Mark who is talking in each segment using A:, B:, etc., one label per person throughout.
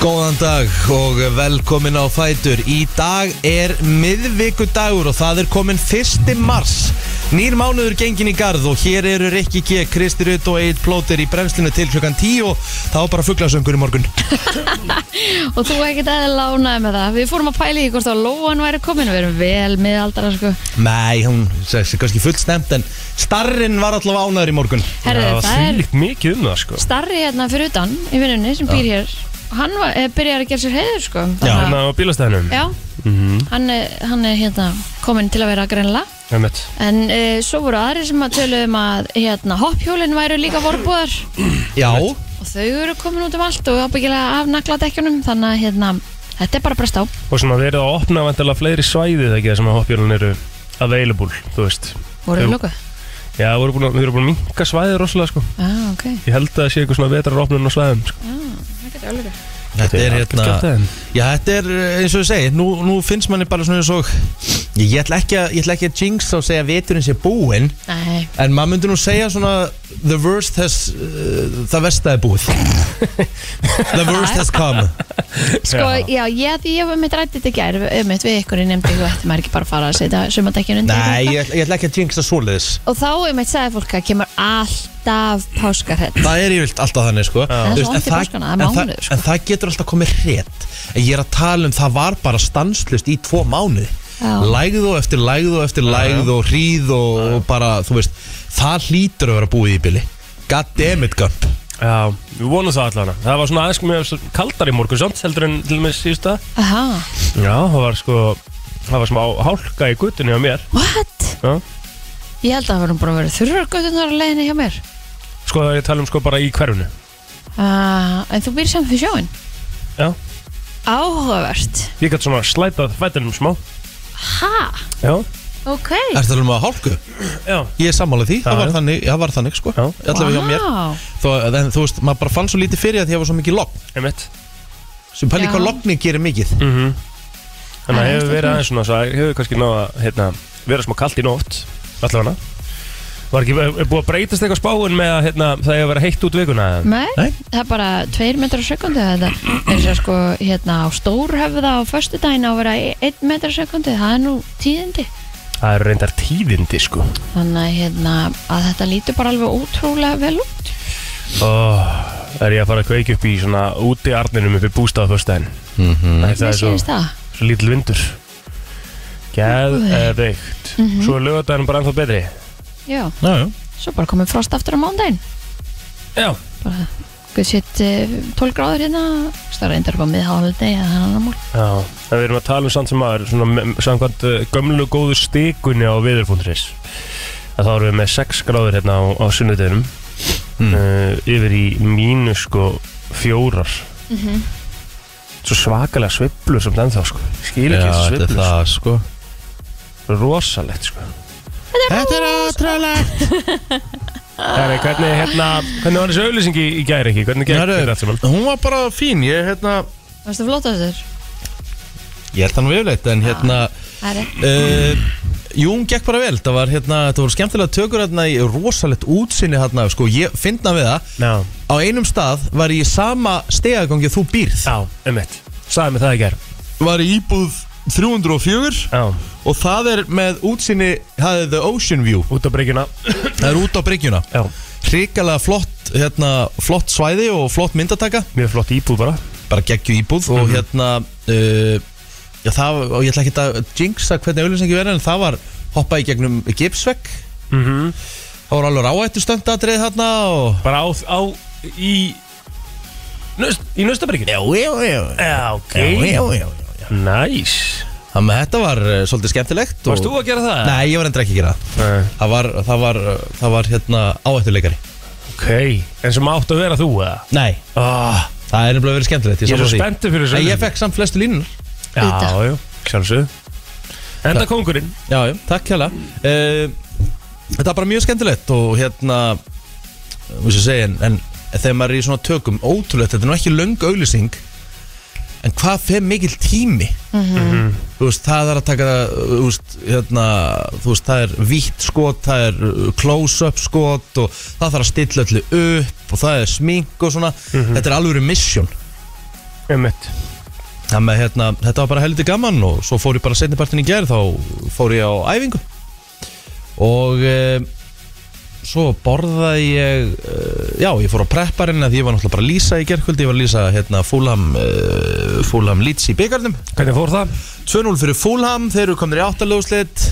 A: Góðan dag og velkomin á Fætur Í dag er miðvikudagur og það er komin 1. mars Nýr mánuður gengin í garð og hér eru Rikki G, Kristi Rutt og Eitt Plóter í bremslinu til klukkan 10 og það var bara fugglasöngur í morgun
B: Og þú ekkert aðeins lánaði með það Við fórum að pæla í því hvort að Lóan væri komin Við erum vel miðaldara sko
A: Nei, hún þessi er kannski fullstemt en starrinn var allavega ánæður í morgun
B: Herðu,
C: Já,
B: það er
C: þvílíkt mikið um það sko
B: starri hérna fyrir utan Í vinnunni sem býr hér Hann var, eh, byrjar að gera sér heiður sko
A: Já.
B: Þannig
C: Þannig Hérna á Mhm, bílastæðinum
B: að- já. Hann, er, hann er hérna komin til að vera greinlega
C: Einmitt.
B: En e, svo voru aðri sem að töluðum að hérna, hoppjólin væru líka vorbúðar
A: Já,
B: og þau eru komin út um allt og ábyggilega af nagladekkjunum þannig að hérna, þetta er bara að bresta á
C: Og svona verið að opna vantilega fleiri svæði þegar sem að hoppjólun eru available, þú veist
B: voru
C: Jú.
B: við lókuð
C: Já, við erum búin að, við erum búin að minka svæði rosalega sko
B: ah, ok,
C: Ég held að það sé eitthvað svona vetraropnun á svæðum sko.
B: það getur alveg verið.
A: þetta er hérna
C: Kjaftaðinn.
A: Já, þetta er eh, eins og ég segi, nú, nú finnst manni bara svona eins og Ég ætla ekki að, ég ætla ekki að jinx og segja að veturinn sé búinn
B: Nei,
A: En maður myndi nú segja svona The worst has uh, Það versta er búið The worst has come
B: sko, já, ég, því ég var með rættið þetta í gær, um eitt við ykkur í nefndi og ætti maður ekki bara að fara að setja sumadekkjun undir
A: Nei,
B: þetta?
A: ég, ætla- ég ætla ekki að jinxa svoleiðis
B: og þá um eitt sagði fólk að kemur alltaf páskarhett
A: Það er yfirlt alltaf þannig sko
B: Það er
A: Þú
B: svo
A: en
B: vont í páskana, það er
A: en, það,
B: mánuður, sko.
A: en það getur alltaf komið rétt En ég er að tala um það var bara stanslust í tvo mánuð
B: Já.
A: Lægð og eftir lægð og eftir lægð og hríð og, og bara, þú veist Það hlýtur að vera búið í bili God damn it, Gump
C: Já, við vonum það allavega Það var svona aðeins mjög svo- kaldar í morgun samt heldur en til og með síðusta
B: Aha,
C: Já, það var sko Það var smá hálka í guttunni á mér
B: what?
C: Já.
B: Ég held að það vorum bara að vera þurrargötunar á leiðinni hjá mér
C: Sko það er ég að tala um sko bara í hverfinu
B: uh, En þú býr samt fyrir sjóin
C: Já,
B: Áhugavert
C: ég gæti svona slætað fætinum smá
B: Ha?
C: Já,
B: Ok
A: Ertu að um að hálku?
C: já
A: Ég er sammálið því, það
C: Já,
A: var
C: já.
A: þannig, það var þannig sko
C: Já.
A: Allavega hjá mér
B: Vá.
A: Þó, en þú veist, maður bara fann svo lítið fyrir að því að það var svo mikið logn
C: Einmitt
A: sem pæli
B: Já.
A: hvað logni gerir mikið
C: mm Þannig að
B: Það Ah, er
C: hefur
B: eftir
C: verið
B: því.
C: aðeins svona svo að hefur kannski náða hérna, vera smá kalt í nótt allavega Var ekki er búið að breytast eitthvað spáin með að hérna, það hefur verið heitt út vikuna eða?
B: Nei,
A: Nei.
B: það er bara 2 metrar á sekundu þetta er sér sko hérna á stórhöfða á föstudaginn á að vera 1 metrar á sekundu það er nú tíðindi
C: Það eru reyndar tíðindi sko
B: þannig að, hérna, að þetta lítur bara alveg ótrúlega vel út
C: oh, Er ég að fara að kveiki upp í svona úti arninum upp í bústaða föstudaginn mm -hmm. Það
B: Mér
C: er svo,
B: sýnist það
C: svo lítil vindur Geðveikt mm -hmm. Svo er lögadaginn bara ennþá betri
B: Já,
A: Já, já
B: svo bara komið frost aftur á mándaginn
C: Já
B: bara, guð sitt eh, 12 gráður hérna það reyndar upp á miðháðaldi eða þannig að mál
C: Já, en við erum að tala um samt sem aður svona me- samkvæmt uh, gömlu góðu stikunni á viður.is að þá erum við með 6 gráður hérna á, á sunnudeginum
A: Mm.
C: uh, yfir í mínus sko fjórar svo svakalega sveiflu sem ennþá sko skil ekki þessi
A: þetta er
C: sveiflu
A: það sko
C: sko. rosalegt sko
A: Þetta er átrúlega
C: Herri, hvernig, hérna, hvernig var þessi auðlýsing í, í gæri ekki? Hvernig gekk þetta allt saman?
A: Hún var bara fín, ég hérna
B: Varstu flott á þessir?
A: Ég held hann yfirleitt, en hérna
C: Ah.
B: Það er rétt.
A: uh, Jú, hún gekk bara vel Það var hérna, þetta voru skemmtilega tökur hérna í rosalegt útsinni hérna Sko, ég finna við það
C: Já,
A: Á einum stað var ég í sama stegagangi og þú býrð
C: já, einmitt Sæði mig það í gæri
A: Var í íbúð 304
C: Já,
A: og það er með útsinni, það er the ocean view
C: út á breykina
A: Það er út á bryggjuna
C: Já,
A: hrikalega flott, hérna, flott svæði og flott myndataka
C: mjög flott íbúð bara Mhm.
A: bara geggju íbúð og hérna uh, já, það, og ég ætla ekki að jinxa hvernig auðlýsingi verið en það var hoppa í gegnum gipsvegg
C: Mhm
A: það var alveg ráættu stöndadrið þarna og
C: bara á, á í nöst, í nöstabryggin
A: já, já, já,
C: já, ok
A: já, já, já, já.
C: næs
A: Þannig að þetta var uh, svolítið skemmtilegt og...
C: varst þú að gera það?
A: Nei, ég var endur ekki að gera það
C: Nei.
A: Það var, það var, uh, það var hérna áættuleikari
C: ok, en sem átt að vera þú eða
A: Nei,
C: ah,
A: það er nefnilega verið skemmtilegt
C: ég er
A: sammála
C: svo
A: því.
C: spenntur fyrir
A: En
C: þessu
A: ég fekk samt flestu línur
B: Auðvitað.
C: já, já, sjálfsög enda kongurinn
A: Já, já, takk hérlega uh, Þetta var bara mjög skemmtilegt og hérna þú veist að segja, en, en þegar maður er í svona tökum ótrúlegt, þetta er nú ekki löng auglýsing en hvað fer mikill tími þú veist, það er að taka þú veist, hérna, þú veist, það er vítt skot, það er uh, close-up skot og það þarf að stilla öllu upp og það er smink og svona þetta er alveg mission
C: einmitt
A: Þannig að hérna, þetta var bara heldur gaman og svo fór ég bara setnipartin í gerð þá fór ég á æfingu og e, svo borðaði ég e, já, ég fór á prepparinn að ég var náttúrulega bara að lýsa í gerðkvöldi, ég var að lýsa hérna Fulham, e, Fulham Leeds í byggarnum
C: Hvernig fór það?
A: 2-0 fyrir Fulham, þeir eru komnir í áttalöfslit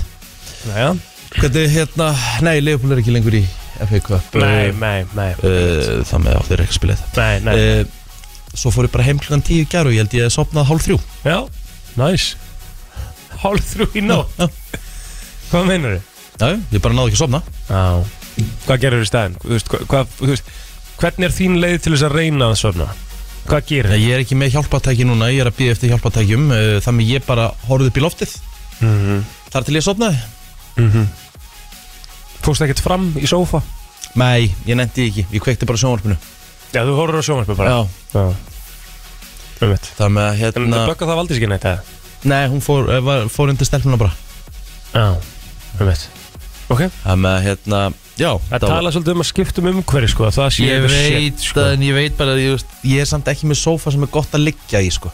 C: Næja
A: hvernig hérna, nei, Leopold er ekki lengur í FA Cup
C: Nei, nei, nei
A: e, þannig að þeir eru ekki að spila þetta
C: Nei, nei
A: e, svo fór ég bara heim klukkan 10 í gerð og ég held ég að sopnað hálf þrjú
C: Já, næs Hálf þrjú í nótt
A: Já.
C: Hvað meinar þið?
A: Já, já, ég bara náði ekki að sopna
C: Já Hvað gerir þið í staðinn? Þú veist, hvað, hvað, þú veist, hvernig er þín leið til þess að reyna að sofna? Hvað gerir
A: Nei,
C: þið?
A: Ég er ekki með hjálpatæki núna, ég er að býða eftir hjálpatækjum eh, Þannig ég bara horfði upp í loftið
C: Mm -hmm.
A: Þar til ég sopnaði?
C: mm Fórstu ekkert fram í sófa?
A: Nei, ég nefndi ekki, ég kveikti bara á sjónvarpinu
C: Já, þú horfður á sjónvarpið bara
A: Já,
C: Já Um veit
A: það með að
C: En
A: hérna
C: þú böggar það valdís ekki neitt eða?
A: Nei, hún fór, eh, var, fór undir stelpuna bara
C: Já Um veit Ok
A: Það með að hérna, já
C: Það
A: það var-
C: tala svolítið um að skipta um umhverfi sko að Það sé
A: Ég
C: eitthvað
A: veit,
C: shit, sko.
A: það, en ég veit bara að ég, veist, ég er samt ekki með sófa sem er gott að liggja í, sko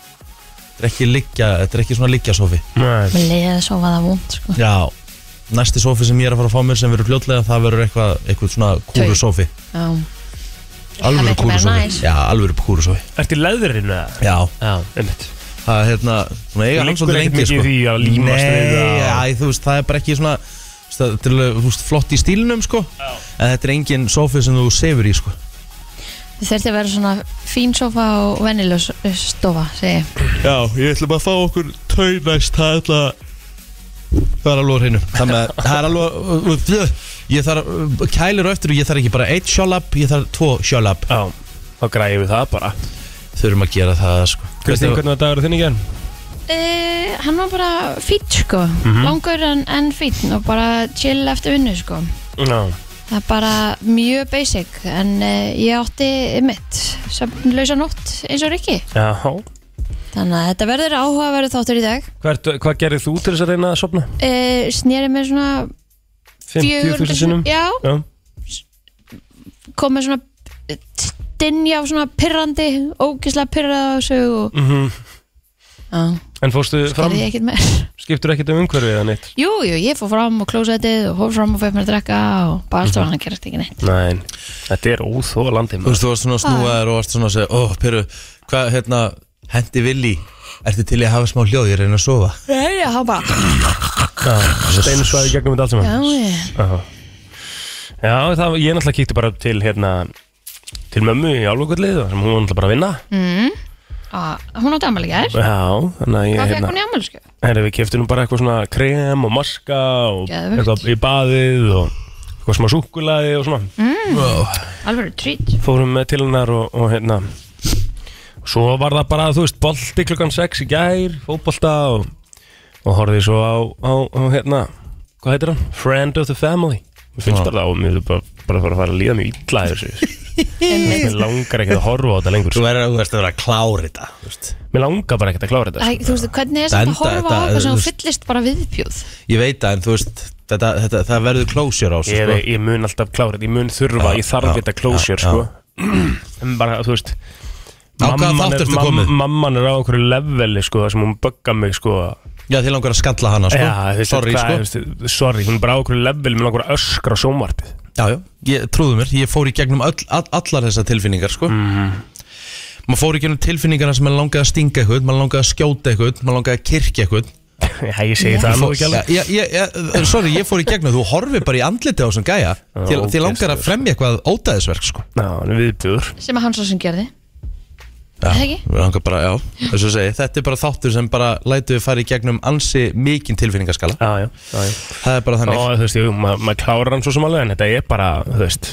A: Þetta er ekki liggja, þetta er ekki svona liggja sófi
C: Nei
B: Mér leiði að sofa það vond sko.
A: Já Næsti sófi sem ég er að fara að fá mér sem verður fljótlega það verður eitthvað, eitthvað svona kúru sófi
B: Já. Það
A: Alvöru
B: myndi vera
A: kúru
B: næs.
A: Já, alvöru kúru
C: Ertu í leðurinn eða?
A: Já,
C: Já Um veit
A: það er hérna svona eiga
C: Það
A: hann svolítið
C: liggur ekkert
A: lengi
C: mikið
A: sko.
C: í því að límast við
A: Nei,
C: að-
A: já, þú veist, það er bara ekki svona það, til, þú veist, flott í stílnum sko en þetta er engin sofi sem þú sefur í sko
B: Það þurfti að vera svona fín sofa og venjuleg eh, stofa segi. ég.
A: Já, ég ætla bara að fá okkur taunæst það ætla það er alveg á hreinu þannig að það er alveg ég þarf kælir á eftir og ég þarf ekki bara eitt sjálab ég þarf tvo sjálab
C: Já, þá græði við það bara
A: þurfum að gera það sko
C: Kristín,
A: Þetta-
C: hvernig var dagur þinn í gern?
B: Eh, hann var bara fýtt sko
A: Mhm.
B: langur en, en fýtt og bara chill eftir vinnu sko
C: Já
B: það er bara mjög basic en uh, ég átti mitt sömnlausa nótt eins og Rikki
C: Já
B: þannig að þetta verður áhugaverðu þáttur í dag
C: Hvert, Hvað gerir þú til þess að reyna að sopna?
B: uh, snýri mér svona
C: 50.000 sinnum?
B: já,
C: Já
B: kom með svona dinja og svona pirrandi ógislega pirrað á sig og
C: Mhm.
B: já,
C: En fórstu fram,
B: gerði ég ekkert meir
C: skiptur ekkert um umhverfið eða neitt?
B: jú, jú, ég fór fram og klósetið og fór fram og fætt mér að drekka og bara allt var hann gerast ekki neitt
C: Nein, þetta er óþólandi
A: Þú veist, þú varst svona snúaður og varst svona að segja Ó, Peru, hvað, hérna, hendi villi Ertu til í að hafa smá hljóð, ég reyna að sofa
B: Nei, já, hann bara
C: Steinu svaði gegnum þetta allt
B: Já,
C: saman
B: ég
C: Já, já það, ég náttúrulega kíkti bara til hérna til mömmu í álugulið sem hún var náttúrulega bara að vinna
B: Á, Mm. Ah, Hún átti afmæli í gær
C: Já, þannig að ég
B: Hvað fekk
C: hérna
B: hún í sko? afmælisku?
C: Herri, við keftum nú bara eitthvað svona krem og maska og
B: Geðveikt.
C: eitthvað í baðið og eitthvað smá súkulaði og svona
B: Mm. Alveg trýt
C: fórum með til hennar og, og hérna svo var það bara, þú veist, bolti klukkan 6 í gær, fótbolta og, og horfði svo á, á, á hérna, hvað heitir hann? Friend of the Family mér finnst
A: Já.
C: bara það og mér finnst bara, bara að fara að líða mjög illa yfir þessu mér langar ekkert að horfa á þetta lengur
A: Þú verður að þú verður að vera að klára þetta þú veist.
C: mér langar bara ekkert að klára þetta
B: Æ,
C: sko.
B: Þú veist, hvernig er
A: Það
B: þetta að
A: enda-
B: horfa á
A: þetta-
B: eitthvað sem
A: þú
B: hún
A: veist-
B: fyllist bara viðbjóð
A: Ég veit það, en þú veist, þetta, þetta, það verður closure á sig,
C: ég,
A: sko.
C: ég mun alltaf klára þetta, ég mun þurfa
A: Já,
C: ég þarf
A: já,
C: þetta closure
A: já,
C: sko. en bara, þú veist
A: Á hvaða
C: mamman
A: þátt
C: er,
A: ertu
C: mam,
A: komið?
C: mamman er á einhverju leveli sko, þar sem hún böggar mig sko,
A: Já, þið langar að skalla hana, sko
C: Já, þú veist,
A: Sorry,
C: hvað,
A: sko
C: þú veist, sorry, hún er bara á okkur level með okkur öskra á sjónvarpið
A: Já, já, ég, trúðu mér, ég fór í gegnum öll, all, allar þessar tilfinningar, sko mm.
C: Mhm.
A: Maður fór í gegnum tilfinningarna sem maður langaði að stinga eitthvað Maður langaði að skjóta eitthvað, maður langaði að kirkja eitthvað
C: Já, ég segi það nú ekki
A: Já,
C: alveg
A: já, já, já, Sorry, ég fór í gegnum, þú horfir bara í andliti á þessum gæja Þið þið langar að fremja eitthvað ódæðisverk, sko
C: Já, hann er viðbjör
B: sem að hann svo sem gerði
A: Já,
B: Er það ekki?
A: við langar bara, já, þess að segja Þetta er bara þáttur sem bara lætu við fara í gegnum ansi mikinn tilfinningaskala
C: Já, já, já, já.
A: Það er bara
C: Ó,
A: þannig
C: þú veist, jú, ma- maður klárar hann svo sem alveg en þetta er bara, þú veist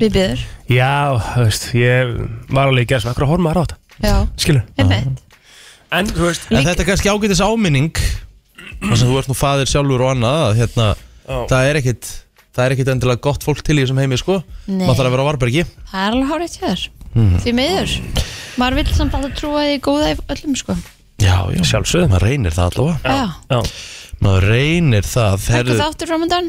B: Viðbjóður
C: Já, þú veist, ég var alveg í gerð svona, akkur horf maður á þetta,
B: Já,
C: skilur
B: einmitt
C: En, þú veist,
A: En þetta er kannski ágætis áminning þar sem þú ert nú faðir sjálfur og annað að, hérna,
C: Já.
A: það er ekkit það er ekkit endilega gott fólk til í þessum heimi sko
B: Nei.
A: maður þarf að vera á varbergi
B: Það er alveg hárið til þér
A: Mhm.
B: Því miður Maður vill samt alltaf trúa því góða í öllum sko
A: já, já,
C: Sjálfsögðu.
A: maður reynir það allavega
B: Já,
C: já,
A: maður reynir það
B: Takk
A: herðu,
B: þáttur framöndan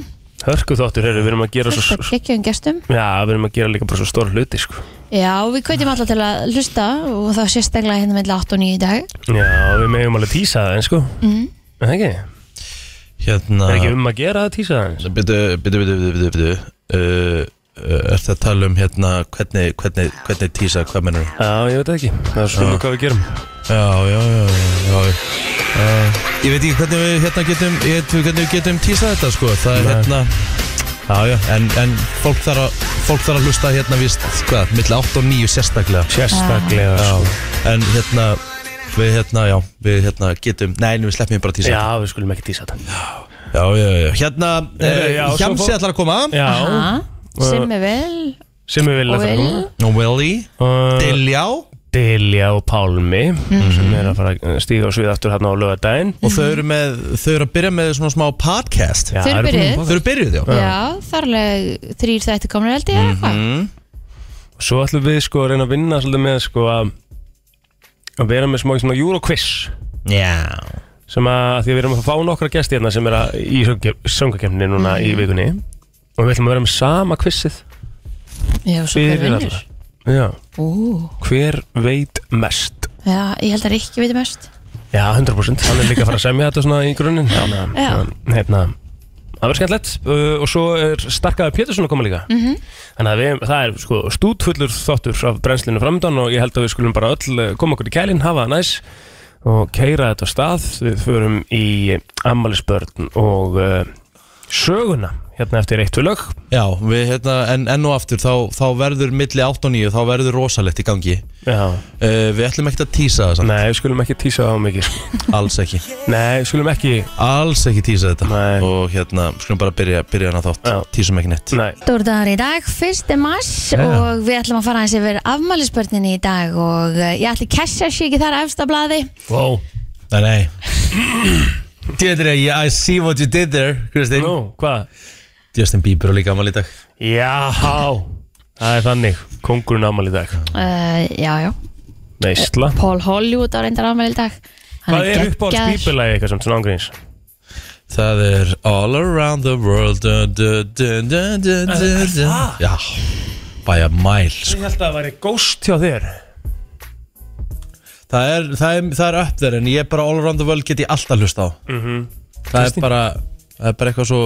C: Hörku þáttur, herru, við erum að gera svo
B: Fullt af geggjum gestum
C: Já, við erum að gera líka bara svo stór hluti, sko
B: Já, við kveitjum alla til að hlusta og þá sérstaklega hérna meðlega 8 og 9 í dag
C: Já, við megum alveg tísa það, en sko
B: mm.
C: Er það ekki?
A: Hérna
C: Er ekki um að gera það tísa það?
A: Bitu, bitu, bitu, bitu, bitu, bitu. Uh, Er það að tala um hérna hvernig, hvernig, hvernig tísa, hvað mennur
C: Já, ég veit það ekki Það er svona hvað við gerum
A: Já, já, já, já, já. Uh, Ég veit ekki hvernig við hérna getum, ég veit ekki hvernig við getum tísað þetta sko Það er
C: Nei.
A: hérna, já, já, en, en fólk þarf að, fólk þarf að hlusta hérna víst, hvað, milli 8 og 9 sérstaklega
C: Sérstaklega,
A: Já,
C: sko
A: en hérna, við hérna, já, við hérna getum, nei, nei, við sleppum ég bara tísa
C: Já, við skulum ekki tísa það
A: Já, já, já, hérna,
C: Eh,
A: eh,
C: já, svo
A: Hjamsi
C: fólk-
A: ætlar að koma
C: Já,
B: Aha, sem er vel
C: sem við viljum að það
B: Will.
C: koma
A: Og Willy,
C: Og-
A: Diljá
C: Dilja og Pálmi
B: Mhm.
C: sem er að fara að stíga á svið aftur hérna á lögadaginn
A: Og þau eru með, þau eru að byrja með svona smá podcast
B: Þeir eru byrjuð.
A: Þau eru byrjuð, já Mhm.
B: Já, þarlega þrýr þætti komur held ég eða eitthvað
C: Svo ætlum við sko að reyna að vinna svolítið með sko að að vera með smá svona Euroquiz
A: Já
C: sem að því að við erum að fá nokkra gesti hérna sem er að í söngakefni núna
B: Mm.
C: í vikunni og við ætlum að vera með sama quizið
B: Já, svo hver
C: fyrir
B: vinnur
C: alla. Já,
B: Ú,
C: hver veit mest
B: já, ég held að Rikki veitir mest
C: Já, 100% Hann er líka að fara að semja þetta svona í grunninn Já, meðan-
B: Já.
C: meðan, hérna Það verður skemmtilegt uh, og svo er starkaður Pétursson að koma líka
B: Mhm.
C: -hmm. Þannig að við, það er sko stútfullur þáttur af brennslinu framöndan og ég held að við skulum bara öll uh, koma okkur í kælinn, hafa það næs og keira þetta á stað við förum í ammælisbörn og uh, söguna hérna eftir eitt við lög
A: Já, við hérna, en enn og aftur þá, þá verður milli 8 og 9, þá verður rosalegt í gangi
C: Já,
A: uh, Við ætlum ekkert að tísa það samt,
C: nei, við skulum ekki tísa á mikið sko.
A: alls ekki
C: Nei, við skulum ekki
A: Alls ekki tísa þetta
C: Nei.
A: Og hérna, skulum bara byrja, byrja hana þátt
C: Já.
A: Tísum ekki neitt
C: Nei,
B: Stór dagur í dag, 1. mars
A: Já.
B: og við ætlum að fara aðeins yfir afmælisbörninni í dag og eh, ég ætli kessa sé ekki þar efsta blaði
C: wow
A: Nei, nei Deirdre, yeah, I see what you did there, Kristín
C: Nú, hvað?
A: Justin Bieber er líka amal í dag
C: Já, það er þannig Kongurinn ámæli í dag
B: uh, Já, já, Eh,
C: Neisla
B: Paul Hollywood á reyndar afmæli í dag Hann
C: Hvað er uppáhalds
B: geggjaður.
C: bíbelagi eitthvað sem svona ángríns?
A: Það er all around the world du, du, du, du, du, du, du. Já, by a mile sko.
C: Ég held að það væri góst hjá þér
A: það er, það, er, það er upp þér en ég er bara all around the world get ég alltaf hlust á það, er
C: Mhm. Kristín?
A: bara, það er bara eitthvað svo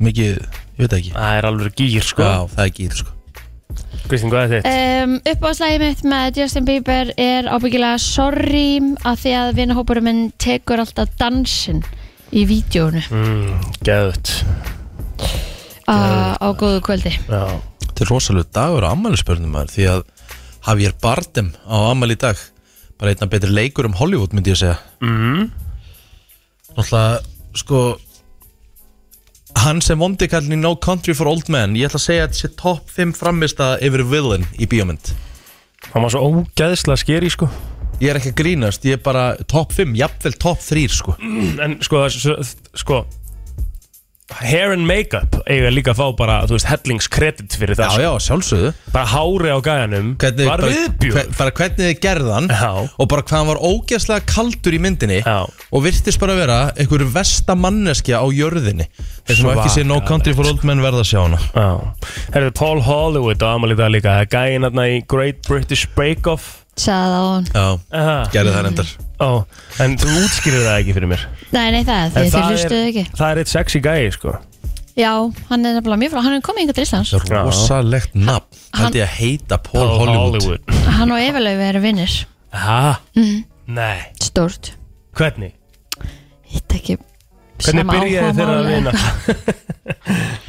A: mikið, ég veit það ekki
C: Það er alveg gýr sko
A: Já, það er gýr sko
C: Kristín, hvað er þitt?
B: Um, uppáðslægið mitt með Justin Bieber er ábyggilega sorry að því að vinahópurum minn tekur alltaf dansinn í vídjónu
C: Mm, Geðut
B: á, á góðu kvöldi
C: Já
A: Þetta er rosalega dagur á ammælisbörnum maður því að hafi ég Bardem á ammæli í dag bara einna betri leikur um Hollywood myndi ég segja
C: mm.
A: Náttúrulega, sko hann sem vondi kallin í No Country for Old Men ég ætla að segja að þetta sé topp 5 framista yfir villain í bíómynd
C: Hann var svo ógeðslega skeri sko
A: ég er ekki að grínast, ég er bara topp 5, jafnvel topp 3 sko
C: En sko, það- svo- sko Hair and make-up eiga líka að fá bara, þú veist, hellingskredit fyrir það
A: Já, já, sjálfsögðu
C: sko. Bara hári á gæjanum Mm.
A: hvernig,
C: Var
A: bara-
C: viðbjörn
A: hve- bara hvernig þið gerðan
C: Já.
A: og bara hvað hann var ógeðslega kaldur í myndinni
C: Já.
A: og virtist bara vera einhver versta manneskja á jörðinni þeir sem hafa ekki sé No
C: Svakalegt.
A: Country for Old Men verða að sjá hana
C: Já, herðu Paul Hollywood á amal í dag líka, það er gæinn hérna í Great British Bake Off
B: sagði það á hann
A: Já,
C: Aha.
A: gerði það reyndar
C: Ó, en þú útskýrðu það ekki fyrir mér
B: Nei, nei það,
C: En
B: þið, þið
C: það
B: hlustuðu
C: er,
B: ekki
C: það er eitt sexy gæi sko
B: Já, hann er nefnilega mjög frá, hann er komið yngur til Íslands
C: Já.
A: Rosalegt nafn,
B: Hann-
A: hætti að heita Paul, Hollywood,
B: Hann og Efalaufi eru vinnir
C: Hæ?
B: Mhm.
C: Mm. Nei,
B: Stort,
C: hvernig?
B: hitt ekki
C: Hvernig byrjaði þeirra að vinna?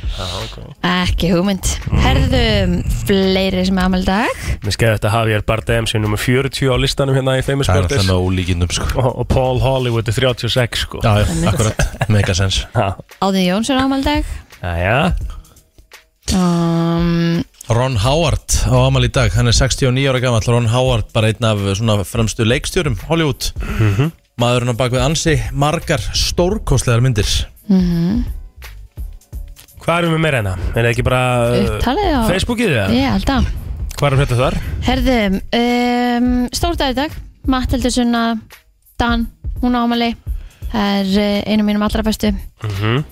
B: Ekki hugmynd
C: Mm.
B: Herðu fleiri sem er afmæli í dag
C: Mér skeiði þetta Javier Bardem sem er nummer 40 á listanum hérna í Famous
A: Það er
C: Birdies
A: alltaf með ólíkindum sko
C: og, og Paul Hollywood er 36 sko
A: Já, já, akkurat, megasens
C: Já,
B: Áðin Jóns er afmæli í dag
C: já
B: um,
A: Ron Howard á amal í dag, hann er 69 ára gammal Ron Howard, bara einn af svona fremstu leikstjórum Hollywood
C: Mhm.
A: maðurinn á bakvið ansi margar stórkostlegar myndir
B: Mhm.
C: Hvað erum við meira hérna? Er það ekki bara uh,
B: Upptalið á
C: Facebookið það?
B: Ég held að
C: Hvað er þetta þar?
B: Herðu, um, stórdagur í dag Mattildur Sunna Dan, hún á ámali Það er eh, einu mínum allra bestu mm
C: Mhm.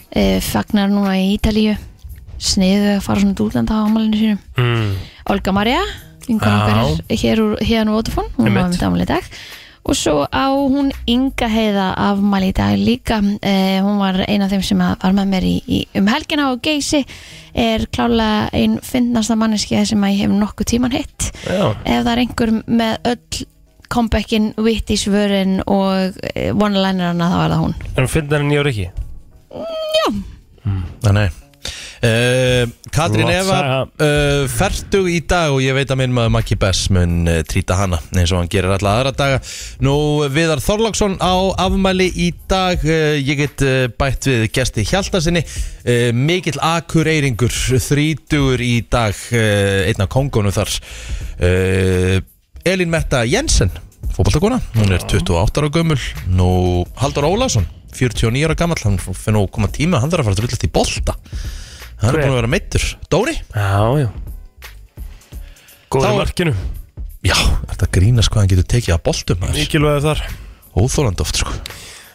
B: Fagnar núna í Ítalíu sniðu að fara svona dúlanda á ámælinu sínum
C: mm.
B: Olga Maria,
C: Já.
B: yngvar okkar hér úr hérna Votafón, hún
C: Einmitt.
B: var með ámæli í dag og svo á hún Inga Heiða afmæli í dag líka eh, hún var ein af þeim sem að var með mér í, í, um helgina og geysi er klálega ein fyndnasta manneskja sem að ég hef nokkuð tíman hitt
C: Já,
B: ef það er einhver með öll comebackin, witty svörin og eh, one-linerna þá er það hún
C: en finnir hann ég er ekki
A: Nei Uh, Katrín
C: Flott
A: Eva
C: saga.
A: uh, fertug í dag og ég veit að minn maður Maggi Bess mun uh, trýta hana eins og hann gerir alla aðra daga Nú Viðar Þorláksson á afmæli í dag uh, ég get uh, bætt við gesti Hjaltasinni uh, mikill akureyringur þrítugur í dag uh, einn af kongónu þar uh, Elin Metta Jensen fótboltakona, hún er 28 ára gömul nú Haldur Ólafsson 49 ára gammal, hann finn nú koma tíma hann þarf að fara að drullast í bolta hann
C: Hver?
A: er búin að vera meittur, Dóri
C: Já, já Góður
A: Þá-
C: í markinu,
A: já, þetta grínast hvað hann getur tekið að boltum maður.
C: mikilvæg þar
A: óþólandi oft sko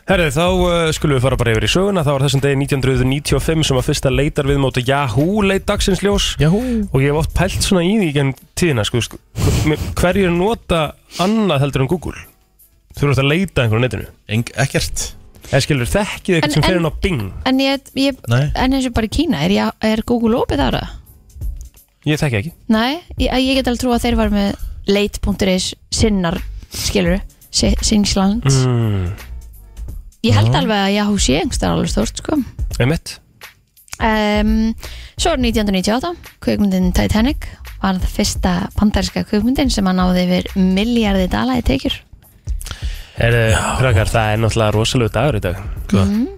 C: Herrið, þá uh, skulum við fara bara yfir í söguna Það var þessum degi 1995 sem var fyrsta leitar við móti Yahoo leit dagsins ljós
A: já,
C: Og ég hef oft pælt svona í því genn tíðina sko, sko, Hverjir nota annað heldur en Google? Þú ert að leita einhverju á netinu
A: Eng, ekkert
C: En skilur, þekkið
B: En-
C: eitthvað sem
B: en-
C: fer inn á Bing
B: en, ég, ég,
A: Nei.
B: en eins og bara í Kína er, ég, er Google opið þar að?
C: Ég þekki ekki
B: Nei, ég, ég get alveg trú að þeir var með leit.is sinnar, skilur Singsland
C: mm.
B: Ég held alveg að Yahoo sé engst er alveg stórt sko
C: Einmitt
B: um, Svo er 1998 kvikmyndin Titanic var það fyrsta bandarinska kvikmyndin sem að náði yfir miljardi dala í tekjur
C: Herrið, krakkar, það er náttúrulega rosalega dagur í dag
B: Mhm.
A: mm,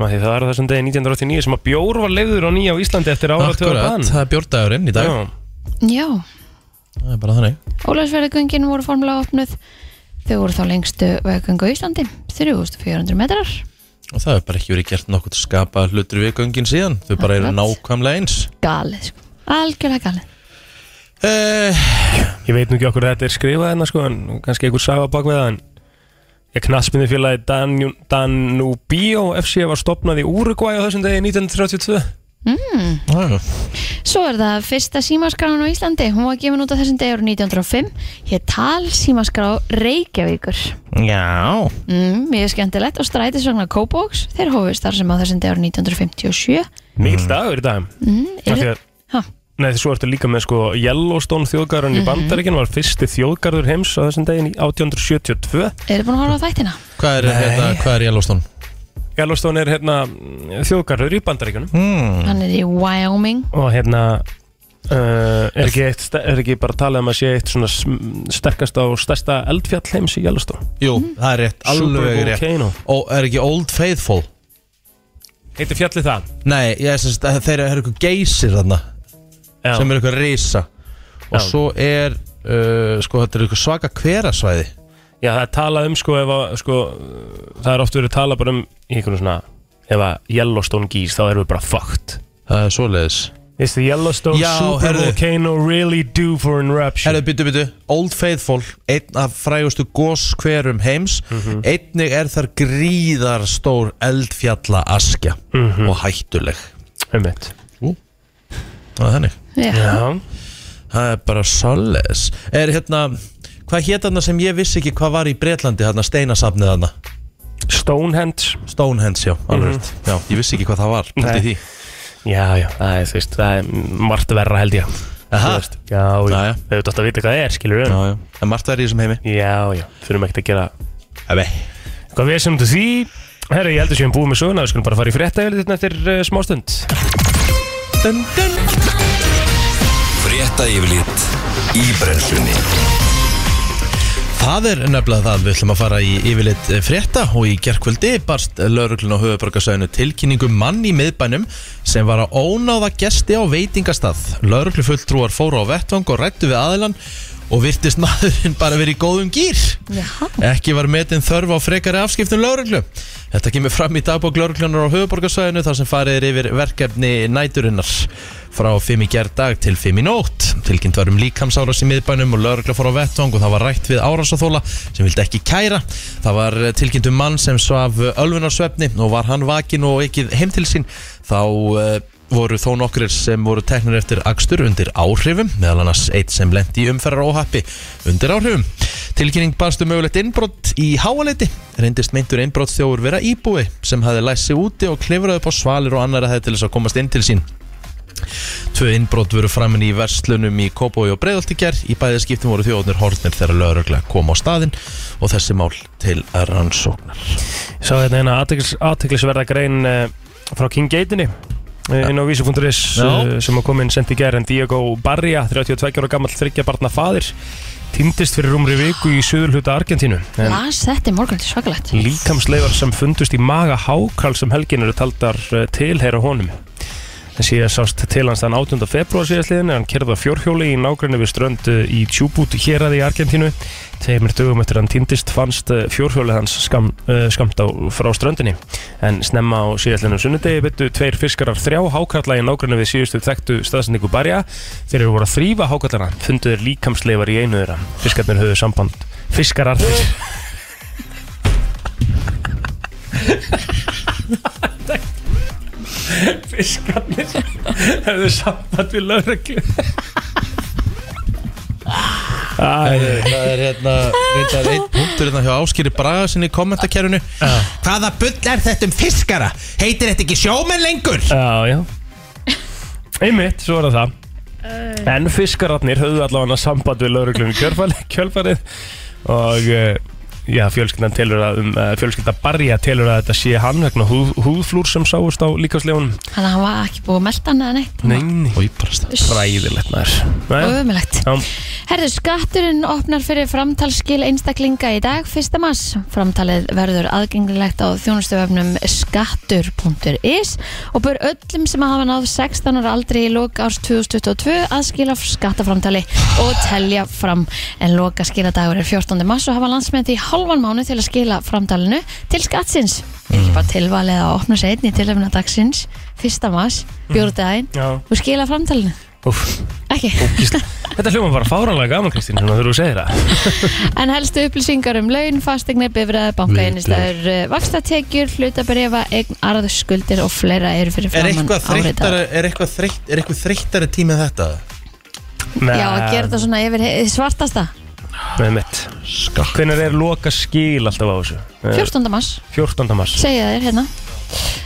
C: Af Því það var þessum degi 1989 sem að bjór var leiður á nýja á Íslandi eftir ára töður
A: akkurat, það er bjórdagurinn í dag
C: Já,
B: Já,
A: það er bara þannig
B: Ólafsverðagöngin voru formulega opnuð Þau voru þá lengstu veggöngu á Íslandi 3400 metrar
A: og það er bara ekki verið gert nokkurt skapa hlutur við göngin síðan, þau bara eru
B: Akkurat.
A: nákvæmlega eins
B: Galið sko, algjörlega galið
A: uh,
C: ég veit nú ekki okkur þetta er skrifað hérna sko en kannski einhver saga bak við það en ég knaspinni félagi Danu- Danubio FC var stopnað í Uruguay á þessum degi 1932
B: Mm. Svo er það fyrsta símaskráin á Íslandi. Hún var gefin út á þessum degur 1905. Hér tal símaskrá Reykjavíkur.
A: já
B: Mm, mjög skemmtilegt og strætisvagnar Kópóks. Þeir hófust þar sem á þessum degur 1957.
C: Mikil dagur í dag
B: Mm,
C: Af
B: er,
C: því að-
B: ha,
C: Nei, því svo ertu líka með sko Yellowstone þjóðgarðan
A: Mhm.
C: í Bandaríkinn var fyrsti þjóðgarður heims á þessum degi 1872
B: er búin að horfa á þættina?
A: hvað er, hérna, hvað er Yellowstone?
C: Yellowstone er hérna mm, þjóðgarður í Bandaríkinnum
A: Mm.
B: Hann er í Wyoming.
C: og hérna uh, er, ekki eitt, sta- er ekki bara talað um að sé eitt svona sm- sterkasta og stærsta eldfjall heims í Yellowstone Mhm.
A: jú, það er rétt, alveg rétt
C: Supervolcano.
A: og er ekki Old Faithful?
C: heitir fjallið það
A: Nei, ég, sem, sagt, þeir eru eitthvað geysir þarna
C: Já.
A: sem eru eitthvað reysa og
C: Já.
A: svo er uh, sko þetta eru eitthvað svaka hverasvæði
C: Já, það er talað um sko, ef að, sko það er oft verið talað bara um í einhvern svona ef að Yellowstone gís þá erum við bara fucked
A: það er svoleiðis
C: Is the Yellowstone
A: Já,
C: supervolcano really due for an eruption?
A: Herðu, byttu, byttu, Old Faithful einn af frægustu goskverum heims
C: Mhm.
A: einnig er þar gríðar stór eldfjalla askja og hættuleg
C: Mhm. Einmitt.
A: það er þannig
B: Já.
C: Já,
A: það er bara svoleiðis er hérna, hvað hétt þarna sem ég vissi ekki hvað var í Bretlandi þarna steinasafnið þarna
C: Stonehenge
A: Stonehenge, já, alveg mm já, ég vissi ekki hvað það var, pældi
C: Mhm.
A: í
C: Nei.
A: því
C: Já, já, það er, þú veist, það er margt verra held ég
A: Aha.
C: Þú veist, Já, já,
A: Já, já.
C: þau veit að vita hvað það er, skilur við
A: Já, já. Það er margt verið í þessum heimi
C: Já, já, þurfum ekkert að gera
A: Ebe.
C: Hvað við sem til því Herra, ég held að séum búið með söguna Við skulum bara fara í frétta yfir þetta eftir uh, smástund
A: Dun, dun.
D: Frétta yfirlit í brennslunni
A: Það er nefnilega það við ætlum að fara í yfirleitt eh, frétta og í gerkvöldi barst lauruglun á höfuborgarsæðinu tilkynningu mann í miðbænum sem var að ónáða gesti á veitingastað. Lauruglu fulltrúar fóru á vettvang og rættu við aðilan og virtist maðurinn bara verið í góðum gýr.
B: Já.
A: Ekki var metin þörf á frekari afskiptum lauruglu. Þetta kemur fram í dagbók lauruglunar á höfuborgarsvæðinu þar sem farið er yfir verkefni næturinnar frá 5 í gerð dag til 5 í nótt. Tilkynnt var um líkamsárás í miðbænum og laurugla fór á vettvang og það var rætt við árásaþóla sem vildi ekki kæra. Það var tilkynnt um mann sem svaf ölvunarsvefni og var hann vakin og ekkið heim til sín þá eh, voru þó nokkrir sem voru teknir eftir akstur undir áhrifum, meðal annars eitt sem lendi í umferðar óhappi undir áhrifum. Tilkynning barstu mögulegt innbrott í háaleiti, reyndist meintur innbrott þjófur vera íbúi sem hafði læst sig úti og klifraði upp á svalir og annar að það til þess að komast inn til sín. Tvö innbrot voru framin í verslunum í Kópói og Breiðoltikjar í bæðið skiptum voru þjóðnir hortnir þegar lögregla kom á staðinn og þessi mál til rannsóknar
C: Sá hérna eina athyglis- athyglisverða grein uh, frá King Gatinni uh, inn á vísi.is uh,
A: Já.
C: sem að kom inn sent í gerð en Diego Barria, 32 ára gammal þryggja barna faðir týndist fyrir umri viku í suðurhluta Argentínu en
B: Las Ah, þetta í morgun, þetta er svakalegt
C: líkamsleifar sem fundust í maga hákarl sem helgin eru taldar uh, tilheyra honum en síðan sást til hans þann 18. februar síðastliðin en hann kerði á fjórhjóli í nágrinni við strönd uh, í Tjúbút héraði í Argentínu tveimur dögum eftir hann týndist fannst uh, fjórhjóli hans skam, uh, skamt á frá ströndinni en snemma á síðastlinnum sunnudegi byttu tveir fiskarar þrjá hákarla í nágrinni við síðustu þekktu staðsendingu barja þeir eru voru að þrýfa hákarlana fundu þeir líkamsleifar í einu þeirra fiskarnir höfðu samband fiskarar fiskarnir hefðu samband við lögreglu Æ,
A: Það er hérna reyndar eitt punktur hérna hjá Áskýri Braga sinni í kommentakerfinu Hvaða bull er þetta um fiskara? Heitir þetta ekki sjómenn lengur?
C: Já, já Einmitt, svo er það það En fiskararnir höfðu allavega samband við lauruglum í kjölfarið, kjölfarið og eh, já, fjölskyldan telur að um, eh, fjölskyldan barja telur að þetta sé hann vegna húð, húðflúr sem sáust á líkaslefunum
B: Þannig að hann var ekki búið að melda hann eða neitt
C: Neini,
A: Og ég bara stað
C: fræðilegt maður
B: og
C: Nei,
B: ömulegt
C: já,
B: Herðu, skatturinn opnar fyrir framtalsskil einstaklinga í dag, 1. mass. Framtalið verður aðgengilegt á þjónustuföfnum skattur.is og bör öllum sem hafa náð 16 ára aldri í lok árs 2022 að skila skattaframtali og telja fram. En loka skiladagur er 14. mass og hafa landsmyndi í halvan mánu til að skila framtalinu til skattsins. Er ekki bara tilvalið að opna sér einn í tilöfna dagsins, 1. mass, bjórðdæðin
C: já,
B: og skila framtalinu.
C: úf,
B: Ekki.
C: gísla Þetta hljóma bara fáranlega gaman Kristín, svona þurfum við að segja það
B: En helstu upplýsingar um laun, fastegnir, bifræði, bankaeinnistæður, vakstatekjur, hlutabrifa, eh, eign, arð, skuldir og fleira eru fyrir
A: Er
B: framann
A: eitthvað
B: áreitað.
A: þreyttara er eitthvað þreytt, er eitthvað þreyttara tími en þetta?
B: Já, að gera þetta svona yfir hið svartasta.
C: Nei, mitt
A: Skatt
C: Hvenær er loka skil alltaf á þessu? Eh,
B: 14. mars,
C: 14. mars
B: segja þér hérna.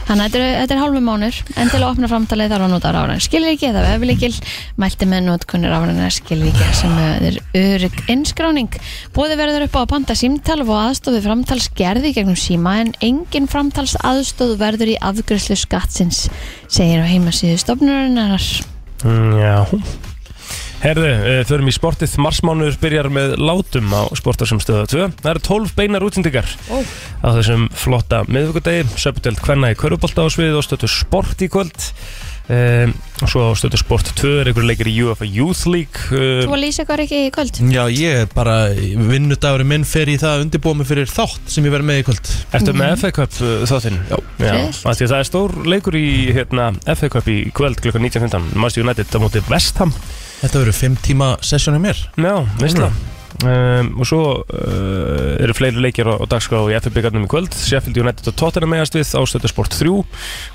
B: Þannig að þetta eru- þetta er halvu mánur, en til að opna framtalið þarf að nota rafræn skilríki eða veflíkil, mælti með notkunni rafræna skilríki sem er örygg innskráning. Bóði verður upp á að panta símtal og aðstofi framtalsgerði gegnum síma en engin framtalsaðstof verður í afgjörslu skattsins, segir á heimasíðu stofnurinnar.
C: mm, Já Herðu, eh, förum í sportið Marsmánuður byrjar með látum á sportar sem stöða 2 Það eru 12 beinar útsendingar
B: Ó.
C: á þessum flotta miðvikudegi Söpudeld Kvenna í Körubólta á sviðið og stötu sport í kvöld Um, og svo á stötu sport 2 er einhverju leikir í UEFA Youth League
B: Þú
C: um,
B: var að lýsa eitthvað ekki í kvöld?
A: Já, ég er bara, vinnudagurinn minn fer í það að undirbúa mig fyrir þátt sem ég verð með í kvöld
C: Ertu
B: Mhm.
C: með FA Cup uh, þáttinn? Já,
B: Frillt.
C: af því að það er stór leikur í hérna, FA Cup í kvöld klukkan 19.15 Manchester United á móti Vestham
A: Þetta verður fimm tíma sessjónu mér
C: Já,
A: Mm.
C: veistla um, Og svo uh, eru fleiri leikir á, á dagskrá í FA byggarnum í kvöld Sheffield United og Tottenham meðast við Ástöðu Sport 3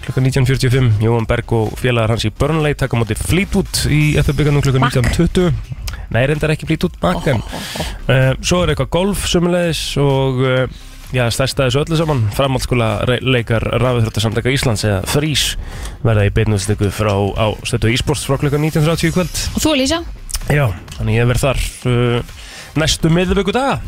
C: klukkan 19.45 Jóhann Berg og félagar hans í Burnley taka á móti Fleetwood í FA byggarnum klukkan
B: Mack.
C: 19.20 Nei, reyndar ekki Fleetwood Mac en Uh, svo er eitthvað golf sumulegis og uh, já, stærsta þessu öllu saman framhaldsskóla re- leikar rafiðröttasamtaka Íslands eða frís verða í beinuðstöku frá á stötu e-sports frá klukkan 19.30 í kvöld
B: Og þú Lísa?
C: Já, þannig ég verð þar uh, næstu miðvöku daga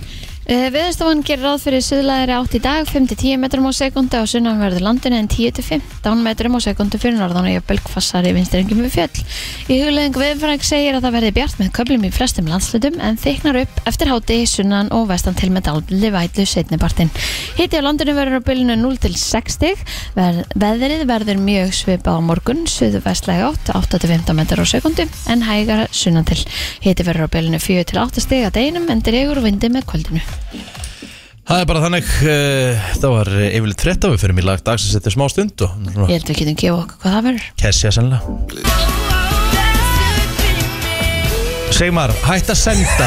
B: Uh, Viðastofan gerir ráð fyrir suðlæðari átt í dag 5-10 metrum á sekundu á sunnanverðu landinu en 10-15 metrum á sekundu fyrir norðan og jöfnbelg fassari vinstrengjum við fjöll. Í hugleðing viðfræk segir að það verði bjart með köflum í flestum landslutum en þyknar upp eftir háti sunnan og vestan til með dálitli vætlu setnipartin. Hitti á landinu verður á bylunu 0-6 stig. Ver, veðrið verður mjög svipað á morgun, suðu vestlæg átt 8-15 metrar á sekundu en hægar sunnan til. Hitti verður á bylunu 4-8 stig að deginum en dregur vindi með kvöldinu.
A: Það er bara þannig, uh, það var eh, yfirleitt frétta við fyrir mig lag dagsins eftir smá stund og
B: Ég held við getum gefa okkur hvað það verður.
A: Kessia sennilega Segmar, hætt að senda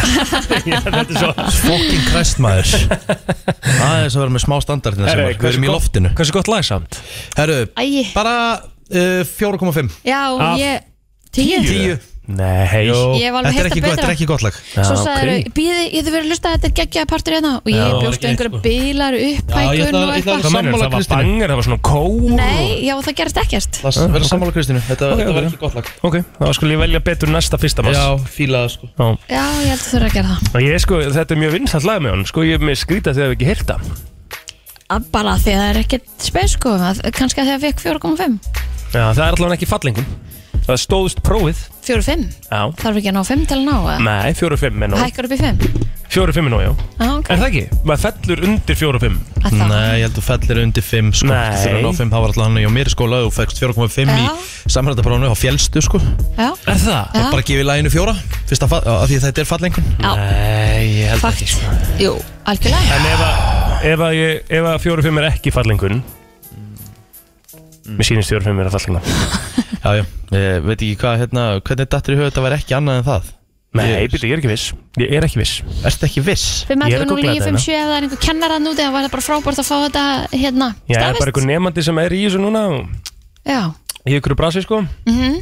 C: Já, þetta er svo
A: Fucking Christ maður Aðeins að vera með smá standardina Segmar, við erum í loftinu
C: Hversu gott lag samt?
A: Herru,
B: Æi,
A: bara uh, 4,5
B: Já,
C: Af
B: ég, tíu,
A: 10
C: Nei
B: Ég hef alveg
A: þetta er
B: heyrt það
A: ekki gott- þetta
B: betra.
A: er ekki gott lag
C: Já,
B: Svo
C: ok.
B: sagður, okay. býði, ég þið verið að hlusta að þetta er geggjaði partur hérna og ég
C: Já,
B: bjóst
C: ekki,
B: einhverja
C: sko.
B: bílar,
A: Já, ég
B: upphækun
A: ætla-
B: og
A: ég ætla-
B: eitthvað
C: Hvað meinar,
A: Sammála
C: það var
A: Kristínu.
C: banger, það var svona kór Ah,
B: Nei, já, það gerist ekkert
A: Það verður að sammála Kristínu, þetta,
C: Ok,
A: þetta var
C: ok.
A: ekki gott lag
C: Ok, þá skulle ég velja betur næsta fyrsta mass
A: Já, fílaða sko
C: Já.
B: Já, ég held að þurfa að gera það
C: Og Ég, sko, þetta er mjög vinsalt lag með hann Sko, ég er með skrýta þegar við ekki heyrta
B: Að Bara af því að það er ekkert spes sko að, Kannski að því að fekk 4,5
C: Já, það er allavega ekki fallingum Það stóðst prófið
B: 4,5
C: Já
B: Þarf ekki að ná 5 til að ná að
C: Nei, 4-5 er nóg
B: Hækkar upp í 5
C: 4-5 er nóg, já
B: Já, ok
C: Er það ekki? Maður fellur undir 4-5
B: Að það-
A: Nei, ég held að þú fellir undir 5 sko
C: Nei.
A: Þú þurfir að ná 5, það var alltaf hann og mér í skóla og fegst 4,5 í
B: Já.
A: samrændabránu og fjellstu sko
B: Já,
C: Er það?
B: Já.
A: Bara gefið læginu fjóra, fyrst að, að því að þetta er fallengun
B: já,
C: Nei, ég held
B: fakt
C: ekki sko.
B: Jú, algjörlega
C: En ef að- ef að ég- ef að 4-5 er ekki fallingun
A: Mm.
C: Mér sýnist 4-5 er að fallinga
A: Já, já, ég veit ekki hvað, hérna, hvernig dattur í höfðu þetta væri ekki annað en það
C: Nei,
A: Ég-
C: byrju, ég er ekki viss Ég er ekki viss
A: Ertu ekki viss?
B: 5,
C: Ég er
B: 11,
C: að
B: 0,
C: googla
B: 9,
C: þetta
B: 5,
C: hérna.
B: 7 Ef það er einhver kennarann úti Það var það bara frábært að fá þetta hérna
C: Ég er bara
B: staðfest.
C: einhver nemandi sem er í þessu núna og
B: Já,
C: Í ykkur brasi, sko
B: mhm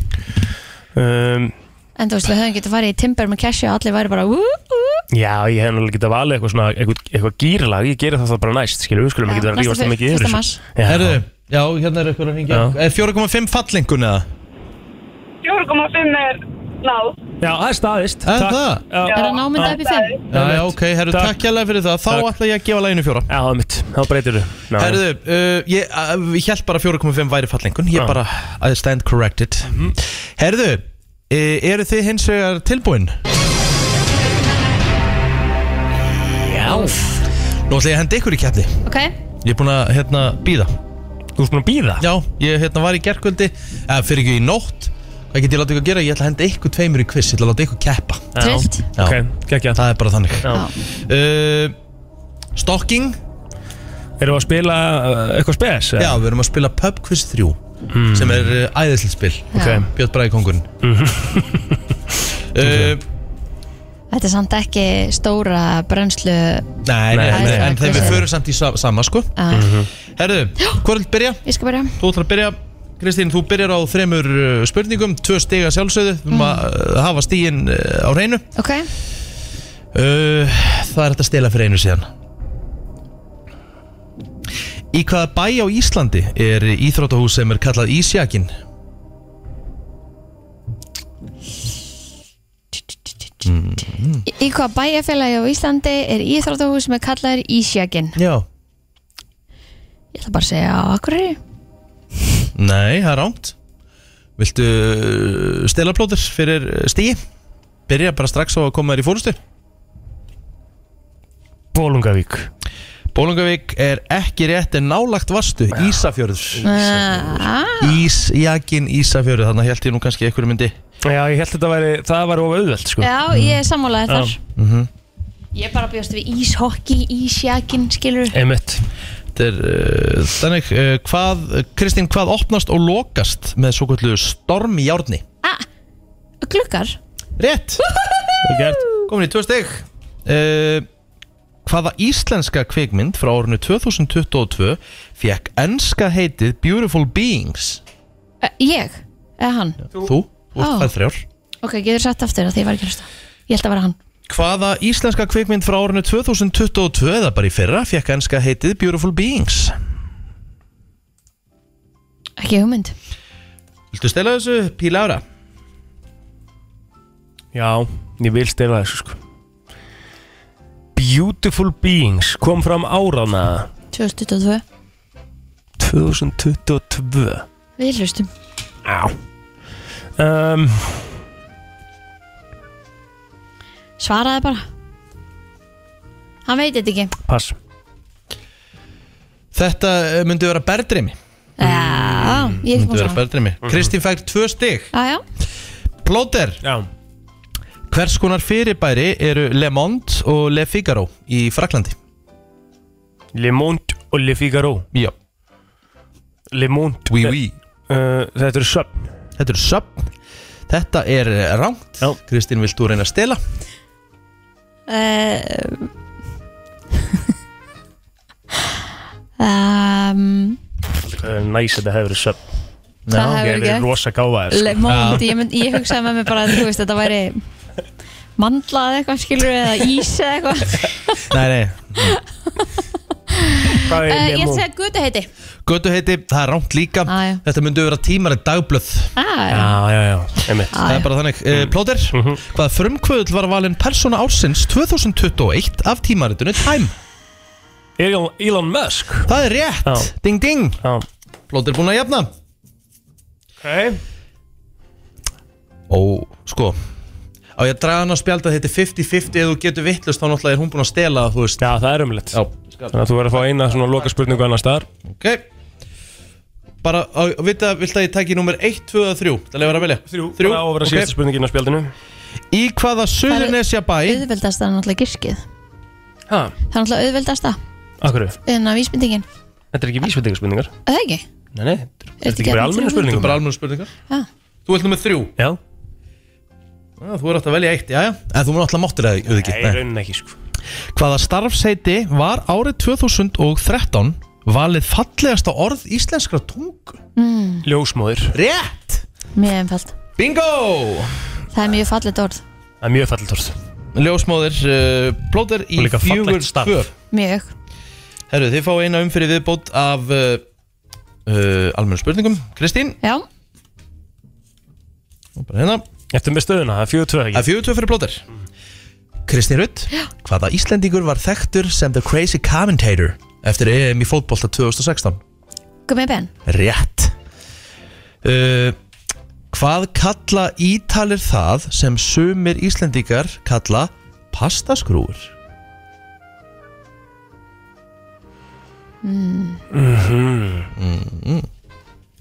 C: um,
B: En þú veist, við höfum getið að fara í Timber með Cashy og allir væri bara ú, ú,
C: Já, ég hef náttúrulega getað valið eitthvað svona eitthvað, eitthvað gýralag, ég geri það þá bara næst skilur, við skulum
B: Já,
C: ekki vera að
B: næsta
C: rífast það
B: fyr-
C: mikið yfir
B: fyrsta
C: þessu.
B: mars.
C: Já.
A: Herðu, já, hérna er eitthvað að ringja
C: Já.
A: Er 4,5 fallengun eða?
E: 4,5 er náð.
C: Já, það er staðist
A: Er
C: Takk.
A: það?
C: Já,
B: Er það námynda upp í fimm?
A: Já, já, ok, herru,
C: Takk.
A: takk hérlega fyrir það Þá
C: Takk.
A: ætla ég að gefa læginu fjóra
C: Já, það er mitt, þá breytir þú
A: Herðu, uh, ég, uh, ég held bara 4,5 væri fallengun Ég
C: Já. Mhm.
A: bara, I stand corrected Herðu, uh, eru þið hins vegar tilbúin?
C: Já
A: Nú ætla ég að henda ykkur í keppni
B: Ok,
A: Ég er búin að, hérna, býða
C: Þú ert búin að býða?
A: Já, ég hérna var í gerkvöldi eða fyrir ekki í nótt Hvað get ég láta ykkur að gera? Ég ætla að henda ykkur tveimur í quiz Ég ætla að láta ykkur keppa
B: trillt
C: Ok, gekkja
A: Það er bara þannig
C: Já.
A: uh, Stocking
C: Erum við að spila uh, eitthvað spes?
A: Já, við erum að spila Pub Quiz 3 sem er uh, æðislega spil
C: Ok, Mhm.
A: Björn Bræði kongurinn uh,
B: Þetta er samt ekki stóra brennslu
A: Nei, nei,
C: Nei,
A: nei,
B: nei.
A: en þegar við förum samt í sa sama sko
B: að,
A: Herðu, hvað vil byrja?
B: Ég skal bara
A: Þú ætlar að byrja Kristín, þú byrjar á þremur uh, spurningum Tvö stiga sjálfsögðu Við erum að uh, hafa stíin á hreinu
B: Ok,
A: Uh, það er hægt að stela fyrir einu síðan Í hvaða bæ á Íslandi er íþrótahús sem er kallað Ísjakin?
B: í, í hvað bæjarfélagi á Íslandi er íþróttahús sem er kallaður Ísjakin?
A: Já
B: Ég ætla bara að segja á Akureyri
A: Nei, það er rámt Viltu uh, stela plótur fyrir stíi? Byrja bara strax á að koma þér í fórustu
C: Bólungavík
A: Bólungavík er ekki rétt en nálagt vastu Ísafjörður
B: Ah,
A: Ísjakin Ísafjörður Þannig held ég nú kannski einhverju myndi
C: Já, ég held þetta væri, það væri of auðvelt sko
B: Já, ég er sammálaði
C: Já.
B: þar
A: Mhm.
B: Ég bara bjóst við íshokki, ísjakin, skilur
C: Einmitt
A: Þetta er, uh, þannig, uh, hvað, Kristín, hvað opnast og lokast með svo kvöldu stormjárni?
B: Glukkar
A: Rétt,
C: Vel gert
A: komin í tvö stygg. Uh, hvaða íslenska kvikmynd frá árinu 2022 fekk enska heitið Beautiful Beings?
B: Eh, Ég, eða hann
A: Þú, Þú
B: Á.
C: Ah.
A: og það þrjár.
B: Ok, getur sagt aftur að því ég var ekki að hlusta Ég held að vera hann
A: Hvaða íslenska kvikmynd frá árinu 2022 eða bara í fyrra fekk enska heitið Beautiful Beings?
B: Ekki hugmynd
A: Viltu stela þessu, Píla Ára?
C: Já, ég vil stela þessu sko Beautiful Beings kom fram árána
B: 2022
C: 2022
B: Við hlustum
C: Já um,
B: Svaraði bara Hann veit þetta ekki
C: Pass
A: Þetta eh, myndi vera Berdrimi.
C: Ah.
B: Já, ég er ekki
A: Mm. Myndi
B: búin að
A: vera
B: svara
A: Berdrimi. Kristín fekk tvö stygg.
B: Já, já,
A: Plóter,
C: Já
A: Hvers konar fyrirbæri eru Le Monde og Le Figaro í Fraklandi?
C: Le Monde og Le Figaro
A: Já,
C: Le Monde
A: oui, oui.
C: uh, Þetta eru söfn
A: Þetta er söpn Þetta er rangt
C: Já.
A: Kristín, vilt þú reyna að stela?
B: uh, um, Eh, um.
C: Eh, uh, Næs að þetta hefur verið söfn
B: það
A: Já,
B: hefur
C: Ég
B: ekki
C: er rosa sko. gáða þér
B: Le Monde, ég, mynd, ég hugsaði með mér bara að þú veist, þetta væri mandla eða eitthvað skilur eða ís eða eitthvað
A: Nei, nei,
C: Hvað
B: Eh,
C: er
B: Ég ætla að
C: lemon?
B: segja gutu heiti
A: götu heiti, það er rámt líka
B: Á, já.
A: Þetta myndu vera tímarinn dagblöð
B: ah,
C: Já, já, já Einmitt Mhm.
A: Það er bara þannig uh, Plóter, hvaða frumkvöðul var valinn persóna ársins 2021 af tímaritinu Time?
C: Elon, Elon Musk
A: Það er rétt,
C: Já.
A: ding ding
C: Já
A: Plóter búin að jafna
C: Ok
A: Ó, sko Á ég að draga hann á spjald að þetta er 50-50 Ef þú getur vittlust þá náttúrulega er hún búin að stela Þú veist
C: Já, það er umlitt
A: Já,
C: Þannig að þú verður að fá eina svona loka spurningu annars staðar
A: ok Bara, á, vita, vilt að ég taki númer 1, 2 og 3 Það lefur að velja
C: Þrjú Það ofur að
A: ok.
C: síðasta spurningin á spjaldinu
A: Í hvaða Suðurnesja bæ
B: Auðveldast það er náttúrulega gískið
C: Hæ?
B: Það er náttúrulega auðveldast það
C: Akkur
B: en að vísbendingin,
C: Þetta er ekki vísveitingarspurningar
B: Er það ekki?
C: Nei, nei Þetta
B: ekki
C: er ekki bara
B: hérna þrjú?
C: almenna
A: Þú
C: spurningum
A: er bara almenn spurningar
B: Já.
A: Þú ert nummer 3
C: Já
A: Þú er átt að velja eitt, jæja En þú mun alltaf máttir það,
C: Nei,
A: auðvitað ekki
C: í
A: Nei.
C: rauninni ekki sko
A: Hvaða starfseiti var árið 2013 valið fallegasta orð íslenskra tungu?
C: Ljósmóður
A: Rétt!
B: Mm, Mjög einfalt
A: Bingo!
B: Það er mjög fallit orð
C: Það er mjög fallit orð
A: Ljósmóðir, uh, blóðir í
C: Og líka
A: fjögur
C: fallegt starf.
A: tvö
B: Mjög
A: Herru, þið fá eina umfyrir viðbót af uh, uh, almennu spurningum Kristín,
B: Já,
A: og bara hérna
C: Eftir með stöðuna, það er fjögur tvö
A: Það er
C: ekki
A: fjögur tvö fyrir blóðir Kristín Rutt, hvaða Íslendingur var þekktur sem The Crazy Commentator eftir EM í fótbolta 2016?
B: gummi ben
A: Rétt uh, Hvað kalla ítalir það sem sumir Íslendingar kalla pastaskrúur?
B: Mm,
C: Mm. Mhm.
A: Mhm.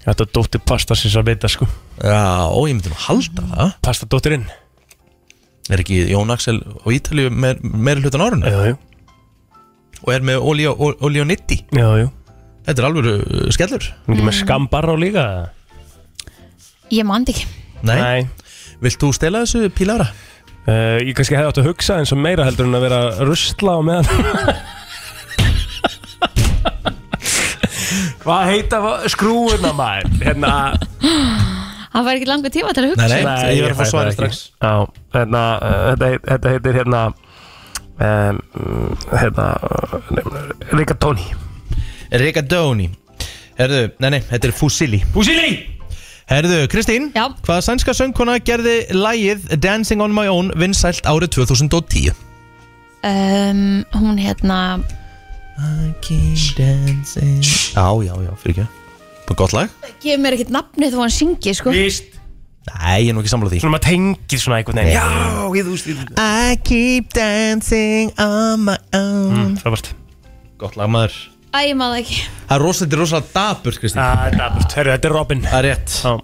C: Þetta er dóttir pasta sér að beita sko
A: Já, ó, ég myndi nú halda það
C: Pasta dóttirinn
A: Er ekki Jón Axel og Ítalíu meir, meira hlutan árun
C: Jú, jú
A: og er með Oli og- og- Oli og Nitti
C: Jú, jú
A: Þetta er alveg uh, skellur
C: Ekki með skambarra á líka
B: Ég mand ekki
A: Nei, vilt þú stela þessu pílára?
C: Uh, ég kannski hefði átt að hugsa eins og meira heldur en að vera að rusla á meðan Hvað heita skrúuna maður? Hérna,
B: Hann var ekki langur tíma til að hugsa
A: Nei, ég verð
C: fæ
A: að fá
C: það
A: svarið
C: ekki.
A: strax.
C: Já, hérna, uh, þetta, heit- þetta heitir hérna um, hérna uh, Rigatoni
A: Riccadoni Herðu, nei nei, þetta er Fusilli
C: Búsili!
A: Herðu, Kristín
B: Já.
A: Hvaða sænska söngkona gerði lægið Dancing on my own vinsælt árið 2010?
B: um, Hún hérna
A: Já, já, já, fyrir ekki Bara gott lag?
B: Gef mér ekkert nafnið þó hann syngi sko
C: Víst
A: Nei, ég er nú ekki sammála því
C: Svona maður tengið svona einhvern veginn Já, ég þú stýrðu
A: I keep dancing on my own
C: Frábært
A: Gott lag maður
B: Æ, ég maður ekki
A: Það er rosalega, þetta er rosalega daburt, Kristín
C: Það er dapurt, herru, Ah, þetta er Robin
A: Það er rétt
C: Já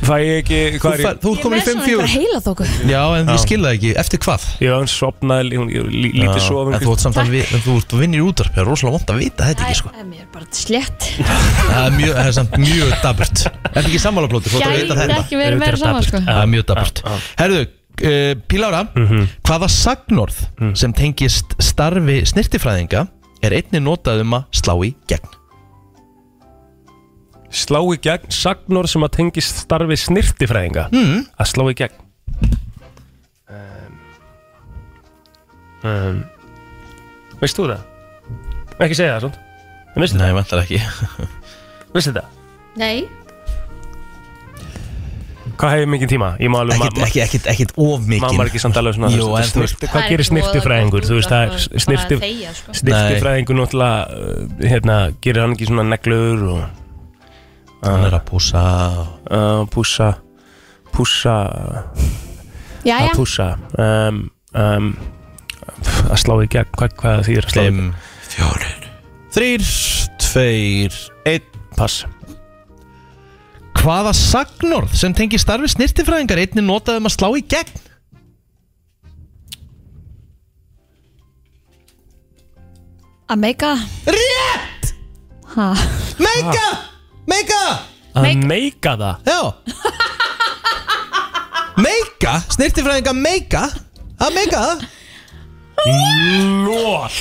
C: Fæ ég ekki,
A: Þú,
C: hvað er
A: fær,
C: ég?
A: þú ert
B: Ég er
A: komin í
B: með svona einhverja
A: 5-4
B: heila þóku
A: Já, en ég skil það ekki, eftir hvað?
C: Ég var hann sopnaði, hún ég lí- lítið sofum
A: En þú ert samt að við, en þú ert vinnir í útvarp Það er rosalega vond að vita þetta
B: Æ,
A: ekki, sko
B: æ, mér er bara slett
A: Það er mjög, það er samt mjög daburt Er ekki sammála plóti, þú ert að
B: Gæti
A: vita þetta
B: ekki verið
C: Þetta er
B: meira saman
C: dapurt.
B: sko
A: Það er mjög daburt Herðu, uh, Pílára
C: Mhm.
A: Hvaða sagnorð sem tengist starfi snirtifræðinga er einni notað um að slá í gegn
C: Slá í gegn sagnor sem að tengist starfi snirtifræðinga mm. Að slá í gegn um, um, Veist þú það? Ekki segja það svona En veistu
A: Nei, vantar ekki
C: það? Veistu það?
B: Nei
C: Hvað hefur mikið tíma? Ég má alveg
A: Ekkit,
C: ma- ma-
A: ekkit, ekkit, ekkit of mikið
C: Mamma er ekki samt alveg svona
A: Jú,
C: þú veist,
A: en þú
C: snirti, Hvað gerir snirtifræðingur? Þú veist, það er snirti, snirtifræðingur náttúrulega uh, hérna, gerir hann ekki svona neglur og
A: Hann er að púsa og-
C: uh, pússa pússa
B: Jæja,
C: að pússa um, um, að slá í gegn hvað, hvað þýðir að slá í gegn
A: Fimm, fjórir Þrýr, tveir, einn
C: pass
A: Hvaða sagnorð sem tengist starfi snirtifræðingar er einni notað um að slá í gegn?
B: að meika
A: Rétt!
B: Ha,
A: Meika! Meika!
C: að meika það
A: Já Meika? Snirtifræðinga meika? Að meika það?
C: lól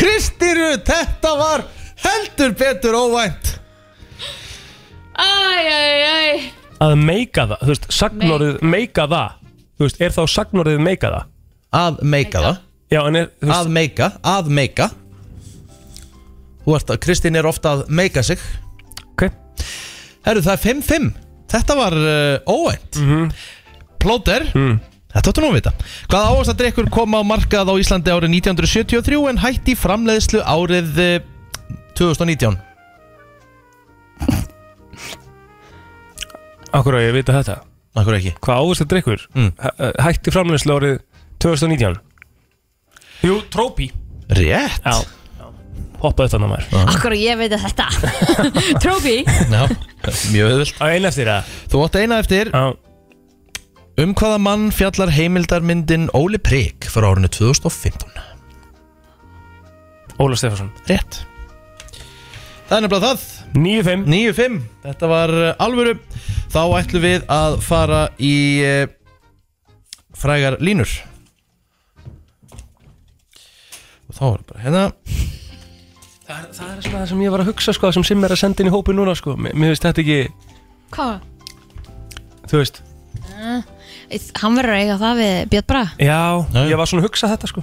A: Kristiru, þetta var heldur betur óvænt
B: Æj, æj, æj
C: að meika það, þú veist, sagnorðið meika það, þú veist, er þá sagnorðið meika það?
A: Að meika það
C: Já, en er, þú veist,
A: Að meika, að meika Þú ert að, Kristín er ofta að meika sig
C: ok,
A: Herru, það er 5-5 Þetta var uh, óvænt
C: Mhm.
A: Plóter
C: Mm.
A: Þetta áttu nú að vita Hvaða áhastadrykkur kom á markað á Íslandi árið 1973 en hætti framleiðslu árið uh, 2019
C: akkur á ég að vita þetta.
A: Akkur ekki
C: Hvað áherslu drikkur?
A: Mm.
C: Hæ- eh, Hætti framleyslu árið 2019? Jú, trópi.
A: Rétt Ah.
C: Já, hoppaði þannig að maður.
B: Akkur ég veit að þetta Trófi
A: Já, Mjög auðvilt
C: Á einn eftir það.
A: Þú átt eina eftir
C: Já,
A: Um hvaða mann fjallar heimildarmyndin Óli Prik frá árinu 2015
C: Óla Stefansson.
A: Rétt Það er nefnilega það
C: 9-5.
A: 9-5, þetta var uh, alvöru Þá ætlum við að fara í uh, frægar línur Og þá er bara hérna
C: Það, er- það er svona það sem ég var að hugsa, sko, sem Sim er að senda inn í hópi núna, sko. Mér, mér veist þetta ekki,
B: Hvað?
C: þú veist.
B: Eh, Hann verður að eiga það við Björn Bra
C: Já,
A: Já, Mm. já.
C: ég var svona að hugsa þetta, sko.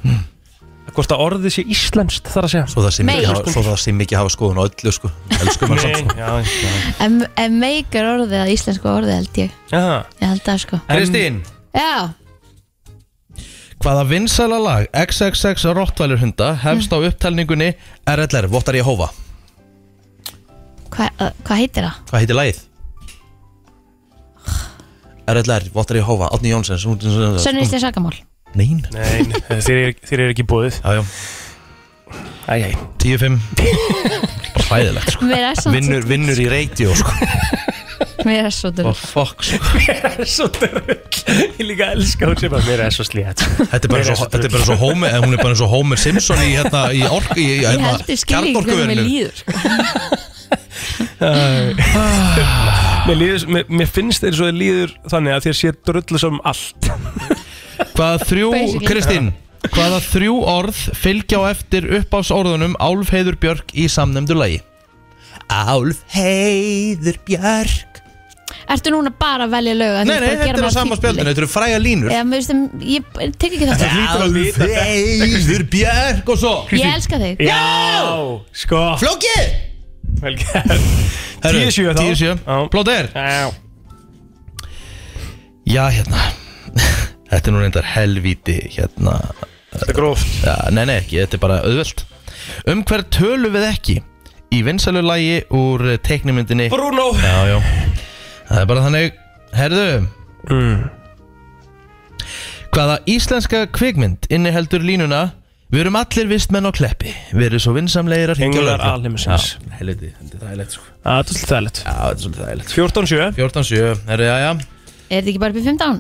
C: Hvort að orðið sé íslenskt þar að segja.
A: Svo það sem
B: Nei.
A: ekki hafa, svo það sem ekki hafa skoðun á öllu sko Elskum að samt sko
C: Nei, já, já.
B: En, en meikar orðið að íslensku orðið held ég
C: Já,
B: Ég held það sko
A: Kristín,
B: Já,
A: hvaða vinsæla lag XXX Rottweiler hunda hefst á upptalningunni RLR, Vottar Jehova
B: hvað uh, hvað heitir það?
A: Hvað heitir lagið? RLR, Vottar Jehova, Átni Jónsens
C: sko-
B: Sönnistu sagamál
A: Nein
C: Nei, nei, þér er, þér er ekki búið
A: Já, já,
C: Æj, æj
A: 10-5 Bara Hræðilegt sko
B: Mér er svo
A: Vinnur, vinnur í radio sko
B: Mér er svo
A: Oh,
B: dörr
A: fuck, sko.
C: Mér er svo dörrull Ég líka elska hún sem bara Mér er svo slíðat
A: þetta, er bara svo, þetta er bara svo Homer eh, Hún er bara eins og Homer Simpson í hérna í ork í, í,
B: Ég
A: hérna,
B: held ég skilji ekki hvernig mér
A: kjarnorkuverinu.
B: líður sko.
C: mér, líður, mér, mér finnst þeir svo þeir líður þannig að þér sé drullu sem allt
A: Hvaða þrjú,
B: Basically.
A: Kristín Hvaða þrjú orð fylgja á eftir uppás orðunum Álfheiður Björk í samnefndu lagi Álfheiður Björk
B: Ertu núna bara að velja lög
A: Nei, nei, þetta er á sama spjöldinu Þetta eru fræga línur
B: Ég, veist, ég tek ekki þetta
A: Álfheiður Björk og svo
B: Ég elska þig
C: Já, sko
A: Flókið
C: Vel gert 10-7 þá.
A: 10-7
C: Já.
A: Plóter
C: Já.
A: Já, hérna Þetta er nú reyndar helvíti hérna
C: Þetta er gróft
A: ja, Nei, nei, ekki, þetta er bara auðvelt Um hver tölum við ekki í vinsælu lagi úr teiknimyndinni
C: Bruno
A: Já, já Það er bara þannig Herðu
C: mm.
A: Hvaða íslenska kvikmynd inniheldur línuna Við erum allir vistmenn á kleppi Við erum svo vinsamlegir að hringja á
C: Englar
A: lögreglu."
C: alheimsins
A: Já, helviti, þetta er þægilegt sko Já,
C: Það er svolítið þærlegt
A: þetta er svolítið þægilegt
C: 14-7
A: 14-7, herru, já, já
B: Er þetta ekki bara upp í 15?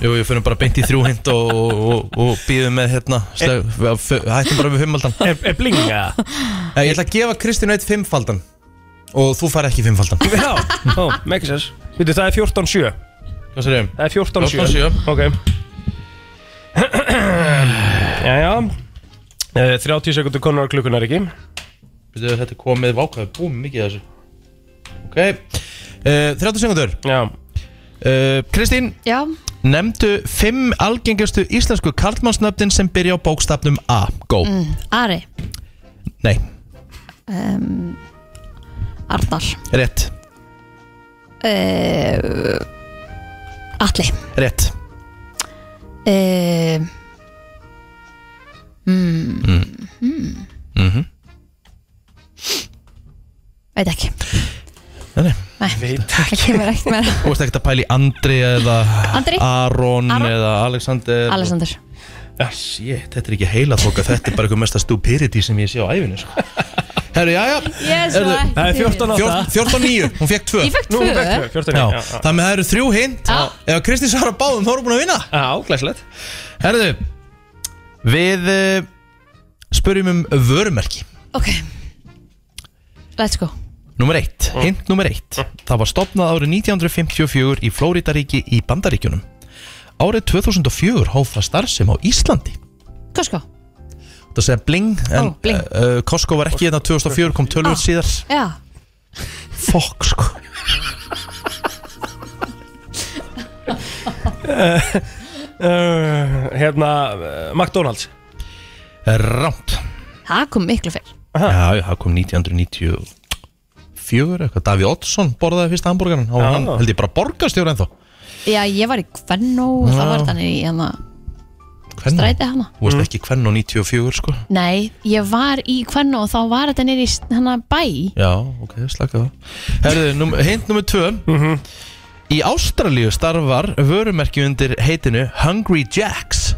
A: Jú, við fyrir bara beint í þrjú hint og, og, og, og býðum með hérna slag, við, við, Hættum bara við fimmaldan
C: Eh. Er, er blinga
A: Eh, Ég ætla að gefa Kristínu eitt fimmfaldan Og þú fær ekki fimmfaldan
C: Já, ó, make sense Veitu, það er 14-7
A: Hvað sér ég?
C: Það er 14-7
A: 14-7.
C: Ok Jæja Eh, 30 sekundur konar klukkunar ekki
A: Býttu, þetta er komið vákaði búm mikið af þessu Ok uh, 30 sekundur
C: Já
A: uh, Kristín,
B: Já
A: nefndu fimm algengastu íslensku karlmannsnöfnin sem byrja á bókstafnum A Go
B: Mm, Ari
A: Nei,
B: um, Arnar
A: rétt,
B: uh, Atli
A: rétt
B: uh,
A: mm -hmm.
B: Veit ekki
A: Nei, nei.
C: Veit
B: Það kemur ekkert meira
A: Þú veist ekkert að pæli Andri eða
B: Andri?
A: Aron,
B: Aron?
A: eða Alexander
B: Alexander
A: Ah, shit, þetta er ekki heila þóka, þetta er bara eitthvað mesta stupidity sem ég sé á æfinu sko. Herru, já, já,
B: Yes,
A: Erðu-
B: right.
C: Það er 14 átta
A: 14-9, hún fekk 2
B: Ég fekk
C: Nú,
B: tvö
C: vektu, 14
A: Já,
C: já, já.
A: það með það eru þrjú hint
B: Já.
A: Ef Kristi svarar báðum, þá erum búin að vinna
C: Já, glæslegt
A: Herðu, við uh, spurjum um vörumerki
B: Ok Let's go
A: Númer 1, hint númer 1 Það var stopnað árið 1954 í Flórítaríki í Bandaríkjunum Árið 2004 hóf það starfsem á Íslandi
B: Costco
A: Það segja bling, en eh,
B: Ó, bling.
A: hérna
B: Ah.
A: uh, Costco var ekki hérna 2004, kom tölvöld síðar
B: Já
A: Fokk, sko
C: uh, Eh, Hérna, uh, McDonalds
A: Rámt
B: Það kom miklu fyrr
A: Eh, Já, já, það kom 1994 eitthvað, Daví Oddsson borðaði fyrst hambúrgaran og
C: Já.
A: hann held ég bara borgarstjóra ennþá
B: Já, ég var í Kvennó og það
A: Já.
B: var þannig í hana
A: Hvern?
B: Stræti hana
A: Þú veist ekki hvern og 94 sko
B: Nei, ég var í Kvennó og þá var þetta nýri hana bæ
A: Já, ok, slaka það Herðu, num, hint nummer 2
C: Mhm.
A: Í Ástralíu starfar vörumerki undir heitinu Hungry Jacks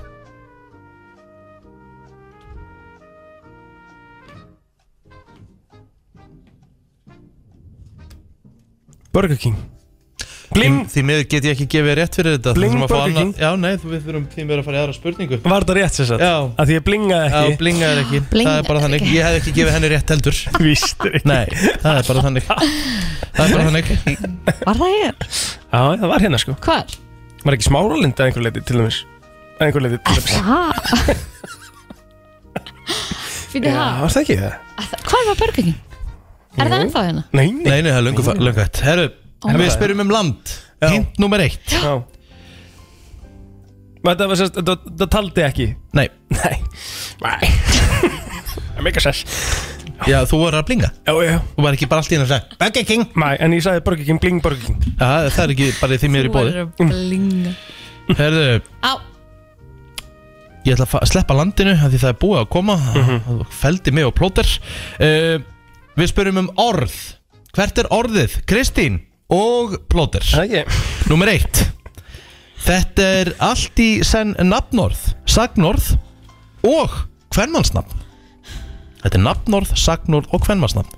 C: Burger King Bling,
A: Því miður get ég ekki gefið rétt fyrir þetta
C: Bling
A: þurfum að fá
C: Burger
A: annað-
C: King.
A: Já, nei, þú- við þurfum því miður að fara í aðra spurningu
C: var þetta rétt sér satt?
A: Já.
C: Að því ég blingaði
A: Já,
C: ekki
A: blingaði ekki, það er
B: blingaði
A: bara þannig
B: ekki.
A: Ég hef ekki gefið henni rétt heldur
C: Vístur ekki
A: Nei, það er bara þannig Það er bara þannig
B: Var það ég?
C: Já, það var hérna sko
B: Hvar?
C: Var ekki smáralind að einhver leiti til dæmis Að einhver leiti til dæmis
B: Hvað? Fyrir
C: Já,
B: það
C: var það ekki það?
B: Hvað var Burger King? Er það ennþá hérna?
C: Nei, nei,
A: Nei, nei, það er löngu, fa- löngu hætt Herru, við spyrjum um land
C: Já.
A: Hint nummer eitt
C: Já Þetta var sérst, þetta þetta taldi ekki
A: Nei,
C: Nei Nei Það meika sess
A: já, þú voru að blinga
C: Já, já, já
A: Þú var ekki bara allt í hérna að segja Burger King
C: Nei, en ég sagði Burger King, bling Burger King
A: Já, það er ekki bara því mér í bóði
B: bóði
A: Herru,
B: Á,
A: ég ætla að fa- sleppa landinu af Því það er búið að koma mm -hmm. Feldi mig og plóter uh, Við spyrjum um orð Hvert er orðið? Kristín og plóter
C: ekki
A: Númer eitt Þetta er allt í senn nafnorð, sagnorð og kvenmannsnafn Þetta er nafnorð, sagnorð og kvenmannsnafn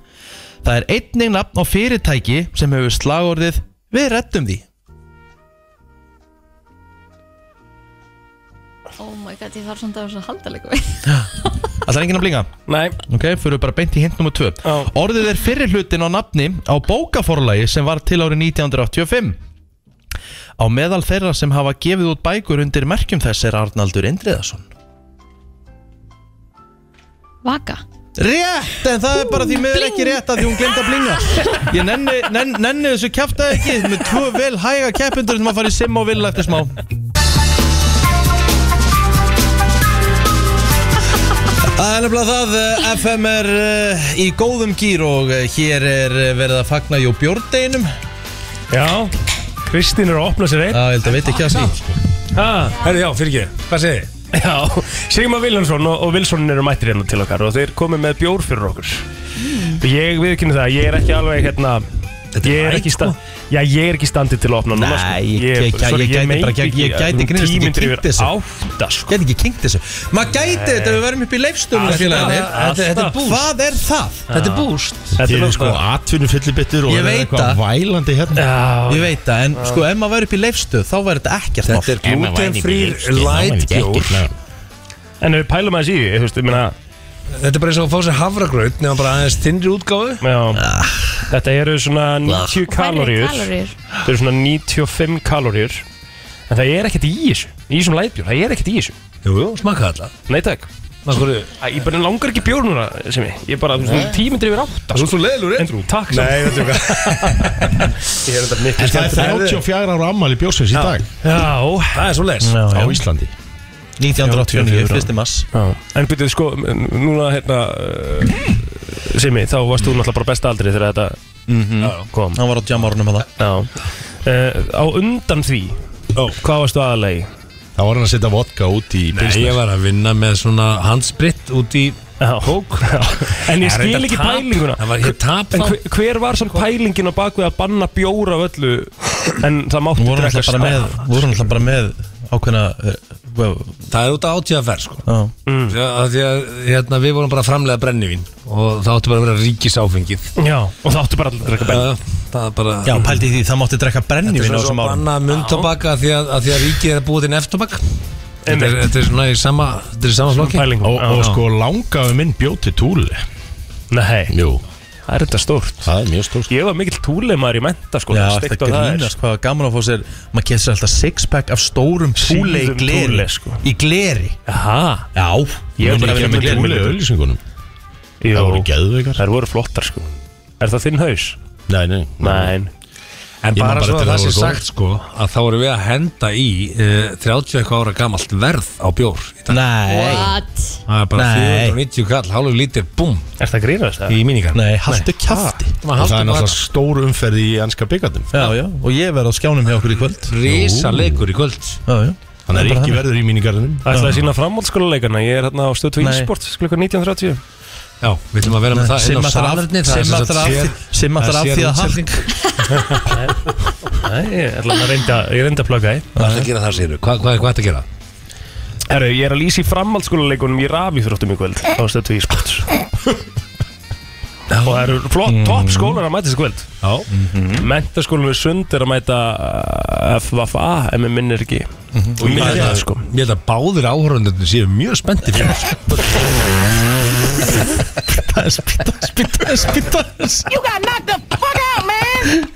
A: Það er einnig nafn á fyrirtæki sem hefur slagorðið Við rettum því
B: oh my god, ég þarf samt að vera svona haldalegu
A: Það er enginn að blinga
C: Nei,
A: Ok, fyrir bara beint í hint nummer 2
C: Já.
A: Orðið er fyrir hlutin á nafni á bókaforlagi sem var til árið 1985 Á meðal þeirra sem hafa gefið út bækur undir merkjum þess er Arnaldur Indriðason
B: Vaka
A: Rétt, en það er bara því miður ekki rétt að því hún glemt að blinga Ég nenni, nenn, nenni þessu kjafta ekki með tvö vel hæga keppundur sem að fara í sim og vilja eftir smá Það er nefnilega það, eh, FM er eh, í góðum gýr og eh, hér er eh, verið að fagna Jó Björndeinum Já,
C: já Kristín er að opna sér einn
A: ég held að veit ekki að sí
C: ah.
F: Herri, já, fyrir ekki, hvað segir þið?
C: Já, Sigmar Viljánsson og, og Vilsson eru mættir hérna til okkar og þeir komið með bjór fyrir okkur og ég viðkynni það, ég er ekki alveg hérna Ég er,
A: hægt,
C: ekki sta- já, ég er ekki standið til að opna núna sko.
A: sko. Nei, ég- ég- ég-
C: sorry,
A: ég gæti
C: meinti
A: bara ekki- ég gæti
C: að-
A: grínast ekki
C: Tímyndir yfir
A: kynnt þessu.
C: átta sko.
A: Gæti ekki kynkt þessu Maður gæti þetta ef við verðum upp í leifstunum
C: Alltaf,
A: félagarnir
C: alltaf.
A: Þetta- þetta er boost. Hvað er það? Þetta er búst
C: Þetta
G: Þið
C: er
G: eru sko
C: sko
G: atvinnu fyllibittur og
A: Ég
G: eru
A: veit
G: eitthvað
A: það.
G: vælandi hérna
A: Ég veit það, en sko ef maður væri upp í leifstöð þá væri þetta ekkert mál
F: Þetta er glutenfrýr light bjór
C: En ef við pælum aðeins í því, þú veist, ég meina
F: Þetta er bara eins og að fá sér havragraut Nefnum bara aðeins tinnri útgáfu
C: já,
A: Ah.
C: Þetta eru svona 90 kaloríur
B: Kaloríur
C: Þetta eru svona 95 kaloríur En það er ekkert í þessu Í þessum lætbjór, það er ekkert í þessu
F: Jú, jú, smakka alltaf
C: Nei takk Æ, Ég bara langar ekki bjór núna sem ég Ég bara, þú veist, tímyndir yfir átta sko.
F: Þú ert svo leðilur,
C: En takk samt
F: Nei, veitum hvað
C: Ég er þetta miklu
G: Það er
C: skemmtilega.
G: 34 ára ammali bjórsins í dag
C: Já,
F: Það er svo leðis
G: á Íslandi
A: 1989, fyrsti mass
C: já En byrjuðu sko, n- núna hérna uh, Simi, þá varst þú náttúrulega bara besta aldri þegar þetta
F: Mhm.
C: kom
A: Hann var á jamorunum að það
C: Já uh, Á undan því
F: Ó.
C: Hvað varstu aðalegi?
G: Þá var hann að setja vodka út í
F: Nei, ég
G: pilsner
F: var að vinna með svona handsprit út í
C: Já, já. En
F: Það
C: ég
F: er
C: skil
F: reyndar
C: ekki
F: tap.
C: pælinguna
F: Það var ekki tap
C: En
F: þá.
C: hver, hver var samt pælingin á bakvið að banna bjór af öllu En það mátti
A: Nú voru
C: drekka
A: alltaf bara með, voru alltaf bara með ákveðna eh, well,
F: Það er út að átíðaferð sko
A: já.
C: Mm.
F: Því að- af Því að hérna, við vorum bara að framlega brennivín Og það átti bara að vera ríkisáfengið
C: Já, og það áttu bara allir að drekka bæn
F: Það það er bara
A: já, pældi því það mátti drekka
F: Þetta er
A: brennivinn á
F: svona svo
A: þessum
F: að
A: árum
F: banna mundtabaka af því að, að því að ríkið er að búa til neftobak þetta, er-
C: Einmitt.
F: þetta er svona í sama Þetta er í sama flokki
C: Pæling
G: Og, og
C: Já.
G: sko langaðu minn bjóð til túl
C: Nei,
G: Jú,
C: það er þetta stórt
G: það er mjög stórt
C: Ég var mikill túlimaður í menta sko
A: Já,
C: steikt
A: þetta
C: og það er.
A: grínast hvað var gaman að fá sér maður kemur sér alltaf sixpack af stórum túle í
C: Síðum
A: gleri
C: túle, sko.
A: í gleri
C: Jaha,
A: Já,
C: Ég
A: Þú myndir
C: bara verið
A: ekki vera
C: með
A: gleri.
G: Túli auðlýsingunum
C: jú
G: Það voru geðveikar
C: Þær voru flottar sko Er það þinn haus?
G: Nei, nei
C: Nei
F: En
G: Ég man
F: bara
G: bara
F: svo
G: eftir
F: að það
G: að það
F: sé
G: voru góð.
F: sagt sko að þá erum við að henda í uh, 30 eitthvað ára gamalt verð á bjór í dag.
A: Nei,
B: What?
F: Það er bara
A: Nei.
F: 490 kall, hálfur lítir, búm,
C: Er það grínast það?
F: í míníkan Ah,
A: nei, haltu kjafti
F: Það
G: Og það er
F: er
G: náttúrulega stór umferð í ennska byggandum
A: Já, já, og ég verð á skjánum hjá okkur í kvöld
F: Rísa leikur í kvöld
A: Já, já
G: Þannig
A: Það
G: er
A: bara
G: ekki verður í mínigarðinum
C: Það ætlaði að sína framhaldsskóluleikana Ég er hérna á stöð 2
A: Nei.
C: e-sport klukkan 19.30
F: Já, við ætlum að vera með það inn
A: Sem
F: á
A: allar af-
F: salerni
A: sem allar af því- sem allar af því að
C: Nei, ég ætla að reynda, ég reynda að plugga í
F: Hvað er að gera það, segir við? Hvað er þetta að gera?
C: Herru, ég er að lýsa í framhaldsskóluleikunum í rafíþróttum í kvöld á stöð 2 e-sport Og það eru flott,
A: Mm.
C: topp skólar að mæta þessi kvöld
F: Já,
C: Mentaskólanum við Sund er að mæta uh, FFA, ef mér minnir ekki
A: Mhm.
C: Og ég er það sko
F: Ég held að báðir áhörðunum séu mjög spennti fyrir þessu.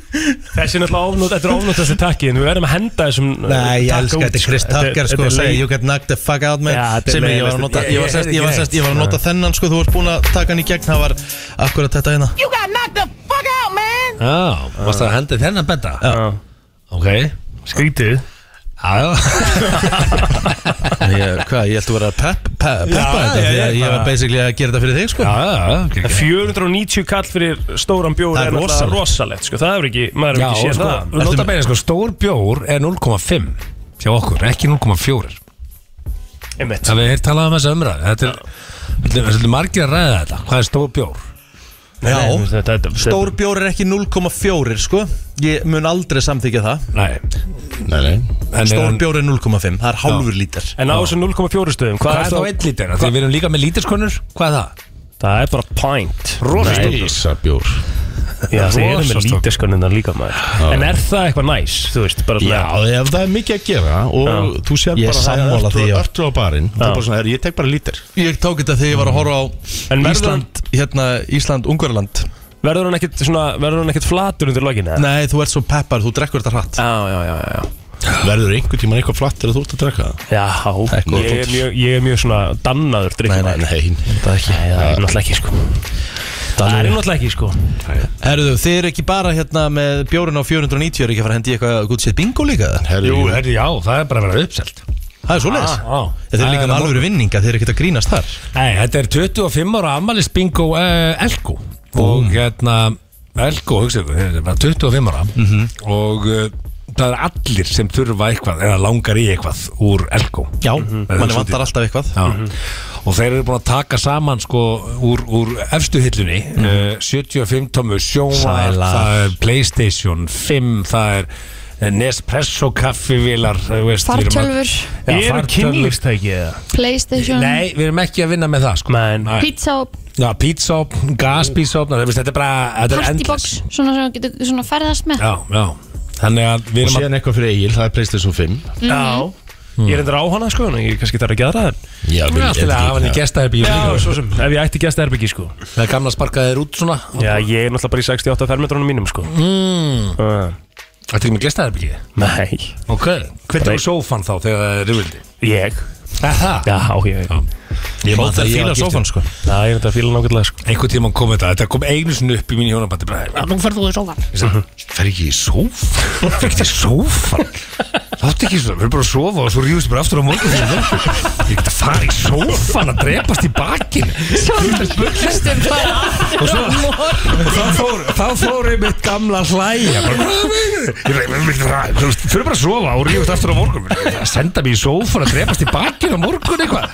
C: Þessi er náttúrulega ofnótt, þetta er ofnótt þessu takki En við verðum að henda þessum uh,
A: Nei, ég
C: takka
A: elska
C: út,
A: þetta
C: sko.
A: Chris Tucker sko
C: þetta
A: að
C: er
A: segja
C: leið-
A: You get knocked the fuck out man
C: Já, þetta er
A: sem ég var að
C: leiðilegt.
A: nota
C: Ég-
A: ég var sest- ég var sest- ég var að nota þennan sko þú varst búin að taka hann í gegn það var akkurat þetta hérna
F: Já, varst það að henda í þennan betta?
C: Já.
F: Ok
C: Skrítið
F: Já, já
A: Ég- Hvað, ég ætti að vera að pep- pe- peppa
C: já,
A: þetta því
C: ég
A: að ég var
C: bara-
A: basically að gera þetta fyrir þig sko
F: Já, já, já, ok,
C: En
F: ok.
C: 490 kall fyrir stóran bjór
A: Það
C: er
A: er
C: náttúrulega rosalegt sko. Það er ekki, maður
F: Já,
C: hefur ekki séð
F: sko,
C: það
F: nota beina sko, stór bjór er 0,5 hjá okkur, ekki 0,4
C: Einmitt.
F: Það við hefur talað um þessa umræðu Þetta er, þetta er, þetta er margir að ræða þetta Hvað er stór bjór?
C: Nei,
A: Já,
C: þetta- þetta-
A: stór bjór er ekki 0,4 sko Ég mun aldrei samþykja það
F: Nei,
G: Nei, nei
F: en er
A: Stór
F: hann-
A: bjór er 0,5, það er hálfur lítar
C: En á þessu 0,4 stöðum
F: Hvað er þá einn lítir? Þegar við erum líka með lítirskonur, hvað er það?
C: Það er bara pint
G: Rísa bjór
C: Já, það er með
F: Rosastór.
C: lítiskonundan líka maður En er það eitthvað næs, þú veist bara svona-
G: Já, ef það er mikið að gera og
C: Já.
G: þú sér
A: Ég er
G: bara
A: sammála
G: það
A: því, já.
G: er öllu á barinn og
C: Já.
G: það er bara svona, "Herri, ég tek bara lítir
A: Ég tók þetta þegar ég var að horfa á
C: En verður
A: Ísland, hérna, Ísland-Ungverland
C: Verður hann ekkit, svona, verður hann ekkit flatur undir lokinu? eða?
A: Nei, þú ert svo peppar, þú drekkur þetta hratt
C: Já, já, já, já, já
G: Verður einhvern tíman eitthvað flatt til að þú ert að drekka það?
C: Já,
A: góð
C: ég er mjög, ég er mjög svona dannaður
A: Nei,
C: drikkjum
A: nei, nei, það er ekki
C: Það er náttúrulega ekki sko Það er náttúrulega ekki sko
A: Herðu, þið eru ekki bara hérna með bjórun á 490 er ekki að fara að hendi í eitthvað gútt sér bingo líka eða?
G: Herri, Jú,
F: herri, já, það er bara að vera uppselt
A: Það er svoleiðis
F: Ah, ah.
A: Þeir eru
F: Það
A: líka
F: er
A: með
F: á
A: alvöru vinninga, þeir eru ekkert að grínast þar
F: Nei, þetta er 25 ára ammælis bingo uh, Elko og hérna Elko, hugsaðu, þetta er bara 25 ára
A: Mhm.
F: og uh, það er allir sem þurfa eitthvað eða langar í eitthvað úr Elko
A: Já,
F: Það er
A: manni
F: svolítið.
A: vantar alltaf eitthvað Mhm.
F: Já. og þeir eru búin að taka saman sko úr, úr efstu hillunni
A: Mhm.
F: uh, 75 tómu sjónar
A: Sælar.
F: það er Playstation 5 það er eh, Nespresso kaffivilar eh, veist, við erum að-
B: Fartölfur,
F: Já,
C: Ég er
F: fartölvur.
C: kynlýfstæki eða
B: Playstation,
F: Nei, við erum ekki að vinna með það sko.
C: Men,
F: Nei.
B: pizza og
F: Já, pítsóp, gaspítsóp Þetta er bara þetta er
B: partybox
F: endless.
B: Svona sem þú getur svona ferðast með
F: Já, já Þannig að við
G: og
F: erum að Mm.
G: síðan eitthvað fyrir Egil, það er Playstation 5
C: Já Ég er endur á hana sko, en ég kannski þarf ekki aðra þenn
G: Já,
F: Við erum alltaf að hafa hann í gestaherbyggjum líka
C: svo sem sko. Ef ég ætti gæsta erbyggi sko
F: Það er gamla sparkaðið þér út svona
C: Já, ég er náttúrulega bara í 68 fermetrunum mínum sko
F: mm.
C: uh,
F: Þetta er ekki með gestaherbyggið
C: Nei
F: Ok Hvernig er sófan þá þegar það er rúvildi?
C: Ég
F: Það
C: Já, ég Já,
F: Ég man
A: Það
F: ég var
A: er fíla
F: gift-
A: sofan sko
C: ég er þetta fíla nákvæmlega sko
F: Einhvern tímann kom þetta Þetta kom einu sinni upp í mín hjónabandi bara, Nú ferð þú í sófan Ég sagði, Fer ekki í sófan? Fer ekki í sófan? Láttu ekki svona, við erum bara að sofa og svo ríðust bara aftur á morgun fyrir morgun Ég get að fara í sófan að drepast í bakinn
B: Hlustum bara
F: og svo og þá fór, þá fór einmitt gamla að hlæja bara, "Hvað meinarðu?" ég veit, ég veit, það- þú veist, fyrir bara að sofa og rífast aftur á morgun að senda mér í sófan að drefast í bakinn á morgun eitthvað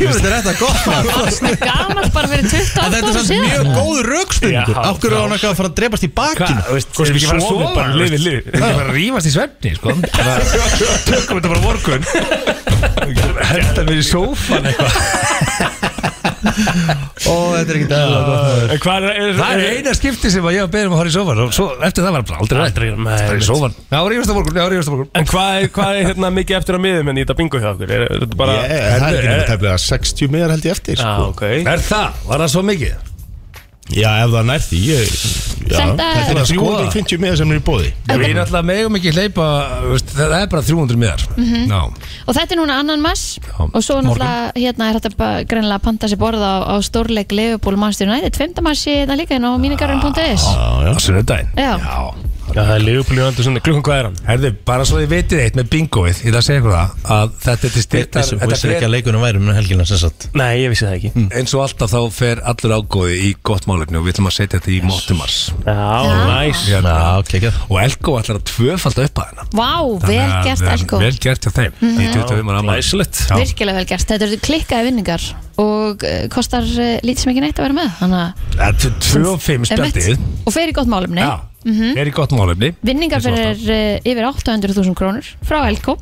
A: Þetta er þetta gott maður.
B: Svona gamalt bara verið 28
A: En Þetta er
B: ára
A: samt
B: síðan
A: mjög góð raukstundur
C: Já,
A: Akkur er hann ekki að fara að drepast í bakinu
G: Sko,
F: Svo sem ekki bara að
C: Sofið
F: sofa,
C: bara,
F: þú veist.
C: lifið, lifið.
F: Við ekki bara að rífast í svefni sko. Bara- Tökum þetta bara á morgun Henda mér í sófan eitthvað
A: Ó, þetta er ekki dæla gott maður.
C: En hvað er, er,
F: Það er eina skipti sem að ég var beðin um að fara í sófan og svo, eftir það var bara aldrei rætt
C: Aldrei, nei,
F: Bara í
C: einmitt.
F: sófan Já, rífast á morgun, já, rífast á morgun
C: En hvað er, hvað er hérna mikið eftir að miðum en í þetta bingo hjá okkur? Er, er þetta bara...
G: Það er ekki
C: Er-
G: nefnir tæmlega 60 meðar held ég eftir
C: Já,
G: sko.
C: ok
F: Er það? Var það svo mikið?
G: Já, ef það nær því ég, já.
B: Þetta er-
G: Þetta er
F: Skoða.
G: 350 meðar sem er í bóði
F: Við náttúrulega megum ekki hleypa veist, Það er bara 300 miðar mm
B: Mhm. Og þetta er núna annan mass
F: Já,
B: Og svo náttúrulega hérna er þetta bara greinlega að panta sér borð á, á stórleik hérna
F: Ah.
B: Leifubúl Manchester United 5. massi þetta líka inn á mínigarinn.is
G: Já, já
F: Á sunnudaginn
B: Já.
C: Já, það er Leopold Jónandursson, klukkan hvað er hann?
F: Herðu, bara svo þið vitið eitt með bingoið Ég ætla að segja ykkur það að þetta er til styrtar
A: Vissir
F: þetta
A: vissir
F: fer- Mm.
A: ekki að leikunum væri um helgina sem sagt
C: Nei, ég vissi það ekki
F: Eins og alltaf þá fer allur ágóði í gott málefni og við ætlum að setja þetta í mótumars
C: Já, næs
A: Já, ok, ekki
F: Og Elko ætlar að tvöfalda upp að hennar
B: Vá, vel gert Elko Mm.
F: Vel gert hjá þeim Í 25 ára afmæli.
C: Læsilegt
F: Já.
B: Virkilega vel gert, þetta eru klikkaði vinningar og uh, kostar uh, lítið sem ekki neitt að vera með Þannig að,
F: Ja, tv- tvö og fimm
B: einmitt.
F: spjaldið
B: og fer í gott málumni
F: Já, er í gott málefni
B: Vinningar
F: Eins og
B: fyrir uh, yfir 800.000 krónur frá Elko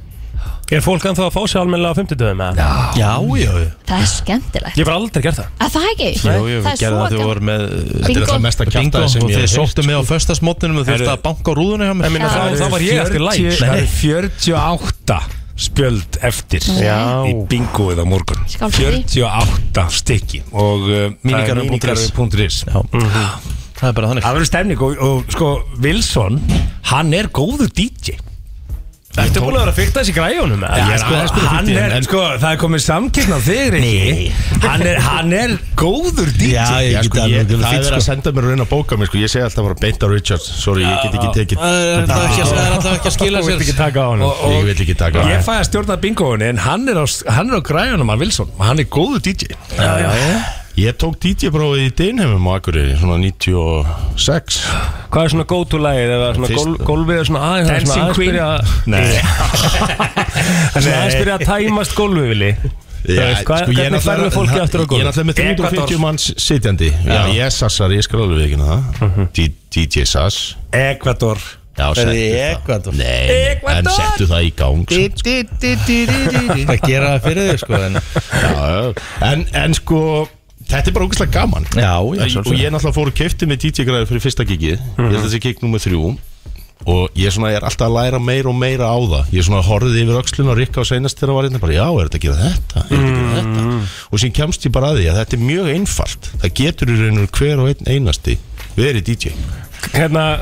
C: Er fólk ennþá að fá sér almennilega á 50 dögum? Já
A: Já, já, já
B: Það er skemmtilegt
C: Ég hef bara aldrei gert það
B: Að það ekki?
A: Jú,
B: það er
A: jú, við
B: svo
A: gerðum það þegar við
B: gaman
A: vorum með
B: Bingo.
G: það mesta
A: bingo
G: kjartaði sem
A: og
G: ég
A: þið
G: hef heyrt. sko.
A: sóttu mig á föstasmótninu og þú þurfti að banka á rúðuna hjá mér
C: Ég meina,
B: Já.
C: þá, þá var ég eftir læg
F: 40
A: Nei,
F: Það
A: nei.
F: er 48 spjöld eftir
C: Já.
F: Í bingoið á morgun
B: Skál fyrir
F: 48 stykki Og uh,
A: Minigarður punktur is.
F: minigarður.is
A: Já,
C: Mhm.
A: það er bara þannig
F: Það verður stefning og, og sko Wilson, hann er góður DJ
C: Ertu búin að vera að fyrta þessi græjunum? eða?
F: Já, sko, hann er, sko, það er komið samkynna á þig, Riki hann, er- hann er góður DJ
A: Já, ég
G: Sko,
A: geta
G: ég, það
A: alveg
G: er verið
A: fínt
G: að
A: sko
G: senda mér að reyna að bóka mér sko. Ég segi alltaf bara beint á Richards Sorry, ég get ekki tekið
A: Það er alltaf ekki að- það er alltaf ekki að skila
C: Þú
A: sér
C: vilt ekki taka á hann
F: Og- og-
G: Ég vil ekki taka
F: Ég fæ að stjórna bingoinu en hann er á, hann er á græjunum að Wilson og hann er góður DJ
C: Já, já, já
G: Ég tók DJ-prófið í Dinheimum á Akureyri Svona 96
C: Hvað er svona go-to lagið eða svona
G: Fyrst-
C: gól- gólfið er svona aðeins
F: Dancing
C: svona aðeins
F: Queen.
C: byrja að-
G: Nei,
C: svona aðeins byrja að tæmast gólfið vilji Þú veist, hvað-
G: ég er
C: hvernig færðu
G: náttúrulega-
C: fólki aftur á
G: Ég
C: gólf?
G: er náttúrulega með 350
F: Ecuador.
G: manns sitjandi Já, ég er Sassar, ég skal alveg ekki
C: Mhm.
G: það D- DJ Sass
F: Ecuador
G: Já,
A: Það er í
G: settu
A: Ecuador.
G: það Nei, en settu það í gang sko.
A: að gera það fyrir þig sko en
G: Já, já. en, en sko Þetta er bara ógæslega gaman
A: Já, já,
G: Ég- Og
A: sjálfsögðu.
G: ég náttúrulega fór og kefti með DJ-græður fyrir fyrsta gigið
F: Mhm.
G: Ég held að þessi gig nummer þrjú Og ég, svona, ég er alltaf að læra meira og meira á það Ég svona horfði yfir öxlun og rikka á seinast þegar var hérna bara, já, er þetta að gera þetta? Er þetta að
F: Mhm.
G: gera þetta? Og sín kemst ég bara að því að þetta er mjög einfalt Það getur í rauninu hver og einn einasti verið DJ
C: Hérna,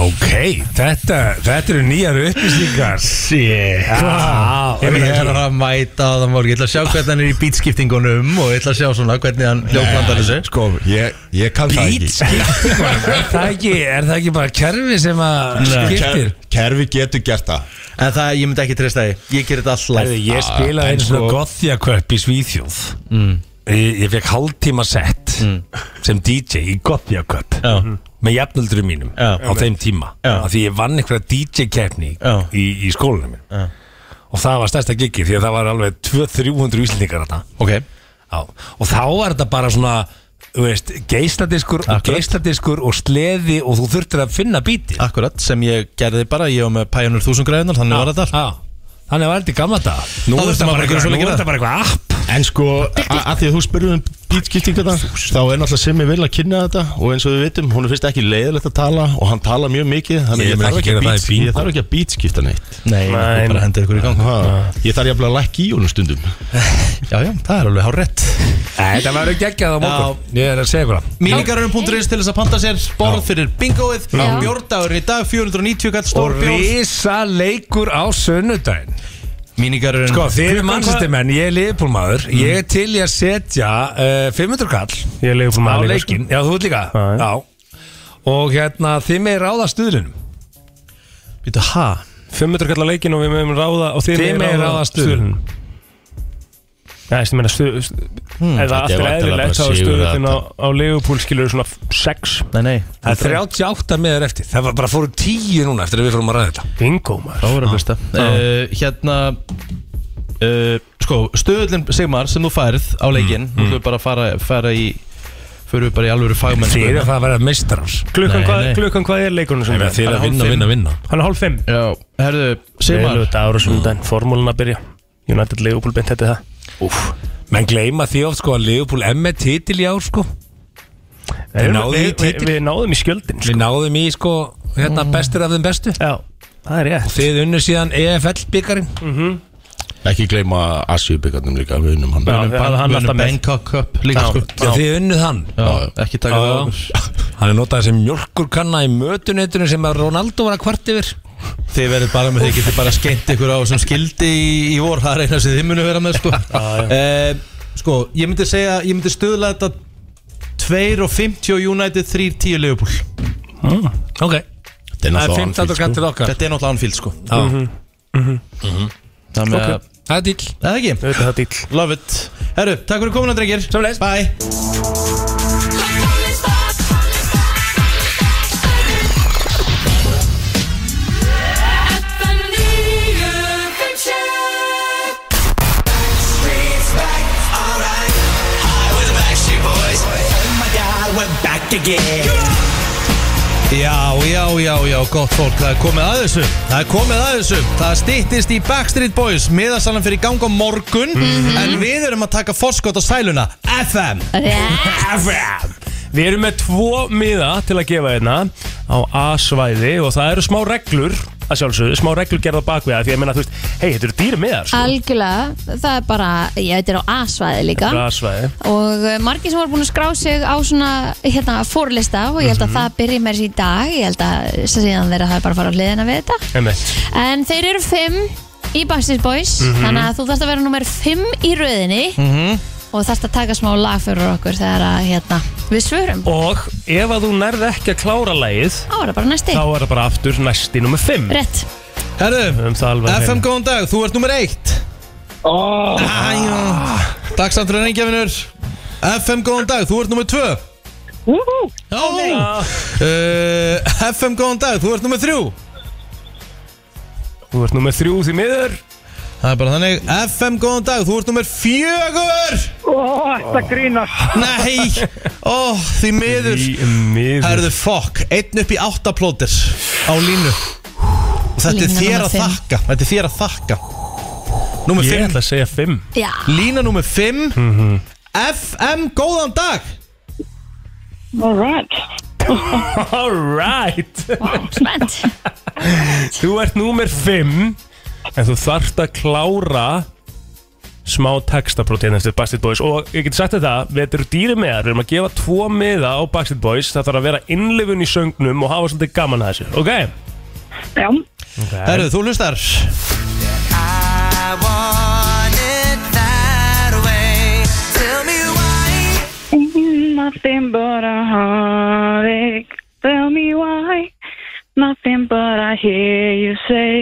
F: Ok, þetta, þetta eru nýjar upplýsingar Shit Já,
A: Ég meina,
F: ég-
A: ég er að mæta á það morgun Ég ætla að sjá hvernig hann er í bítskiptingunum Og ég ætla að sjá svona hvernig hann ljóklandar þessu
G: Sko, ég, ég kann það
F: Beat
G: ekki
F: skiptir Er það ekki, er það ekki bara kerfi sem að skiptir?
G: Ker, Kerfi getur gert það Ah,
A: En það, ég myndi ekki treysta því Ég ger þetta alltaf
F: Herðu, ég spilaði einu svona gothjaköpp í Svíþjóð
A: Mm.
F: Ég, ég fekk hálftíma sett sem DJ í gothjaköpp
A: Já.
F: með jafnöldurum mínum
A: Já.
F: á þeim tíma
A: Já.
F: af því ég vann einhverja DJ-keppni
A: Já.
F: í, í skólanum minn Já. og það var stærsta gigi því að það var alveg 200-300 íslendingar þarna
A: Ok,
F: Já, og þá var þetta bara svona þú veist, geisladiskur og
A: Akkurat.
F: geisladiskur og sleði og þú þurftir að finna bítið
A: akkurat, sem ég gerði bara Ég var með Pioneer 1000 græðunar, þannig var þetta
F: Já. þannig var þetta í gamla dag
A: Þá
F: nú er
A: þurfti
F: þetta bara
A: maður bara að gera
F: eitthvað- nú
A: svoleiðis.
F: er þetta bara eitthvað app
G: En sko, a- að því að þú spurðum um bítskiptingarna Þá er náttúrulega Simmi vel að kynna þetta Og eins og við vitum, hún er fyrst ekki leiðilegt að tala Og hann tala mjög mikið Þannig
F: Ég
G: ég,
F: mun ekki
G: þarf ekki að
F: gera það í
G: beat-
F: bingo.
G: ég þarf ekki að bítskipta neitt
A: Nei, ég
C: Nei.
A: bara hendið ykkur í gang
G: ha, Ég þarf jafnvel að lækki í honum sko. stundum
A: Já, já, það er alveg hárett
F: Þetta verður geggjað á morgun Ég er að segja ykkur það
A: Míningarunum.is til þess að panta sér Borð fyrir bingoið
B: Já.
A: Bjórdagur í dag, 490 gall
F: Og
A: stór bjór
F: risa leikur á sunnudaginn
A: Míningarun
F: Sko þið eru mannsistimenn, ég er liðbólmaður Ég er til í að setja uh, 500 kall
C: ég leiði fyrir
F: á
C: maður
F: leikin Já þú ert líka
C: Já, já.
F: Já. Og hérna þið með ráða stuðlunum
A: Býtu, ha?
C: 500 kallar leikin og við meðum ráða og þið
F: Þið
C: megið
F: megið ráða stuðlinn.
C: Já, ég meina stuð Eða
G: þetta er
C: aftur
G: væntanlega bara
C: eðlilegt þá er
G: sigur
C: stuðin á,
G: þetta.
C: á Leopold skilur svona 6
A: Nei, nei
F: Það er 38 meður eftir Það var bara fóru 10 núna eftir að við fórum að ræða þetta
C: Bingo maður
A: Það voru að hlusta uh, Hérna uh, Sko, stöðlinn Sigmar sem þú færð á leikinn Þú mm. bara að fara, fara í Fyrir við bara í alvöru fagmenn hérna.
F: Þið eru að fara að vera meistarars
C: Klukkan
A: Nei,
C: hvað,
A: nei.
C: klukkan hvað er leikunum sem
F: Þið eru að vinna, vinna, vinna
C: Hann er hálf 5
A: Já, herðu, Sigmar
C: Þetta ára sundan, formúlan að byrja United Leopold beint þetta er það
F: Menn gleyma því oft sko að Leopold M er titil í ár sko Við
C: Við-
F: náðum í
C: við- við-
F: titil.
C: Við náðum í skjöldin sko.
F: Við náðum í sko hérna
A: Mm.
F: bestur af þeim bestu
C: Já, það er rétt Mhm.
F: Þið unnu síðan E EFL byggarinn
G: Ekki gleyma Asjubyggarnum líka, við unum hann
C: Já,
A: Munum
C: við hafði hann
A: Ban-
C: alltaf
A: munum
C: með.
A: Bangkok Cup líka
C: Já.
A: sko
F: Já, þið unnuð hann
A: Já, ekki
F: Já,
A: taka það
F: já.
A: á okkur.
F: Hann er notað sem mjölkurkanna í mötuneytinu sem að Ronaldo var að kvart yfir
A: Þið verður bara með, þið getur bara skemmt ykkur á sem skildi í, í vor, það er eina sem þið munu vera með sko Eh, Sko, ég myndi segja, ég myndi stöðla þetta 2 og 50 United 3 10 Leopold
F: Mm, Ok
G: Þetta
F: Það
G: er
F: er
G: náttúrulega
F: 15.
G: sko. Anfield,
F: kantið okkar
A: Þetta er náttúrulega anfíld sko
C: Mhm.
F: Já.
G: Mhm.
A: Það með að,
F: Það er dýll
A: eða ekki,
C: Þetta er dýll
A: love it Herru, takk fyrir komuna drengir
F: Sömuleiðis.
A: Bye Já, já, já, já, gott fólk, það er komið að þessu Það er komið að þessu Það stýttist í Backstreet Boys Miðasalan fyrir gang á morgun
F: Mhm.
A: En við erum að taka forskot á sæluna FM
C: Við erum með tvo miða til að gefa hérna á A-svæði og það eru smá reglur að sjálfsögðu, smá reglur gerða bakvið það því að ég meina þú veist, hei, þetta eru dýri miðar sko.
B: Algjörlega, það er bara, ég veit, er á A-svæði líka
C: Þetta eru A-svæði
B: og eh, margir sem voru búin að skrá sig á svona hérna fórlista og ég held að það byrji með þessi í dag, ég held að sem síðan þeirra hafi bara að fara á hliðina við þetta
C: Einmitt.
B: en þeir eru fimm í Backstreet Boys
E: Mhm.
B: þannig að þú þarft að vera nummer fimm í röðinni og þarft að taka smá lag fyrir okkur þegar að hérna, við svörum
C: Og ef að þú nærð ekki að klára lagið
B: þá er það bara næsti,
C: þá er það bara aftur næsti nummer 5
B: rétt
A: Herru,
C: um það alveg
A: FM
C: hreinu.
A: góðan dag, þú ert nummer eitt oh. Æjá Takk samt fyrir reyngjafinur FM góðan dag, þú ert nummer tvö Já uh, FM góðan dag, þú ert nummer þrjú
C: Þú ert nummer 3 því miður
A: Það er bara þannig FM góðan dag, þú ert nummer fjögur Ó, þetta grínast Nei, ó, því miður
C: Því miður
A: Herðu fokk, einn upp í átta plótir á línu Og Þetta er
B: Lína
A: þér
B: númer
A: að
B: fimm.
A: þakka Þetta er þér að þakka Númer
C: Ég
A: fimm
C: ætla að segja Mhm. 5
B: Já,
A: Lína nummer 5 FM, góðan dag
E: Alright.
C: Alright
B: wow, spennt
C: Þú ert nummer 5 En þú þarft að klára Smá textabrótin eftir Bastard Boys Og ég geti sagt þetta Við þetta eru dýri meðar Við erum að gefa tvo meða á Bastard Boys Það þarf að vera innlifun í söngnum Og hafa svolítið gaman að þessu Ok
E: Já.
A: Herru, þú hlustar
E: Mm, Nothing but a heartache. Tell me why. Nothing but I hear you say.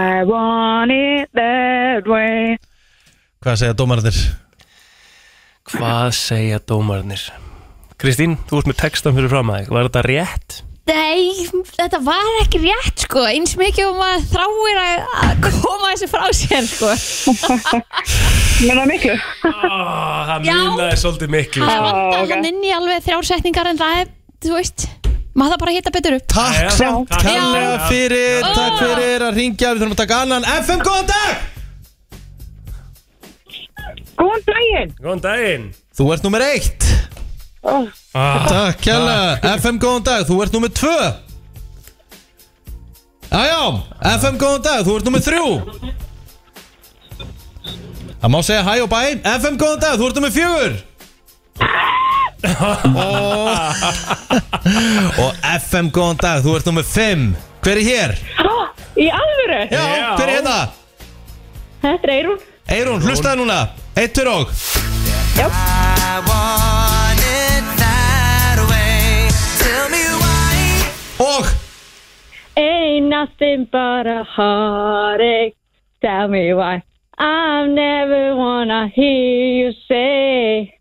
E: I want it that way.
A: Hvað segja dómarðir?
C: Hvað segja dómarnir? Kristín, þú ert með textan fyrir fram að þig Var þetta rétt?
B: Nei, þetta var ekki rétt sko eins mikið og maður þráir að að koma þessu frá sér sko
E: Menna miklu.
C: Oh, það
B: Já.
C: munaði svolítið miklu
B: Það
C: sko.
B: vantar
E: Ah, ok.
B: hann inn í alveg þrjár setningar en það er, þú veist, maður það bara hitta betur upp
A: Takk
C: Jæja.
A: samt
C: Takk.
A: kærlega
C: Já.
A: fyrir
B: Ó.
A: Takk fyrir að ringja, við þurfum að taka annan FM, góðan dag
E: Góðan daginn.
C: Góðan daginn
A: Þú ert nummer 1
C: ah,
A: Takk kærlega, FM, góðan dag, þú ert nummer 2 Jájá, FM, góðan dag, þú ert nummer 3 Það má segja hæ og bæ FM, góðan dag, þú ert nummer 4 og, og FM, góðan dag, þú ert nummer 5 Hver er hér?
E: Í alvöru.
A: Já,
C: Já.
A: hver er hérna?
E: Þetta er Eirún.
A: Eirún, hlustaði núna Eitt fyrir og Og
E: Ain't nothing but a heartache. Tell me why. I never wanna hear you say.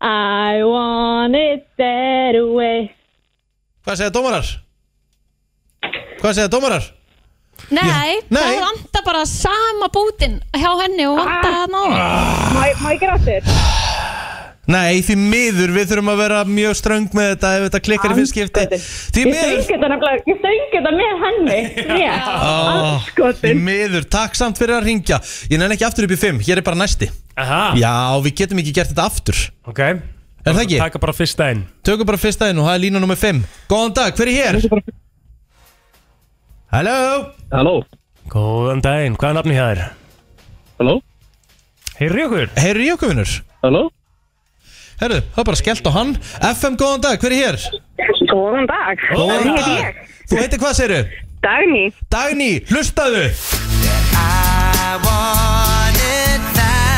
E: I want it that way.
A: Hvað segja dómarar? Hvað segja dómarar?
B: Nei,
A: Nei.
B: það vantar bara sama bútin hjá henni og vantar hann á
E: Ah. Má ég gráta þér?
A: Nei, því miður, við þurfum að vera mjög ströng með þetta ef þetta klikkar í fyrst skipti
E: Ég
A: Því
E: söng
A: miður,
E: þetta nefnilega, ég söng þetta með henni. Rétt.
A: því
E: Anskotin.
A: miður, takk samt fyrir að ringja Ég nenni ekki aftur upp í 5, hér er bara næsti
C: Aha,
A: Já, við getum ekki gert þetta aftur
C: ok Er
A: Er það ekki?
C: Taka bara fyrst daginn
A: Tökum bara fyrsta inn og það er lína nummer 5 Góðan dag, hver er hér? Halló
H: Halló,
C: Góðan daginn, hvað er nafni hjá þér?
H: halló,
C: Heyrðu ykkur
A: Heyrðu í okkur vinnur
H: halló
A: Herru, það er bara skellt á hann FM, góðan dag, hver er hér?
E: Góðan dag. Ég
A: Góðan
E: heiti
A: dag Þú heitir hvað, segirðu?
E: Dagný.
A: Dagný, hlustaðu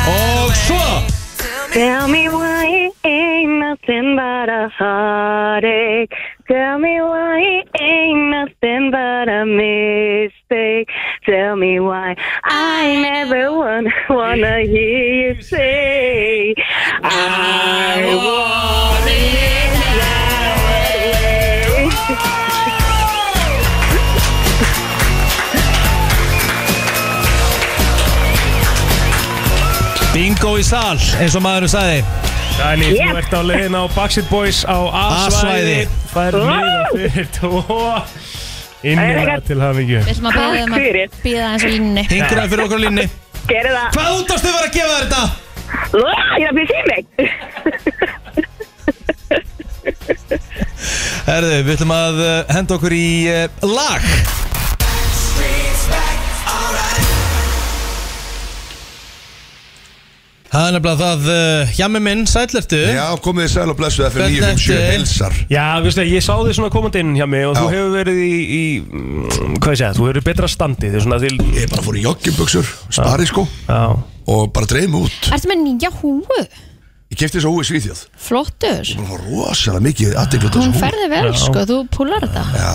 A: Og svo
E: Tell me why ain't nothing but a heartache. Tell me why it ain't nothing but a mistake. Tell me why I never wanna, wanna hear you say I want it that way.
A: Bingo í sal, eins og maðurinn sagði
C: Dani,
E: Yep.
C: þú ert á leiðin á Backstreet Boys á A-svæði
A: A-svæði.
C: Fær
E: Wow.
C: miða fyrir tvo Innlega til hafingju
B: Við ætlum að bíða um að
E: fyrir.
B: bíða eins og línni
A: Hingraði fyrir okkur á línni
E: Gerðu það.
A: Hvað útastu var að gefa þér þetta?
E: Lóa, ég er að pissa í mig.
A: Herðu, við ætlum að eh, henda okkur í uh, lag Það er nefnilega það uh, Hjami minn, sællertu
H: Já, komið þið sæl og blessu FM
A: Hvernig
H: 957
A: ertu?
H: Hilsar
C: Já, við veistu, ég sá þig svona komandi inn hjá mig og þú
H: Já.
C: hefur verið í, í mm, hvað ég segja, þú hefur verið í betra standi því svona til,
H: Ég bara fór í jogginbuxur, spari sko
C: já,
H: Og bara dreif mig út
B: Ertu með nýja húu?
H: Ég kefti þessu hói Svíþjóð
B: Flottur
H: Búin að fá rosalega mikið aðteklut
B: Hún ferði vel sko, þú púlar þetta
H: Já,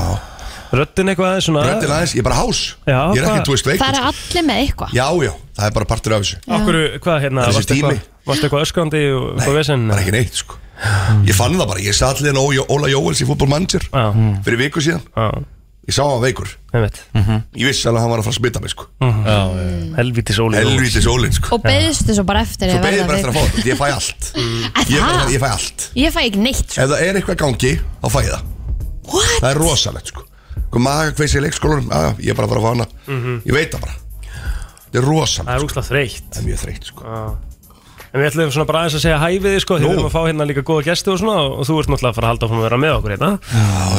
C: röddin eitthvað aðeins svona
H: röndin aðeins, ég er bara hás
C: Já,
H: Ég er
C: hvað-
H: ekki, þú
B: Það
H: veist, veikur
B: er
H: sko.
B: allir með eitthvað
H: Já, já, það er bara partur af þessu
C: Akkur, hvað hérna,
H: Það er þessi
C: varstu
H: tími.
C: eitthvað, varstu eitthvað öskrandi og eitthvað vesinn
H: bara ekki neitt sko Ég fann það bara, ég satt liðan Óla Jóels í fútbolmanager
C: Já,
H: Fyrir viku síðan,
C: já,
H: ég sá hann veikur
C: nefnt,
H: Ég vissi alveg að hann var að fara að smita mig sko
C: Mhm. helvítis óli
H: Helvítis ólinn sko
B: Og beðist þessu bara eftir
H: Svo
B: að
H: beðið
B: verða
H: bara eftir að fá
B: veik.
H: þetta, ég fæ allt
B: Er það?
H: Ég, bara- ég fæ allt
B: Ég fæ ekki neitt sko.
H: Ef það er eitthvað í gangi, þá fæ ég það
B: What?
H: Það er rosalegt sko Hvað maga kveisi í leikskólanum að, Ég er bara bara vana
C: Mhm.
H: Ég veit það bara Þetta er
C: Það
H: rosalegt
C: er úrslega þreytt
H: Það er mjög þreytt sko
C: En við ætlum svona bara aðeins að segja hæ við þig sko Þið
H: Nú.
C: erum að fá hérna líka góða gæsti og svona Og þú ert náttúrulega að fara að halda áfram að vera með okkur hérna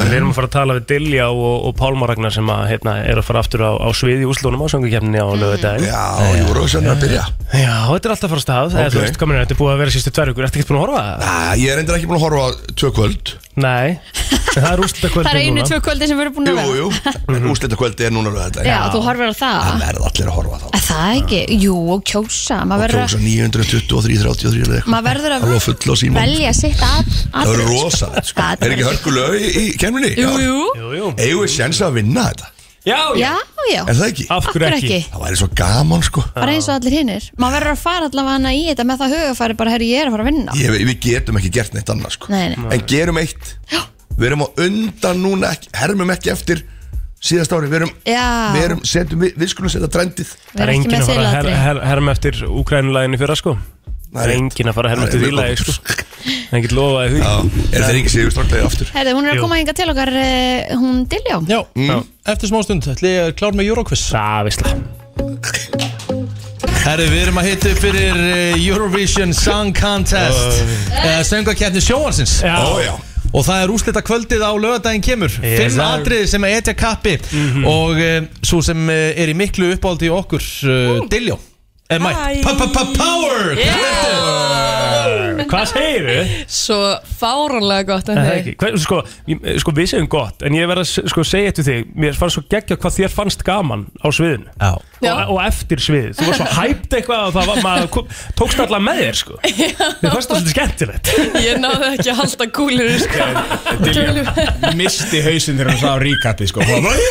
C: Við erum að fara að tala við Dilja og, og Pálma Ragnar Sem að hérna er að fara aftur á, á svið í úslunum á sangukefninni á lögudaginn
H: Já, ég voru að að byrja
C: Já, þetta er alltaf að fara af stað okay.
H: Ok.
C: Þú veist, komin er þetta er búið að vera sístu tvær ykkur Ertu ekki búin að horfa?
H: Æ, Ég er endur ekki búin að horfa á tvö kvöld
C: Nei, en það er úrslita
B: Það
C: kvöldið
B: er einu tvö kvöldi sem við erum búin
H: Jú,
B: að vera
H: jú En úrslita kvöldi Mhm. er núna lögða
B: Já,
H: þetta
B: þú horfir á það
H: Það verða allir að horfa á þá
B: Er það ekki? Jú, og kjósa Maður verður að-
H: Kjósa 923, 33 eða eitthvað
B: maður verður
H: Það var
B: að
H: full á símón
B: velja sitt að
H: Það verður rosalegt sko Er ekki hörku lög í, í kemminni?
B: Jú, jú
C: Jú, jú
H: Eigum við sjens að vinna þetta?
C: Já, já
B: Já, já
H: Er það ekki?
C: Af hverju
B: Akkur
C: ekki?
B: ekki
H: Það væri svo gaman sko
B: Bara eins og allir hinnir Maður verður að fara allavega hana í þetta með það hugafæri bara herri ég er að fara að vinna
H: ég, Við getum ekki gert neitt annað sko
B: Nei, nei
H: En gerum eitt Við erum á undan núna ekki, Hermum ekki eftir síðast ári Við erum,
B: Já.
H: við, erum setjum, við, við skulum setja trendið
B: Við
C: Það er
B: erum ekki
C: enginn
B: með
C: að fara að her,
B: þeiladri
C: her, herma eftir Úkrænulæginu fyrra sko Það er
H: rétt.
C: enginn að fara að
H: Það er
C: herma eftir því
H: mjög
C: lagi
H: gott.
C: sko Það er enginn lofaði því
H: Já, Er þeir ekki séu stráklaði aftur
B: Herði, hún er að
C: Jú.
B: koma hinga til okkar eh, Hún Diljá
A: Já, Mm. eftir smá stund ætli ég er klár með Euroquiz
C: Það veist það
A: Herri, við erum að hitta upp fyrir eh, Eurovision Song Contest uh, Söngakeppni sjóansins
C: Já,
H: Ó já
A: Og það er úslita kvöldið á lögadaginn kemur
C: Yes,
A: Fimm
C: sir. Mhm.
A: atriði sem að etja kappi Og uh, svo sem uh, er í miklu uppáldi í okkur uh,
C: Mm.
A: Diljó Er mætt Pa- pa- pa- Power
C: hvað segirðu?
I: Svo fáránlega gott en
C: Það er
I: þig
C: ekki, Hver, sko, ég, sko við segjum gott En ég verð að s- sko, segja eftir þig Mér fannst svo geggja hvað þér fannst gaman á sviðinu
A: Já
I: Já.
C: og, og eftir sviðið Þú var svo hæpt eitthvað og það var, maður kom, tókst allar með þér sko Þið fannst það svolítið skemmtilegt
I: Ég náði ekki að halda kúlur sko.
J: misti hausinn þegar hann sá ríkappi sko. Hún var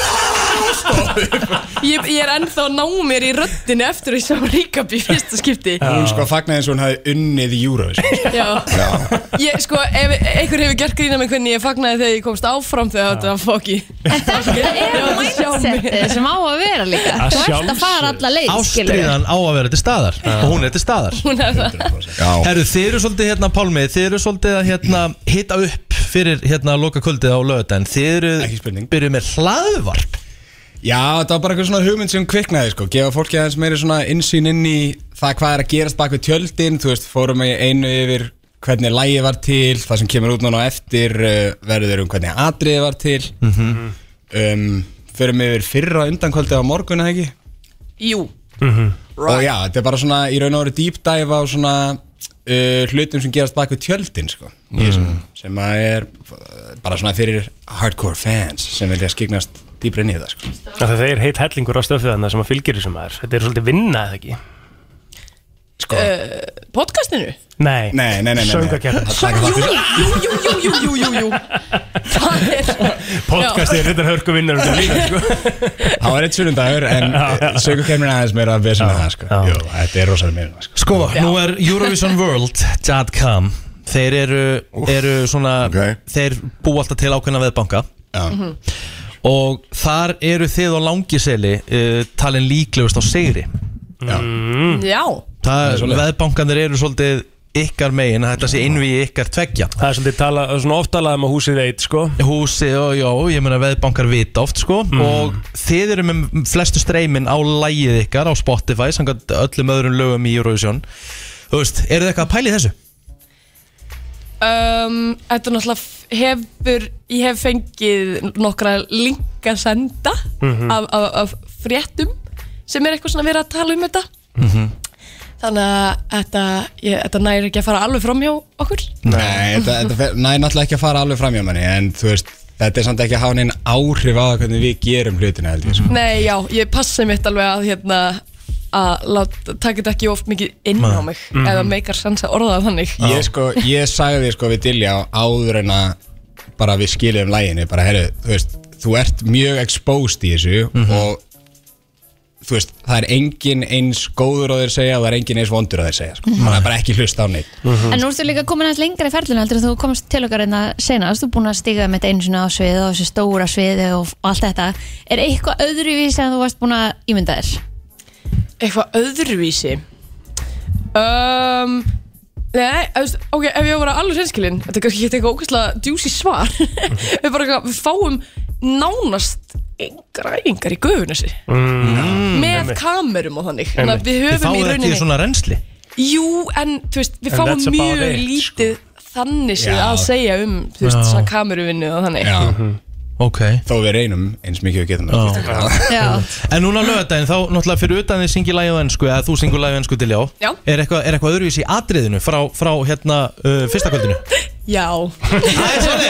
J: bara,
I: ég, ég er ennþá að ná mér í röddinu eftir að ég sá ríkabí fyrsta skipti
J: hún sko fagnaði eins og hún hafi unnið júra sko.
I: Já. Ég, sko, ef einhver hefur gert grína með hvernig ég fagnaði þegar ég komst áfram þegar þetta var fokki
B: Þetta er
I: Já, það sjá mig.
B: mindsetið sem á að vera líka
C: Að
B: Þú ert að
C: sjálfsögðu.
B: fara alla leið skilur við.
A: Ástriðan á að vera til staðar Og hún er til staðar
I: Hún er það
H: Já
A: Herru, þið eru svolítið hérna, Pálmi Þið eru svolítið að hérna, hitta upp fyrir hérna loka kvöldið á lögadaginn Þið
J: Ekki
A: eru
J: spurning.
A: byrjuð með hlaðvarp
J: Já, það var bara eitthvað svona hugmynd sem kviknaði sko. Gefa fólki aðeins meiri svona insýn inn í það hvað er að gerast bak við tjöldin Þú veist, fórum við einu yfir hvernig lægi var til Það sem kemur út núna á eftir uh, verður um hvernig atriði var til um, Förum yfir fyrra undankvöldi á morgun, eða ekki?
I: Jú
C: Mhm.
J: Og já, þetta er bara svona í raun og veru deep dive á svona uh, hlutum sem gerast bak við tjöldin sko. mm. sem að er uh, bara svona fyrir hardcore fans sem vilja skiknast dýpri inn í það sko.
C: Það þeir heit hellingur á stöfið þarna sem að fylgir þessum maður Þetta er svolítið vinna eða ekki
J: sko
I: uh, Podcastinu?
C: Nei,
J: nei, nei, nei, nei.
C: Söngvakeppni.
J: Það taka þátt í-
I: Jú, jú, jú, jú, jú, jú, jú Það er
C: Podcastið er þetta hörku vinnur um þetta líka sko.
J: Það var eitt sunnundagur en sögurkermin aðeins meira að vesina það sko Jú, þetta er rosalega meira sko.
A: Sko, nú er EurovisionWorld.com Þeir eru, eru svona Þeir búa alltaf til ákveðna veðbanka
I: Mhm.
A: Og þar eru þið á langiseli uh, Talin líklegust á sigri Já
J: Mm.
I: Já
A: Það, veðbankanir eru svolítið ykkar megin að Þetta sé innví ykkar tveggja
C: Það er svolítið tala, svona oft talað um að húsið eitt sko
A: Húsið, og já, ég meina veðbankar vita oft sko
C: Mm.
A: Og þið eru með flestu streymin á lægið ykkar Á Spotify, samkvæmt öllum öðrum lögum í Eurovision Þú veist, eru þið eitthvað að pæli þessu?
I: um, Þetta er náttúrulega f- hefur Ég hef fengið nokkra linka senda
A: Mhm.
I: af, af, af fréttum sem er eitthvað svona verið að tala um þetta Þannig að þetta, ég, þetta næri ekki að fara alveg fram hjá okkur
J: Nei, þetta, þetta fer, næ, náttúrulega ekki að fara alveg framjá manni En þú veist, þetta er samt ekki að hafa neinn áhrif á það hvernig við gerum hlutina held ég sko.
I: Nei, já, ég passi mitt alveg að hérna að láta, taka þetta ekki oft mikið inn á mig
J: Mhm.
I: eða meikar sens að orða það þannig
J: Ég sko, ég sagði sko við Dilja áður en að bara við skiljum læginni bara, herru, þú veist, þú ert mjög exposed í þessu og þú veist, það er engin eins góður á þér segja og það er engin eins vondur á þér segja sko. það er bara ekki hlust á neitt
B: En nú ertu líka komin aðeins lengra í ferlinu heldur en þú komst til okkar en að sena Þú ert búin að stiga með þetta einu sinni á sviði og þessu stóra sviði og f- allt þetta Er eitthvað öðruvísi en þú varst búin að ímynda þér?
I: Eitthvað öðruvísi? um, Nei, þú veist, ok, ef ég var alveg hreinskilin þetta er kannski ekki eitthvað ókvæslega djúsi svar við bara eitthvað, við fáum nánast engar æfingar í guðunessi
A: Mm,
I: með
A: einmitt.
I: kamerum og þannig þannig að við höfum í
A: Þið fáið
I: rauninni
A: ekki svona reynsli
I: Jú, en þú veist, við
A: And
I: fáum
A: that's about
I: mjög
A: it, sko.
I: lítið þannig séð
J: Já.
I: að segja um, þú veist,
J: Já.
I: svona kameruvinnu og þannig
J: Já,
A: okay.
J: Mhm. þó við reynum eins mikið við getum oh.
I: Já.
A: En núna á lögadaginn þá náttúrulega fyrir utan þið syngi lagið á ennsku eða þú syngur lagið á ennsku til já,
I: Já.
A: Er, eitthvað, er eitthvað öðruvísi í atriðinu frá, frá hérna uh, fyrsta kvöldinu?
I: Já Ég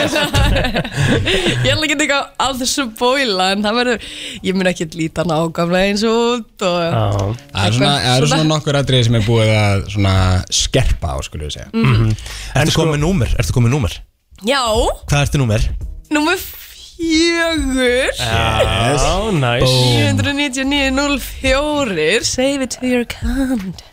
I: ætla ekki að teka á þessu bóila en það verður, ég mun ekki líta nákvæmlega eins út og
J: Það eru svona, það eru svona nokkur atriði sem er búið að svona skerpa á, skulle við segja
I: Mhm. Mhm.
A: Ertu sko... komið númer? Ertu komið númer?
I: Já,
A: Hvað ertu númer?
I: númer fjögur
A: Yes.
C: Já, næs
I: 799.04 Save it to your account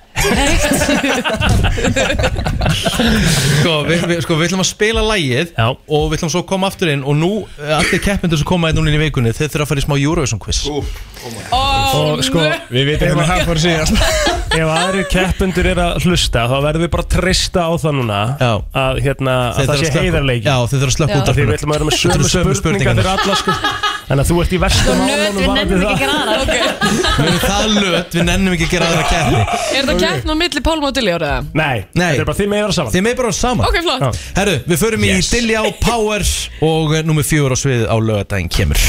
A: Sko, við, við, sko, við ætlum að spila lagið já. og við ætlum svo að koma aftur inn og nú eh, allir keppindur sem koma einn núna inn í vikunni þeir þurfa að fara í smá Eurovision quiz Úf,
I: oh,
C: Og sko,
J: við
A: vitum hvernig það fór síðast.
C: Ef aðri keppendur er að hlusta þá verðum við bara að treysta á það núna já. að, hérna, að það
A: Þeir þurfa að
C: sé
A: slökkva-
C: heiðarleiki
A: Já, þeir þurfa að slökkva Já. útvarpinu.
C: Því við ætlum að vera með
A: Þetta eru
C: sömu,
A: sömu
C: spurningar fyrir
A: spurningarnar.
C: alla sko. Þannig að þú ert í
I: Sko,
C: versta málunum varðandi það
A: Við erum það löt, við nennum ekki að gera aðra keppni
I: Er það keppn á milli Pálma og Dilljár eða?
C: Nei,
A: Nei. þetta er bara
C: þið meðar saman
A: Þið meðar saman
I: Ok, flott. Já.
A: Herru, við förum í Dilljá Power og nummer fjögur á svið á lögadaginn kemur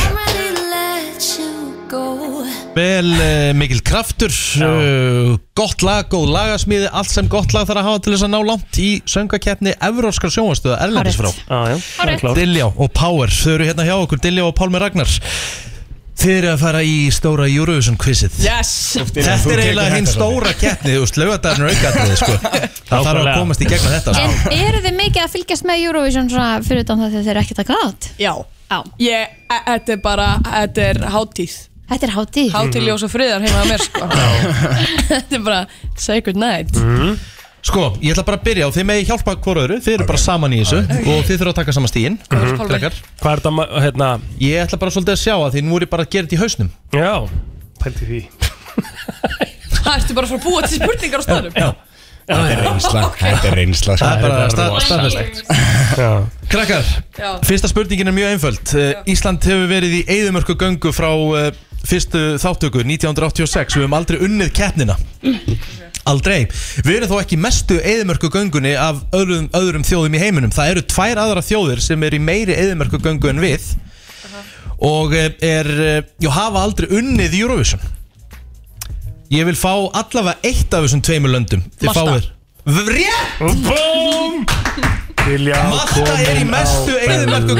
A: Vel uh, mikil kraftur uh, Gott lag, góð lagasmíði Allt sem gott lag þarf að hafa til þess að ná langt Í söngakeppni Evróskar sjónvastöða Erlendis frá
C: ah,
A: Hárið. Dilljá og Power Þau eru hérna hjá okkur, Dilljá og Pálmi Ragnar Þið eru að fara í stóra Eurovision quizið
I: Yes
A: Þetta er eiginlega hinn stóra keppni Þú veist, lögadagurinn er aukatrið sko. Það þarf að
C: Nákvæmlega.
A: komast í gegna þetta sko.
B: En eru þið mikið að fylgjast með Eurovision svona fyrir utan það þegar þeir eru ekki taka þátt?
I: Já Ég, e- þetta er bara, þetta er hátíð
B: Þetta er hátíð
C: Mhm.
I: Hátíð ljós og friðar heima að mér sko Þetta er bara sacred night
C: Mhm.
A: Sko, ég ætla bara að byrja og þið megi hjálpa hvora öðru Þið eru bara saman í þessu og þið þurfa að taka saman stíin
C: Mhm. Pálmi? Hvað er þetta, hérna?
A: Ég ætla bara svolítið að sjá að því nú er ég bara að gera þetta í hausnum
C: Já, pælti því
I: Það ertu bara að fara að búa til spurningar á staðnum
A: Já.
J: Þetta er reynsla, þetta er reynsla sko.
A: Það er bara
J: Þetta
A: stað-
J: rosa.
A: staðfestlegt Krakkar,
I: Já.
A: fyrsta spurningin er mjög einföld Eh, Ísland hefur verið í eigðumörku göngu frá eh, fyrstu þáttöku 1986 Við höfum aldrei unnið keppnina Aldrei Við erum þó ekki mestu eigðumörku göngunni af öðrum, öðrum þjóðum í heiminum Það eru tvær aðra þjóðir sem eru í meiri eigðumörku göngu en við Og eh, er, eh, jú, hafa aldrei unnið Eurovision Ég vil fá allavega eitt af þessum tveimur löndum Þið
C: Malta.
A: fáir V- Rétt!
C: Bum!
A: Malta er í mestu eðinverku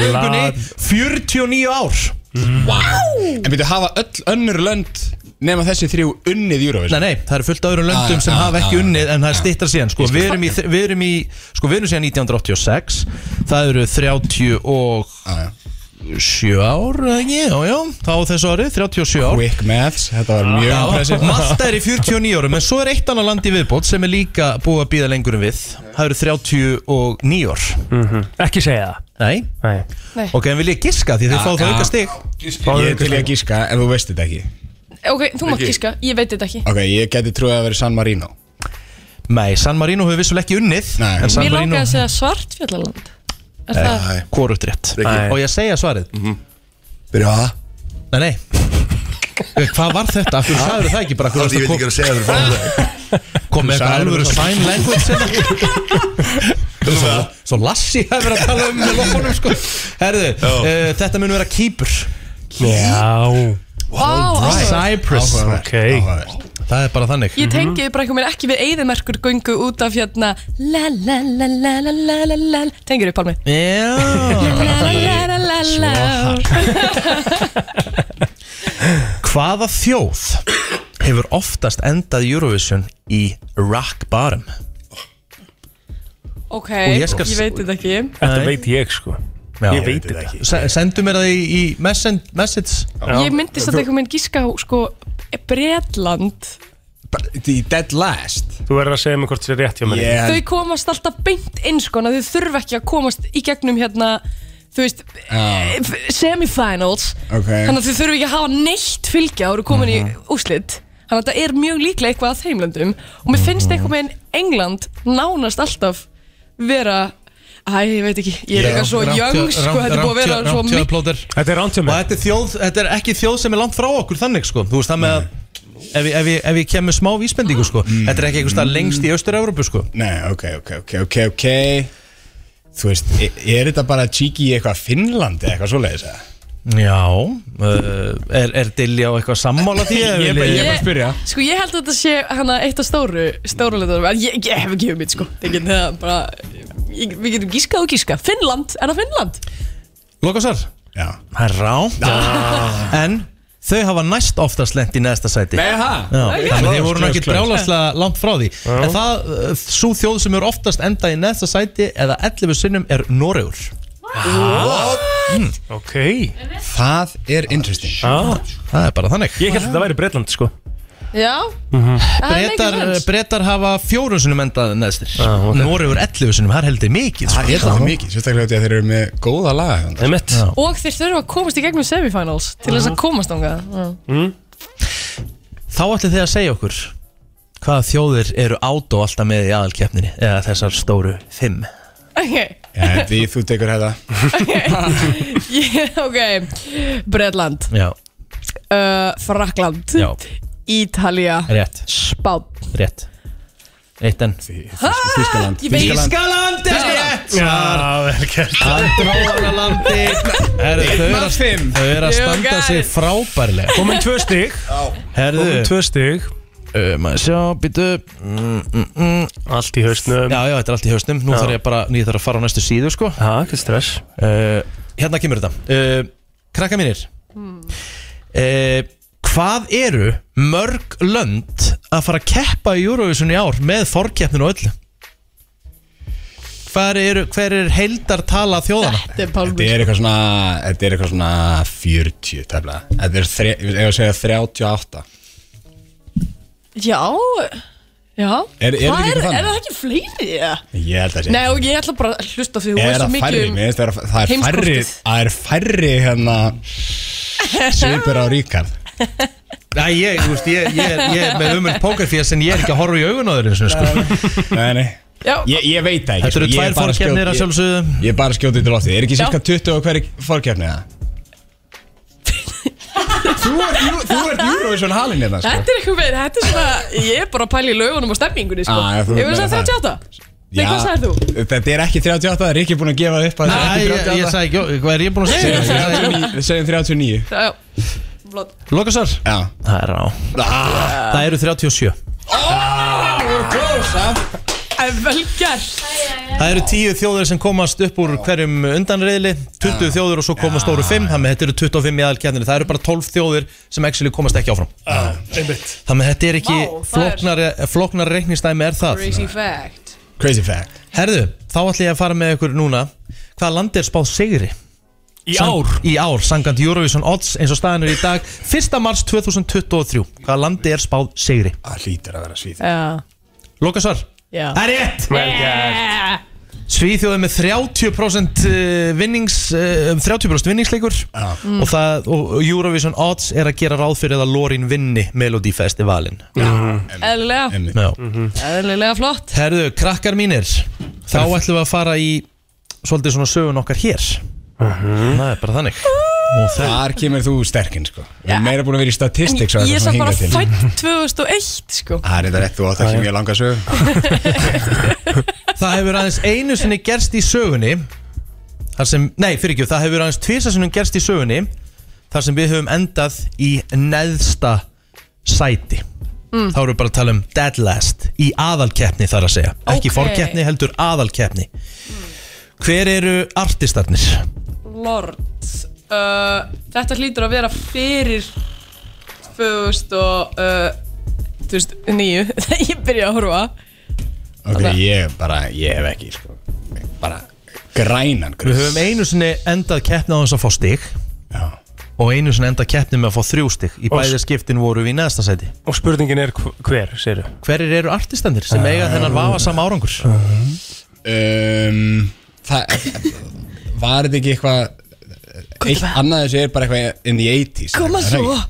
A: 49 ár
J: En byrju, hafa öll önnur lönd nema þessi þrjú unnið Eurovision?
A: Nei, nei, það eru fullt af öðrum
H: Ah,
A: löndum sem hafa ekki unnið en það er stittar síðan sko,
J: Ég skil.
A: við erum, í, við erum í sko, við erum síðan 1986 það eru 30 og
H: Ah,
A: 7 ár, eða ekki, já, já þá á þessu ári, 37 ár
J: Quick maths, þetta var mjög
A: Já,
J: impressive
A: Malta er í 49 árum en svo er eitt annað land í viðbót sem er líka búið að býða lengur en við það eru 39 ár
C: Ekki segja það
A: Nei,
C: Nei.
I: Nei.
A: Ok, en vil ég giska því þið fá það auka stig
J: Ah, Ég er til í að gíska, en þú veist þetta ekki
I: Ok, þú mátt
J: Ekki.
I: gíska, ég veit þetta ekki
J: Ok, ég geti trúið að vera San Marino
A: Nei, San Marino hefur vissulega ekki unnið Nei. en San
I: Mér
A: Marino Eh,
I: langaði að segja svartfjallaland Er það?
A: Nei, Hvorugt rétt
I: Nei.
A: Og ég segja svarið
H: Mhm. Byrja að
A: Nei, nei Hvað var þetta? Akkur sagður það ekki bara
H: Það er ég veit ekki hvað að segja þér frá
A: Kom með eitthvað
H: Sagðirðu
A: alvöru
H: það?
A: sign language hérna. Svo, svo Lassi hefur verið að tala um með loppunum sko Herðu, uh, þetta mun vera Kýpur
C: Já
I: Vá, áhugavert.
A: Cyprus
C: Áhugavert,
A: Það er bara þannig
I: Ég tengi bara eitthvað mér ekki við eyðimerkur göngu út af hérna La la la la la la la la Tengir upp pálmi
A: Já
I: La la la
A: Hvaða þjóð hefur oftast endað Eurovision í rock barum?
I: Ok,
A: Og ég
I: ég
A: skal-
I: veit þetta ekki
C: Þetta veit ég sko
A: Já.
C: Ég veit þetta ekki
A: Se- Sendu mér það í, í messen- message
I: Ég myndist að eitthvað minn gíska á sko Bretland
J: Í Dead Last
C: Þú verður að segja mig hvort þetta er rétt hjá mér
I: Þau komast alltaf beint inn sko en Þau þurfa ekki að komast í gegnum hérna Þú veist, eh,
J: Já.
I: f- semifinals
J: Ok.
I: Þannig að þau þurfa ekki að hafa neitt fylgja og eru komin í úslit Þannig að þetta er mjög líklega eitthvað að þeimlöndum og mér finnst eitthvað með England nánast alltaf vera Æ, ég veit ekki, ég er eitthvað svo young sko, þetta er búið að vera svo mikið
A: mikið
C: Þetta er rántjum
A: Og þetta er, þjóð, þetta er ekki þjóð sem er langt frá okkur þannig sko Þú veist það með að Ef, ég- ef, ég- ef ég kem með smá vísbendingu sko
J: Mm.
A: Þetta er ekki einhvers stað lengst í Austur-Európu sko
J: Nei, ok, ok, ok, ok, ok Þú veist, e- er þetta bara að kíkja í eitthvað Finnland eða eitthvað svoleiðis eða?
A: Já uh, Er, er Dilja á eitthvað sammála því?
J: Ég er bara- ég er bara að spyrja.
I: Sko ég held að þetta sé hana eitt af stóru stóru letur, en ég, ég hef ekki hugmynd sko Ég get það bara ég, Við getum gískað og gískað, Finnland, er það Finnland?
A: Lokasar
J: Já
A: Það er rámt En þau hafa næst oftast lent í neðsta sæti
J: Nei, ha?
A: Já, þannig að
J: Ok. Close,
A: þið voru ekki
J: close, close.
A: brjálaslega langt frá því En það, uh, svo þjóð sem er oftast enda í neðsta sæti eða 11 sinnum er Noregur Hmm.
C: Ok
J: Það er interesting
C: ah.
A: Það er bara þannig
C: Ég held að þetta væri Breitland sko
I: Já, það er
A: Bretar,
I: mikið sens
A: bretar hafa fjórun sinnum endað neðstir
C: Ah, ok.
A: ah, okay. Noregur 11 sinnum, það er heldur mikið sko.
J: Það er það mikið, sérstaklega því að þeir eru með góða laga
C: Það er mitt
A: Já.
I: Og þeir þurfa að komast í gegnum semifinals til þess að komast ánga
A: Mm. Þá ætli þið að segja okkur hvaða þjóðir eru át og alltaf með í aðalkeppninni eða þessar stóru fimm
I: Ok,
J: Já, því þú tekur þetta
I: Ég- ok Bretland,
A: Já,
I: uh, Frakland
A: já,
I: Ítalía,
A: rétt,
I: Spán
A: rétt Eitt enn
J: Þískaland
I: Ég veit
A: Ískaland er rétt
C: Já, vel gert
A: Andróðanalandi Herðu, þau eru að-
J: fimm.
A: þau eru að
I: You
A: standa
I: got
A: sig
I: it.
A: frábærlega
C: Komin tvö stig Komin
A: Herðu,
C: tvö stig
A: uh, maður sjá, býtu mm, mm, mm.
C: Allt í hausnum
A: Já, já, þetta er allt í hausnum Nú
C: Já.
A: þarf ég bara, nú ég þarf að fara á næstu síðu sko
C: Já, ekki stress
A: uh, Hérna kemur þetta uh, Krakka mínir
J: Hmm.
A: uh, Hvað eru mörg lönd að fara að keppa í Eurovision í ár með forkeppninu og öllu? Hver er, hver er heildartala þjóðana?
I: Þetta er Pálmi
J: Þetta er eitthvað svona, þetta er eitthvað svona 40 tefla Þetta er, þre, ég var að segja 38
I: Já, já
J: Er- er þetta
I: Hvað
J: ekki
I: er,
J: þannig?
I: er það ekki fleiri? Ja?
J: Ég held að sé
I: Nei, og ég ætla bara að hlusta því þú
J: Er
I: veist svo
J: það
I: mikið
J: færri,
I: um
J: mér finnst það vera- það er færri
I: heimskortið.
J: Það er færri hérna Svipur á Ríkard
A: Æ, ég, þú veist, ég, ég, er- ég er með umöld pókerfés en ég er ekki að horfa í augun á þeir einu sinni, sko.
J: Nei, nei
I: Já,
J: Ég, ég veit það ekki
A: Þetta eru
J: sko. Ég er
A: tvær
J: bara að skjóta-
A: forkeppnir að
J: ég-
A: sjálfsögðu
J: Ég er bara að skjóta í loftið Er ekki
I: Já.
J: cirka 20 á hverju fórkeppni það? þú ert Euro- þú ert Eurovision halinn hérna sko.
I: Þetta er eitthvað með, þetta er svona Ég er bara að pæla í lögunum og stemningunni sko.
J: Ah, já,
I: Ég
J: þú
I: vil
J: meinar
I: segja
J: það.
I: 38 Nei,
J: Já,
I: hvað sagðir þú?
J: Þetta er ekki 38, það er ekki búin að gefa upp að
A: Æ,
J: þetta er
A: ég,
J: ekki
A: ég
J: 38
A: sagði ekki, hvað er ég búin að segja? Ég sagði-
J: Við segjum 39
I: Já, já Blott.
A: Lokasar?
J: Já
A: Það er á Það eru 37
J: Það voru close, ha?
I: En Það er vel gert
A: Það eru tíu þjóður sem komast upp úr hverjum undanriðli 20 þjóður og svo komast stóru 5 Þannig að þetta eru 25 í aðalkjarnir Það eru bara 12 þjóður sem actually komast ekki áfram
C: Einmitt
A: Þannig að þetta er ekki
I: Vá, það er-
A: flóknar, flóknar reikningsdæmi er það
I: Crazy fact
A: Crazy fact Herðu, þá ætlum ég að fara með ykkur núna Hvaða landi er spáð sigri?
C: Í
A: ár? Í ár, sangant Eurovision Odds eins og staðan er í dag 1. mars 2023 Hvaða landi er spáð sigri? Það hlýtur að vera svíð
I: Já,
A: Loka svar
I: já
A: Það er rétt
C: Vel gert.
A: Svíþjóð er með 30% vinnings, eh, um 30% vinningsleikur
C: Mm.
A: og, það, og Eurovision Odds er að gera ráð fyrir að Lorin vinni Melody Festivalin
I: Eðlilega Mhm. Eðlilega flott
A: Herðu, krakkar mínir þá ætlum við að fara í svolítið svona sögun okkar hér Það er bara þannig
J: Þar kemur þú sterkinn sko Við erum meira búin að vera í statistik svo
I: Ég er
J: þetta
I: samt
J: svona
I: bara
J: hingað til. Ah.
I: fætt 2001 sko
J: Það er þetta rétt, þú átt ekki mjög langa sög
A: Það hefur aðeins einu sinni gerst í sögunni þar sem, nei fyrir ekki, það hefur aðeins tvisa sinni gerst í sögunni þar sem við höfum endað í neðsta sæti
K: Mm.
A: þá erum við bara að tala um dead last í aðalkeppni þar að segja ekki
I: Ok.
A: forkeppni, heldur aðalkeppni Hver eru artistarnir?
I: Lord uh, Þetta hlýtur að vera fyrir 2000 og uh, 2009 þegar ég byrja að horfa
J: Ok, ég bara, ég hef ekki sko Bara grænan
A: Við höfum einu sinni endað keppni á þess að fá stig og einu sinni endað keppni með að fá þrjú stig í
C: Og
A: bæði skiptin voru við í neðsta sæti
C: Og spurningin er hv- hver, segir
A: Hverir eru artistandir sem eiga
J: Ehm,
A: þennan vafa sama árangur?
J: um, Það Var þetta ekki eitthvað Eitt annað þessu er bara eitthvað in the 80s
I: Koma
J: er það
I: svo
J: ekki?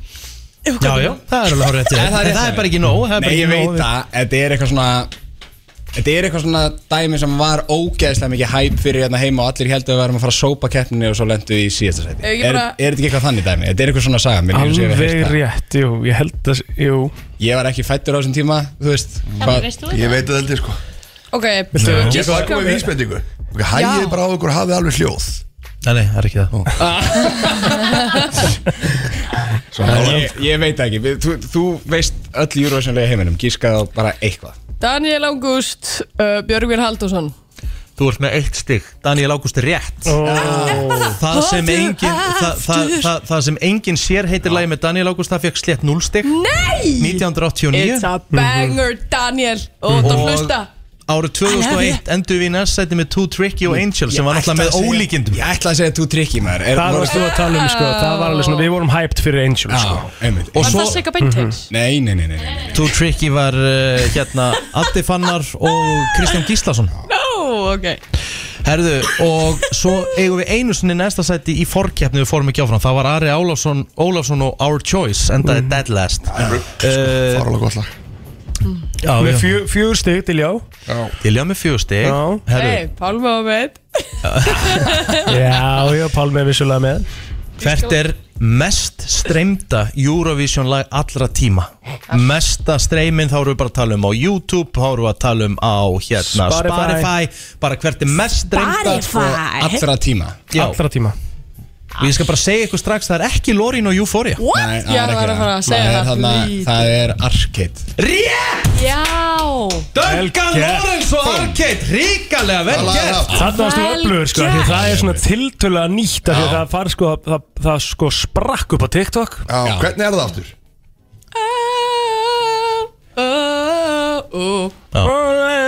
A: Já, já, það er alveg hárrétt hjá þér.
J: En
A: En það er
J: hjá
A: bara
J: þér.
A: ekki nóg, það er bara
J: Nei,
A: ekki
J: ég
A: nóg
J: veit
A: við-
J: það, þetta er eitthvað svona Þetta er eitthvað svona dæmi sem var ógeðslega mikið hæp fyrir hérna heima og allir heldur að við værum að fara að sópa keppninni og svo lendu í síðasta sæti
I: Ef ekki
J: Er, er
I: bara-
J: þetta ekki eitthvað þannig dæmi? Þetta er eitthvað svona saga mér líður sem ég hafi heyrt
C: Alveg
J: það.
C: rétt, jú, ég held að, jú
J: Ég var ekki fættur á þessum tíma, þú veist hvað-
I: veist þú þetta? Ég veit
H: það held ég sko
I: Ok,
H: Ég er bara komið vísbendingu Ok, Hægið
I: Já.
H: bara á ykkur og hafið alveg hljóð
A: Nei, nei, það er ekki það
J: Svona, ég, ég veit það ekki, Við- þú, þú veist öll júruvæsumlega heiminum, gískað á bara eitthvað
I: Daniel August uh, Björgvin Haldursson
A: Þú ert með eitt stig Daniel Ágúst er rétt
I: Ah,
A: það, sem engin, það, það, það, það sem engin sér heitir lagi með Daniel Ágúst það fekk slétt 0 stig
I: Nei!
A: 1989
I: It's
A: Mhm.
I: a banger Daniel Ó, þú
A: Og-
I: hlusta
A: Árið 2001 endur við í næst sæti með Too Tricky og Angel sem var náttúrulega með ólík
J: ólíkindum Ég ætla að segja þú trikki maður Er-
C: Það varst þú að tala um, sko, það var alveg svona, við vorum hyped fyrir Angel, sko
J: einmitt. Mhm.
A: Og
I: Var
A: svo-
I: það Sigga Beinteins?
J: Nei, nei, nei, nei, nei.
A: Too Tricky var uh, hérna Addi Fannar og Kristján Gíslason
I: No, ok
A: Herðu, og svo eigum við einu sinni næsta sæti í forkeppni við fórum ekki áfram Það var Ari Ólafsson, Ólafsson og Our Choice endaði
C: Mhm.
A: Dead Last
C: sko.
A: Eh, Fárlega
H: gott lag
A: Já,
C: Með
A: já.
C: fjö- fjögur stig til já
A: Til já með fjögstig
C: Já.
I: Hei, Pálma og með
C: Já, já, Pálmi er vissulega með
A: Hvert er mest streymda Eurovision lag allra tíma? Mesta streymin þá erum við bara að tala um á YouTube Þá erum við að tala um á hérna
C: Spotify.
A: Spotify Bara hvert er mest streymda
J: Spotify. Allra tíma.
A: Já.
C: Allra tíma
A: Og ég skal bara segja ykkur strax Það er ekki Lorin og Euphoria
I: What?
J: Nei,
I: Ég var að fara að segja
J: það er
I: það,
J: þarna,
I: lítið.
J: Það er Arcade
A: Rétt!
I: Já
A: Duncan Lawrence og Arcade Ríkalega vel gert
C: Þarna varst þú öflugur sko, því það er svona tiltölulega nýtt af því það far sko, það, það sko sprakk upp á TikTok
H: Já, hvernig er það aftur?
C: All I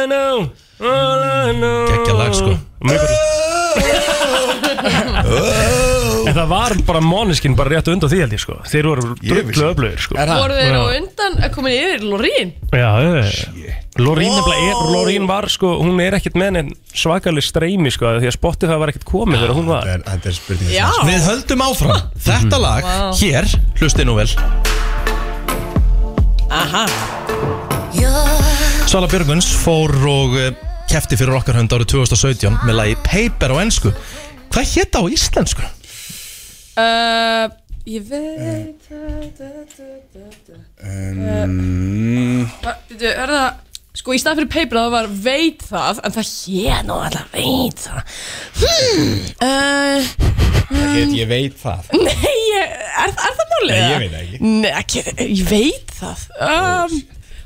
C: know, all I know
A: Gekkja lag sko
C: Mjög gott. En það var bara Måneskin bara rétt undan því held ég sko Þeir voru drullu öflugir sko
I: Voru þeir á
C: Já.
I: undan að koma yfir Lorín?
C: Já, já, já. Lorín, nefnilega er, Lorín var sko, hún er ekkert með henni svakalig streymi sko, því að Spotify var ekkert komið þegar hún var
J: Þetta er spurning
I: Já
A: Við höldum áfram Þetta lag
I: Vá.
A: hér Hlustið nú vel
I: Aha
A: Svala Björguns fór og eh, kefti fyrir okkar hönd árið 2017 með lagi Paper á ennsku Hvað hétt það á íslensku?
I: uh, Ég veit
A: Eh.
J: Mm,
I: Var- Bíddu, Er það Sko í stað fyrir paper það var veit það En það hén og það veit það hmm.
A: Eh.
I: uh,
J: Það heit ég veit það
I: Nei, ég- er, er það málið?
J: Nei,
I: eða?
J: ég veit það ekki.
I: Nei, ekki, ég veit það um,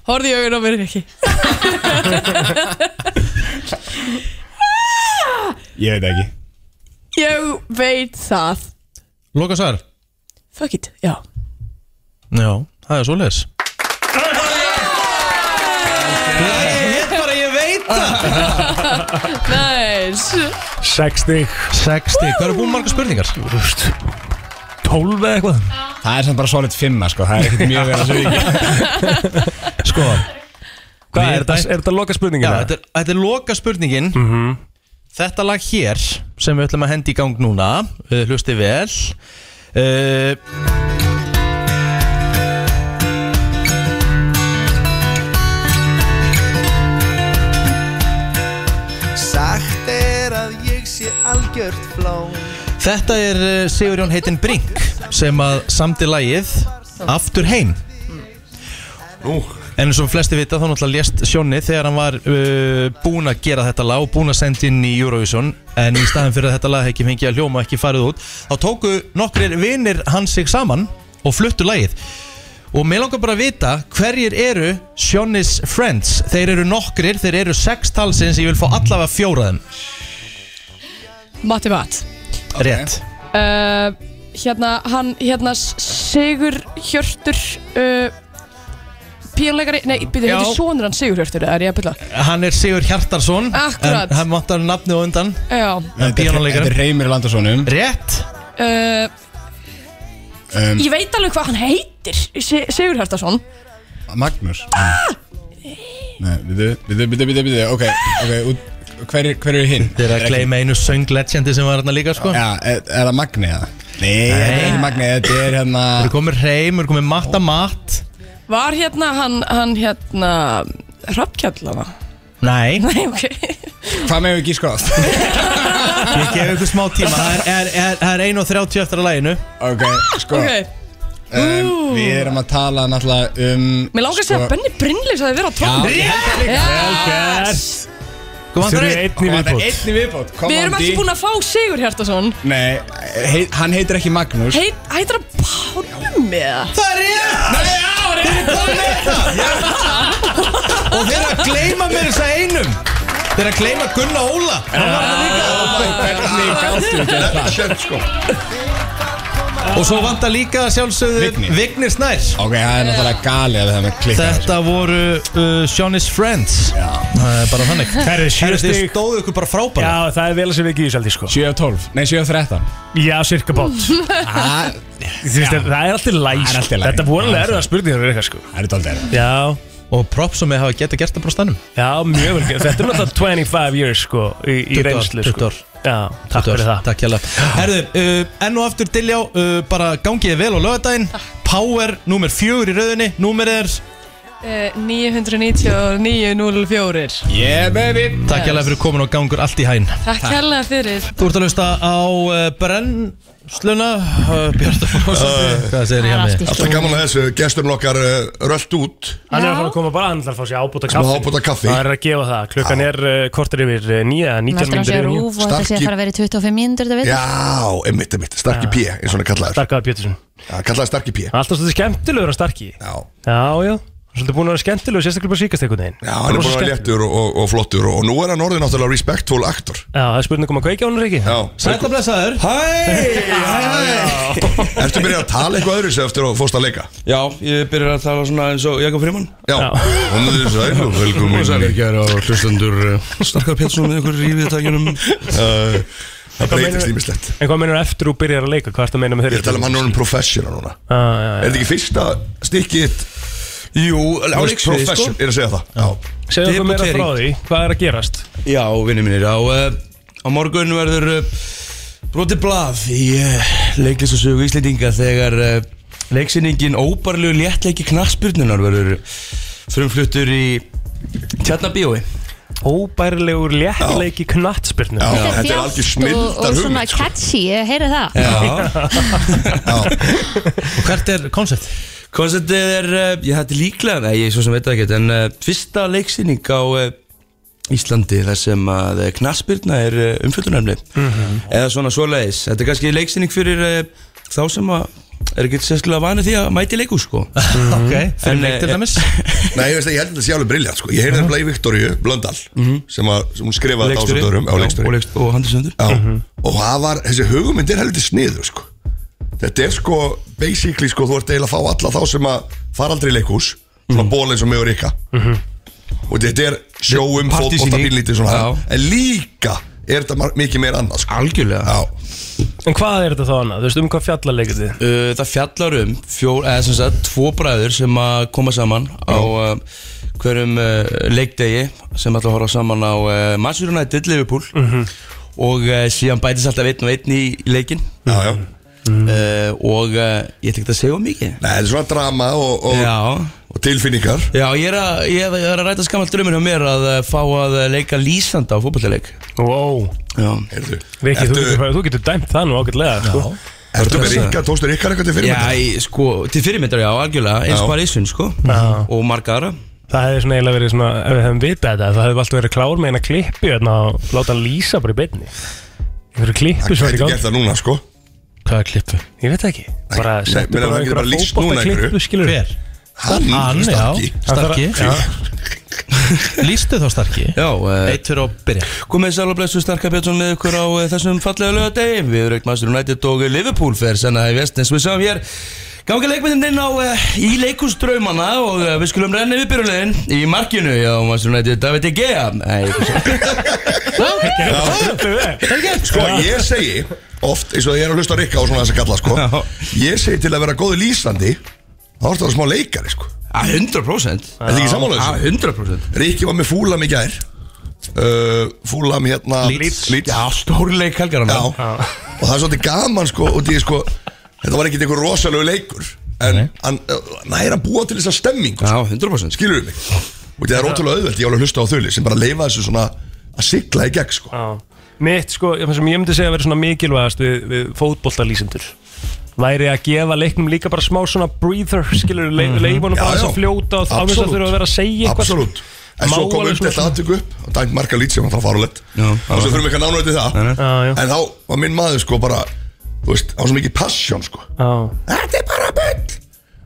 I: horfði í augun á mér ekki
J: Ég veit ekki
I: Ég veit það
A: Loka svar
I: Fuck it, já
A: Já, það er svoleiðis Ég hét bara, ég veit
I: Nice
C: 6 stík
A: 6 stík, hvað eru búin marga spurningar?
C: 12 eða eitthvað
J: Það er samt bara solid 5 sko, það er ekkert mjög verið að segja
A: Sko
C: Hvað,
A: Mér
C: er þetta- er þetta Mhm. loka spurningin?
A: Já, þetta er, þetta er loka spurningin Þetta lag hér sem við ætlum að hendi í gang núna uh, Hlusti vel uh,
K: Sagt er að ég sé algjört flón
A: Þetta er uh, Sigurjón heitinn Brink sem að samti lagið Aftur heim Nú En eins og flesti vita þá náttúrulega lést Sjónni þegar hann var uh, búin að gera þetta lag og búin að senda inn í Eurovision en í staðin fyrir að þetta lag ekki fengið að hljóma og ekki farið út þá tóku nokkrir vinir hans sig saman og fluttu lagið og mér langar bara að vita hverjir eru Sjónnis friends þeir eru nokkrir, þeir eru sex talsins ég vil fá allavega fjóraðum
I: Matti Matt
A: rétt
I: uh, Hérna, hann, hérna Sigur Hjörtur uh, Píanleikari, nei, byrju,
A: Já.
I: heitir sonur hann Sigur Hjörtur eða er ég að byrja?
A: Hann er Sigur Hjartarsson
I: Akkurat.
A: En hann vantar nafni og undan
I: Já
A: En píanóleikari
J: Þetta er Reymir Landarssonum
A: Rétt
I: uh,
J: um,
I: Ég veit alveg hvað hann heitir Si- Sigur Hjörtarsson
J: Magnús
I: Ah!
J: Nei, byrju, byrju, byrju, byrju, byrju, ok, ok, út Hver, er- hver eru hinn?
A: Þeir eru að gleyma einu sönglegendi sem var hérna líka sko
J: Já, er, er það Magni eða? Nei, þetta er ekki Magni, þetta er hérna
A: Þeir eru komið reym, þeir eru komið matta matt
I: Var hérna hann, hann hérna Hrafnkjallana
A: Nei
I: Nei, ok
J: Hvað með við gíska á?
A: Ég gef ykkur smá tíma Það er, er, er, það er 1.30 eftir að læginu
J: Ok, sko um, Við erum að tala náttúrulega um
I: Mér langar að segja að Benny Brynleys að þið vera á tónum
J: Já, ég held það líka.
A: Kom
I: vantar
J: einn
I: einn.
J: Kom vantar einn í viðbót
I: Við erum ekki búin að fá Sigur Hjörtarsson
J: Nei, heit, hann heitir ekki Magnús
I: Heit, heitir hann Pálmi eða?
A: Það er ég!
I: Nei, já,
A: þeir eru komið með það Og þeir eru að gleyma mér þess að einum Þeir eru að gleyma Gunna Óla Hann var
J: Ah,
A: hérna
J: Hvernig gáttu við gera það?
A: líka Og svo vantar líka að sjálfsögðu Vignir Snær
J: Ok, það er náttúrulega galið að við hefum klikkað
A: Þetta voru uh, Shawnee's Friends Það er bara þannig
C: Herri, sjö
A: Herri, þið
C: stig.
A: stóðu ykkur bara frábæra
C: Já, það er vel að sem við ekki í sjálf sko
J: 7 af 12, nei 7 af 13
C: Já, cirka bát
J: Ah,
C: Þú veist, Það er alltaf læg
J: Það er
C: sko.
J: allt í lagi.
C: Þetta vonulega
J: Það er
C: erfiða spurningar fyrir eitthvað sko
J: Það er þetta aldrei
C: Já
A: Og props sem við hafa getið gert það bara á stannum
C: Já, mjög vel gert. Þetta er náttúrulega 25 years sko Í, í
A: 20 ár,
C: reynslu sko
A: 20 ár.
C: Já, takk
A: 20 ár,
C: fyrir það
A: Takk hjá Herðu, uh, enn og aftur Diljá uh, Bara gangið þið vel á lögadaginn Power, númer fjögur í rauðinni Númer er
I: Eh, 999.04
J: Yeah baby
A: Takk hjá fyrir komin og gangur allt í hæn
I: Takk hérlega fyrir
A: Þú ert að hlusta á uh, brennsluna uh, Björn
H: Ah,
A: uh, Hvað segir ég með?
H: Alltaf gaman að þessu, gesturinn okkar uh, rölt út
C: Hann er að fara að koma bara, hann ætlar að fá sér ábúta
H: Smá
C: kaffi
H: ábúta kaffi.
C: Það er að gefa það, klukkan er uh, kortir yfir uh, nýja,
B: Þannig að
C: 19
B: hann sé
C: myndir yfir
B: rúf og þetta sé að fara að vera í 25 mínútur þetta veit ég.
H: Já, einmitt, einmitt, starki P, eins og hann er kallaður
C: Starkaði Pétursson
H: Já, kallaður starki P
C: Alltaf svolítið skemmtilegur að starki Já Já, já, svolítið búin að vera skemmtilegur, sérstaklega bara síkast einhvern veginn
H: Já, hann er
C: Rosa
H: búin að vera léttur
C: skemmtilegur.
H: og, og, og flottur og, og nú er hann orðið náttúrulega respectful actor
C: Já, það er spurning um að kveika honum, Riki
H: Já,
A: Þetta blessaður
H: ertu byrjað að tala eitthvað öðru sem eftir að fórst að leika
L: Já, ég byrjar að tala svona eins og Jakob Fríman
H: Já, hann er sæl og velkomin
L: Sælir gæra og hlustendur Eh, Starkar Pétursson með ykkur í viðtækjunum
H: Það breytist ímislegt
C: En hvað meinar eftir þú byrjar að leika, hvað ertu að meina með
H: Ég
C: þeirri? Ah,
H: er að tala um hann orðin professional núna
C: Já, já,
H: Er þetta ekki fyrsta stikkið
L: Jú,
H: Þú
L: á
H: veist,
L: leiksviði sko
H: profession, Ég er að segja það Já,
C: Segðu okkur meira
L: Debutering.
C: frá því, hvað er að gerast?
L: Já, vinnir mínir, á, eh, á morgun verður eh, brotið blað í leiklist og sögu Íslendinga þegar eh, leiksinningin óbarlegu léttleiki knarsbyrnunar verður frumfluttur í Tjarnabíói
C: Óbærilegur léttleiki knattspyrnu
H: Já,
B: Þetta er
H: þetta er
B: þjást
H: algjör
B: og,
H: snildar
B: og svona
H: hugmynd sko.
B: catchy, ég heyri það
L: Já,
A: Og hvert er koncept?
L: konceptið er, eh, ég hætti líklega, nei, ég svo sem veit það ekkert, en uh, fyrsta leiksinning á uh, Íslandi þar sem að knarsbyrna er eh, uh, umfjöldunarfni eða svona svoleiðis, þetta er kannski leiksinning fyrir uh, eh, þá sem að er ekki sérskilega vanið því að mæti leiku sko
A: Ok,
H: fyrir
L: eh,
H: mig til dæmis. Nei, ég veist að ég held að þetta sé alveg briljant sko. Ég heyrði
L: Mhm.
H: þetta í Viktoríu Blöndal sem, að, sem hún skrifaði þetta
L: Leikstjóri.
H: ásöndörum
L: Já, og leikst- og handrisundur
A: Mhm.
H: Og það var, þessi hugmynd er heldur sniður sko. Þetta er sko basically sko, þú ert eiginlega að fá alla þá sem að fara aldrei í leikhús svona mm. eins og mig og Rikka
C: Mhm.
H: og þetta er um sjóum,
L: Partysýning.
H: fótbolta, bílítið svona
L: Já.
H: en líka er þetta mar- mikið meira annað sko.
L: Algjörlega
H: Já
C: En hvað er þetta þá annað? Þú veist um hvað fjallar leikir þið?
L: Uh, það fjallar um fjól, eða, sem sagt, tvo bræður sem að koma saman á
C: Mhm.
L: uh, hverjum uh, leikdegi sem ætla að horfa saman á uh, Manchester United Liverpool
C: Mhm.
L: og uh, síðan bætist alltaf einn og einn í leikin
H: já, já.
L: Uh, og uh, ég ætla ekki að segja of mikið
H: Nei, þetta er svona drama og,
L: og,
H: og tilfinningar
L: Já, ég er að, ég er, ég er að ræta skammal drömmin hjá mér að uh, fá að uh, leika lýsanda á fótballleik
C: Wow
L: Já
C: Viki, þú getur, þú getur dæmt það nú ágætlega sko.
L: Ertu með Rikka-
H: tókstu Rikkar eitthvað til
L: Já, ég, sko, til fyrirmyndar, já, algjörlega Inspiration, sko
C: Já.
L: Og marga aðra
C: Það hefði svona eiginlega verið svona, ef við hefðum vitað þetta, það hefði alltaf verið klár með eina klippi hérna og láta hann lýsa bara í beinni. Það eru klippu
H: Það
C: svona í
H: gæti
C: gangi.
H: gert það núna sko
L: Hvað er klippu?
C: Ég veit það ekki. Bara
H: Nei,
C: settu
H: meina,
C: bara
H: við getum bara
C: einhverja
H: lýst núna
C: fótbolta
H: einhverju.
C: klippu, skilur.
A: Hver?
H: Hann,
A: Hann,
L: Starki.
A: já.
L: Starki.
A: Starki, Lýstu þá starki
L: Já eh,
A: Eitt fyrir að byrja
L: Komið sæl og blessu Starka Björnsson með ykkur á eh, þessum fallega lögadegi Við erum Master United og Liverpool fer senna í vest eins og við sáum hér Ganga leikmyndin inn á eh, í leikúsdraumana og eh, við skulum renna yfir byrjunin í markinu Já, Master United, David De Gea Nei, ég fyrir
H: Sko, ég segi oft, eins og ég er að hlusta á Rikka og svona þess að kalla sko Ég segi til að vera góði lýsandi þá ertu það smá leikari sko
L: Að 100%
H: Er þið ekki sammála þessu?
L: Að 100%
H: Rikki var með fúlam í gær uh, Fúlam hérna
L: Leeds.
H: Leeds.
L: Já, stórleik helgar hann
H: Og það er svolítið gaman sko, og því, sko Þetta var ekkert einhver rosalegu leikur En hann uh, næra að búa til þessa stemmingu
L: Já, 100%
H: Skilur mig Og það er ótrúlega auðvelt, ég var alveg að hlusta á þauli sem bara leifa þessu svona að sigla í gegn sko
C: Mitt, sko, það sem ég myndi segja að vera svona mikilvægast við, við fótboltalýsendur væri að gefa leiknum líka bara smá svona breather, skilur, le
L: Mhm.
H: Mhm.
C: mm -hmm. leifunum bara þess að fljóta og án þess að þurfa að vera að segja eitthvað.
H: Absolutt En svo
C: Má
H: kom
C: alveg
H: upp
C: svona-
H: þetta aðtöku upp og dæmt marga lít sem hann þarf að fara lett
L: Og
H: svo þurfum við ekki að nánu þetta það
C: Já, já.
H: En þá var minn maður sko bara Þú veist, það var svo mikið passion sko
C: Já.
H: Þetta er bara bull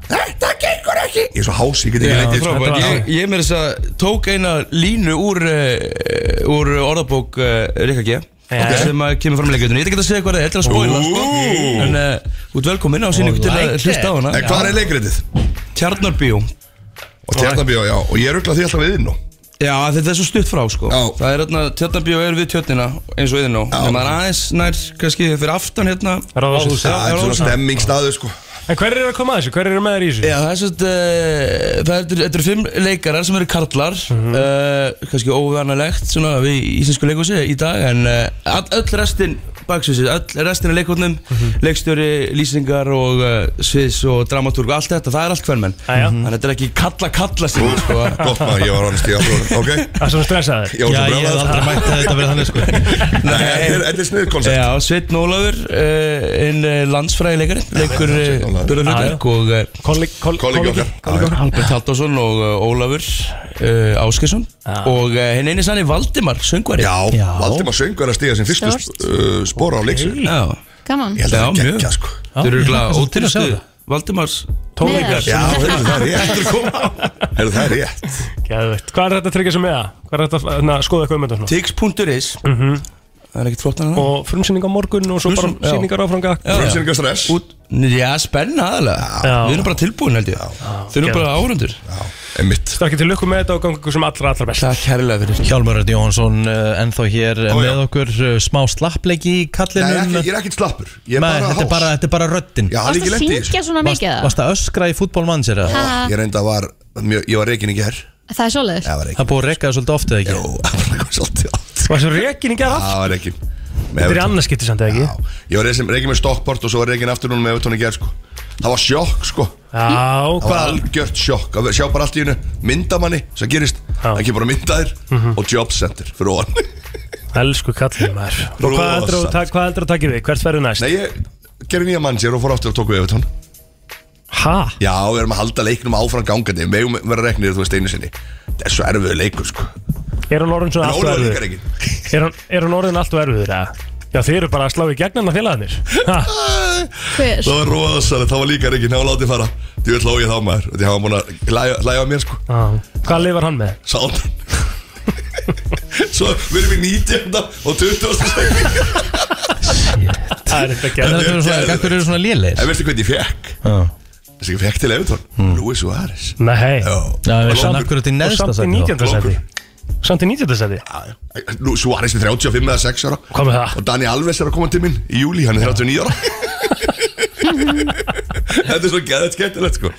H: Þetta gengur ekki Ég er svo hás, ég get
L: Já,
H: ekki sko. leitt
L: frábært. Ég, ég með þess að tók eina línu úr, uh, úr orðabók uh, Rikka G eh,
H: Ok.
L: sem að kemur fram í leikjöndunni ég ætla ekki að segja hvað það er, ég ætla að spóila sko. en uh, út velkomin á síningu til að hlusta á hana
H: En hvað er leikritið?
L: Tjarnarbíó
H: Og Tjarnarbíó, já, og ég rugla því alltaf við inn
L: Já, þetta er svo stutt frá sko Það er hérna, Tjarnarbíó er við tjörnina eins og yðin og en maður er aðeins nær, kannski fyrir aftan hérna
C: Ráðhúsið.
H: Það er svona stemmingsstaður sko
C: En hver eru að koma að þessu? Hver eru með þér í þessu?
L: Já, það er svo uh, það eru- þetta eru fimm leikarar sem eru karlar
C: Mhm.
L: uh, kannski óvanalegt svona við í íslensku leikhúsi í dag en uh, all- öll restin baksvísi, öll restin af leikhúsnum
C: Mhm.
L: leikstjóri, lýsingar og uh, sviðs og dramatúrg og allt þetta, það er allt hvern menn þannig að þetta er ekki kalla kalla sem sko.
H: Gott maður, ég var honest, ég var ok
C: Það er svona stressaður
H: Ég var svo brjálaður.
A: mætt að þetta verið þannig sko
H: Nei, þetta er- þetta er sniður koncept
L: Já, Sveitn Ólafur, uh, einn uh, landsfræði leikari, leikur uh, byrðarhlutverk og
C: uh,
H: kollegi okkar.
L: Albert Halldórsson og uh, Ólafur uh, Áskesson og uh, hinn eini sann Valdimar, söngvari
H: Já, Valdimar söngur að stíga sem fyrstu uh, spora á leiksinu
L: Já,
B: Gaman
H: Ég held að það er geggja sko
L: Þeir eru
H: Já,
L: glæð
H: svo til að sjá
L: ótrústu
H: það.
L: Valdimars
H: Tónleikar.
L: tónleikar
H: Já, heyrðu, það er rétt. Heyrðu, það er rétt
C: Geðveikt. Hvað er þetta að tryggja sig með það? Hvað er þetta að na, skoða eitthvað um þetta svona? Mhm.
L: Tix.is Það er ekkert flottan að það
C: Og frumsýning á morgun og svo bara
L: Frumsýn- já.
C: sýningar áfranga
H: Frumsýningar stress
L: Já, spenna aðalega
C: Já.
L: Við erum bara tilbúin held ég Þeir eru bara áhundur
H: Emmitt
C: Stakki til lukku með þetta og gangi ykkur sem allra allra best
L: Takk kærlega fyrir
A: Hjálmar Örn Jóhansson uh, ennþá hér uh, með okkur uh, smá slappleiki í kallinum
H: Nei, ekki- ég er ekkert slappur Ég
A: Nei,
H: er bara
A: þetta, er
H: hás.
A: bara, þetta er bara röddin
H: Já, hann er ekki Varstu að lent í sko. þessu.
B: syngja svona mikið, eða?
A: Varst að öskra í fútbólmann sér
B: Ha?
H: Ég reynda að var mjög- Ég var reikin í gerð
B: Það er svoleiðis
H: Það var reikin
A: Það er búið að rekka það svolítið oftið ekki
H: Jú, það var reikin svolítið oft
C: Var svo reikin í gerð
H: Það var reikin
C: Þetta er í annarskipti samt eða ekki?
H: Ég var reikin, reikin með stokkport og svo var reikin aftur núna með Evertón í gerð sko Það var sjokk sko
C: Já,
H: Það var
C: hvað?
H: algjört sjokk að sjá bara allt í hennu myndamanni sem gerist Það kemur bara myndaðir og jobcenter fyrir ofan
C: Elsku kallin maður Og hvað
H: Rosa.
C: heldur að hvað heldurðu að taka við? Hvert verður næst?
H: Nei, ég gerði nýja mann sér og fór aftur og tók við Evertón
C: Ha?
H: Já, við erum að halda leiknum áfram gangandi Við eigum að vera reknir, þú veist, einu sinni Það er svo erfiðu leikur, sko
C: Er hann orðin svona
H: En
C: allt og
H: Ólafur
C: erfiður?
H: líkar ekki
C: Er hann- Er hann orðin allt og erfiður, eða? Já, þið eru bara að slá í gegnum að félagarnir Ha.
B: Hver?
H: Það var rosalega, það var líka reygin, það var látið fara Þú veit hlóið þá maður, því hann var búin að læja, læja mér sko
C: ah. Hvað lifar hann með?
H: Sáldan Svo við erum í 19. og 20. sæti.
C: Það er
A: En það eru svona- af hverju eru svona lélegir? Hmm.
H: En veistu hvernig ég fekk? Þessi ég fekk til Evertón Luis Suárez
C: Nei
H: Já,
A: Já, við
H: Og
A: samt
H: langur.
A: akkurat í neðsta
H: Og samt í
A: sæti þá.
H: 19. sæti.
A: Langur.
C: Samt í 19. seti
H: Luis Suárez er 35 eða 6 ára
C: Hvað með það?
H: Og Dani Alves er að koma til minn í júli, hann er 39 ára Þetta er svo geðið skemmtilegt sko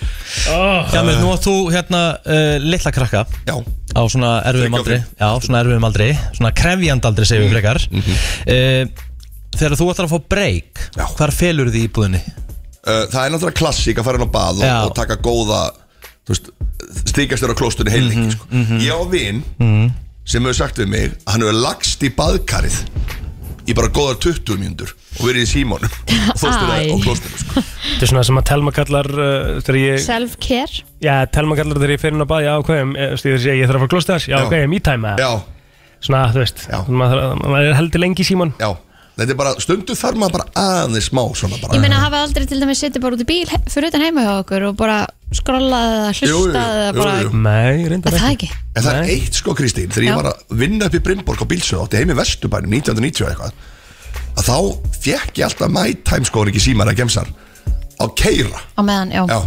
A: Hjálmur, nú átt þú hérna uh, litla krakka
H: Já
A: Á svona erfiðum aldri Já, svona erfiðum aldri Svona krefjand aldri segjum við
H: Mhm,
A: frekar uh, Þegar þú ætlar að fá break Hvar felur þið í búðinni?
H: Uh, Það er náttúrulega klassík að fara inn á bað og,
A: Já.
H: og taka góða þú veist, stíkast þér á klóstunni heilingi sko. Ég á vin sem hefur sagt við mig að hann hefur lagst í baðkarið í bara góðar 20 mínútur og verið í símónum og þóstur
B: Æ.
H: á klóstunni sko.
C: Þetta er svona sem að Telma kallar uh, þegar ég
B: Self-care
C: Já, Telma kallar þegar ég fer inn á bað Já, hvað ég, eh, þú veist, ég segi, ég þarf að fara klostið þess Já,
H: Já.
C: hvað ég, mítæma
H: Já.
C: Svona, þú veist, maður þarf- maður er heldur lengi í síman
H: Já, þetta er bara, stundu þarf maður bara aðeins smá svona bara
B: Ég meina hafa aldrei til dæmis setið bara út í bíl he- fyrir utan heima hjá okkur og bara skrollað eða hlustað eða bara
C: Nei, reyndar
B: Er það ekki?
H: En það er eitt sko Kristín, þegar
B: Já.
H: ég var að vinna upp í Brimborg á Bílsöð átti heim í Vesturbænum 1990 og eitthvað að þá fekk ég alltaf my time sko ekki símar að gemsar á keira
B: á meðan, já,
H: Já,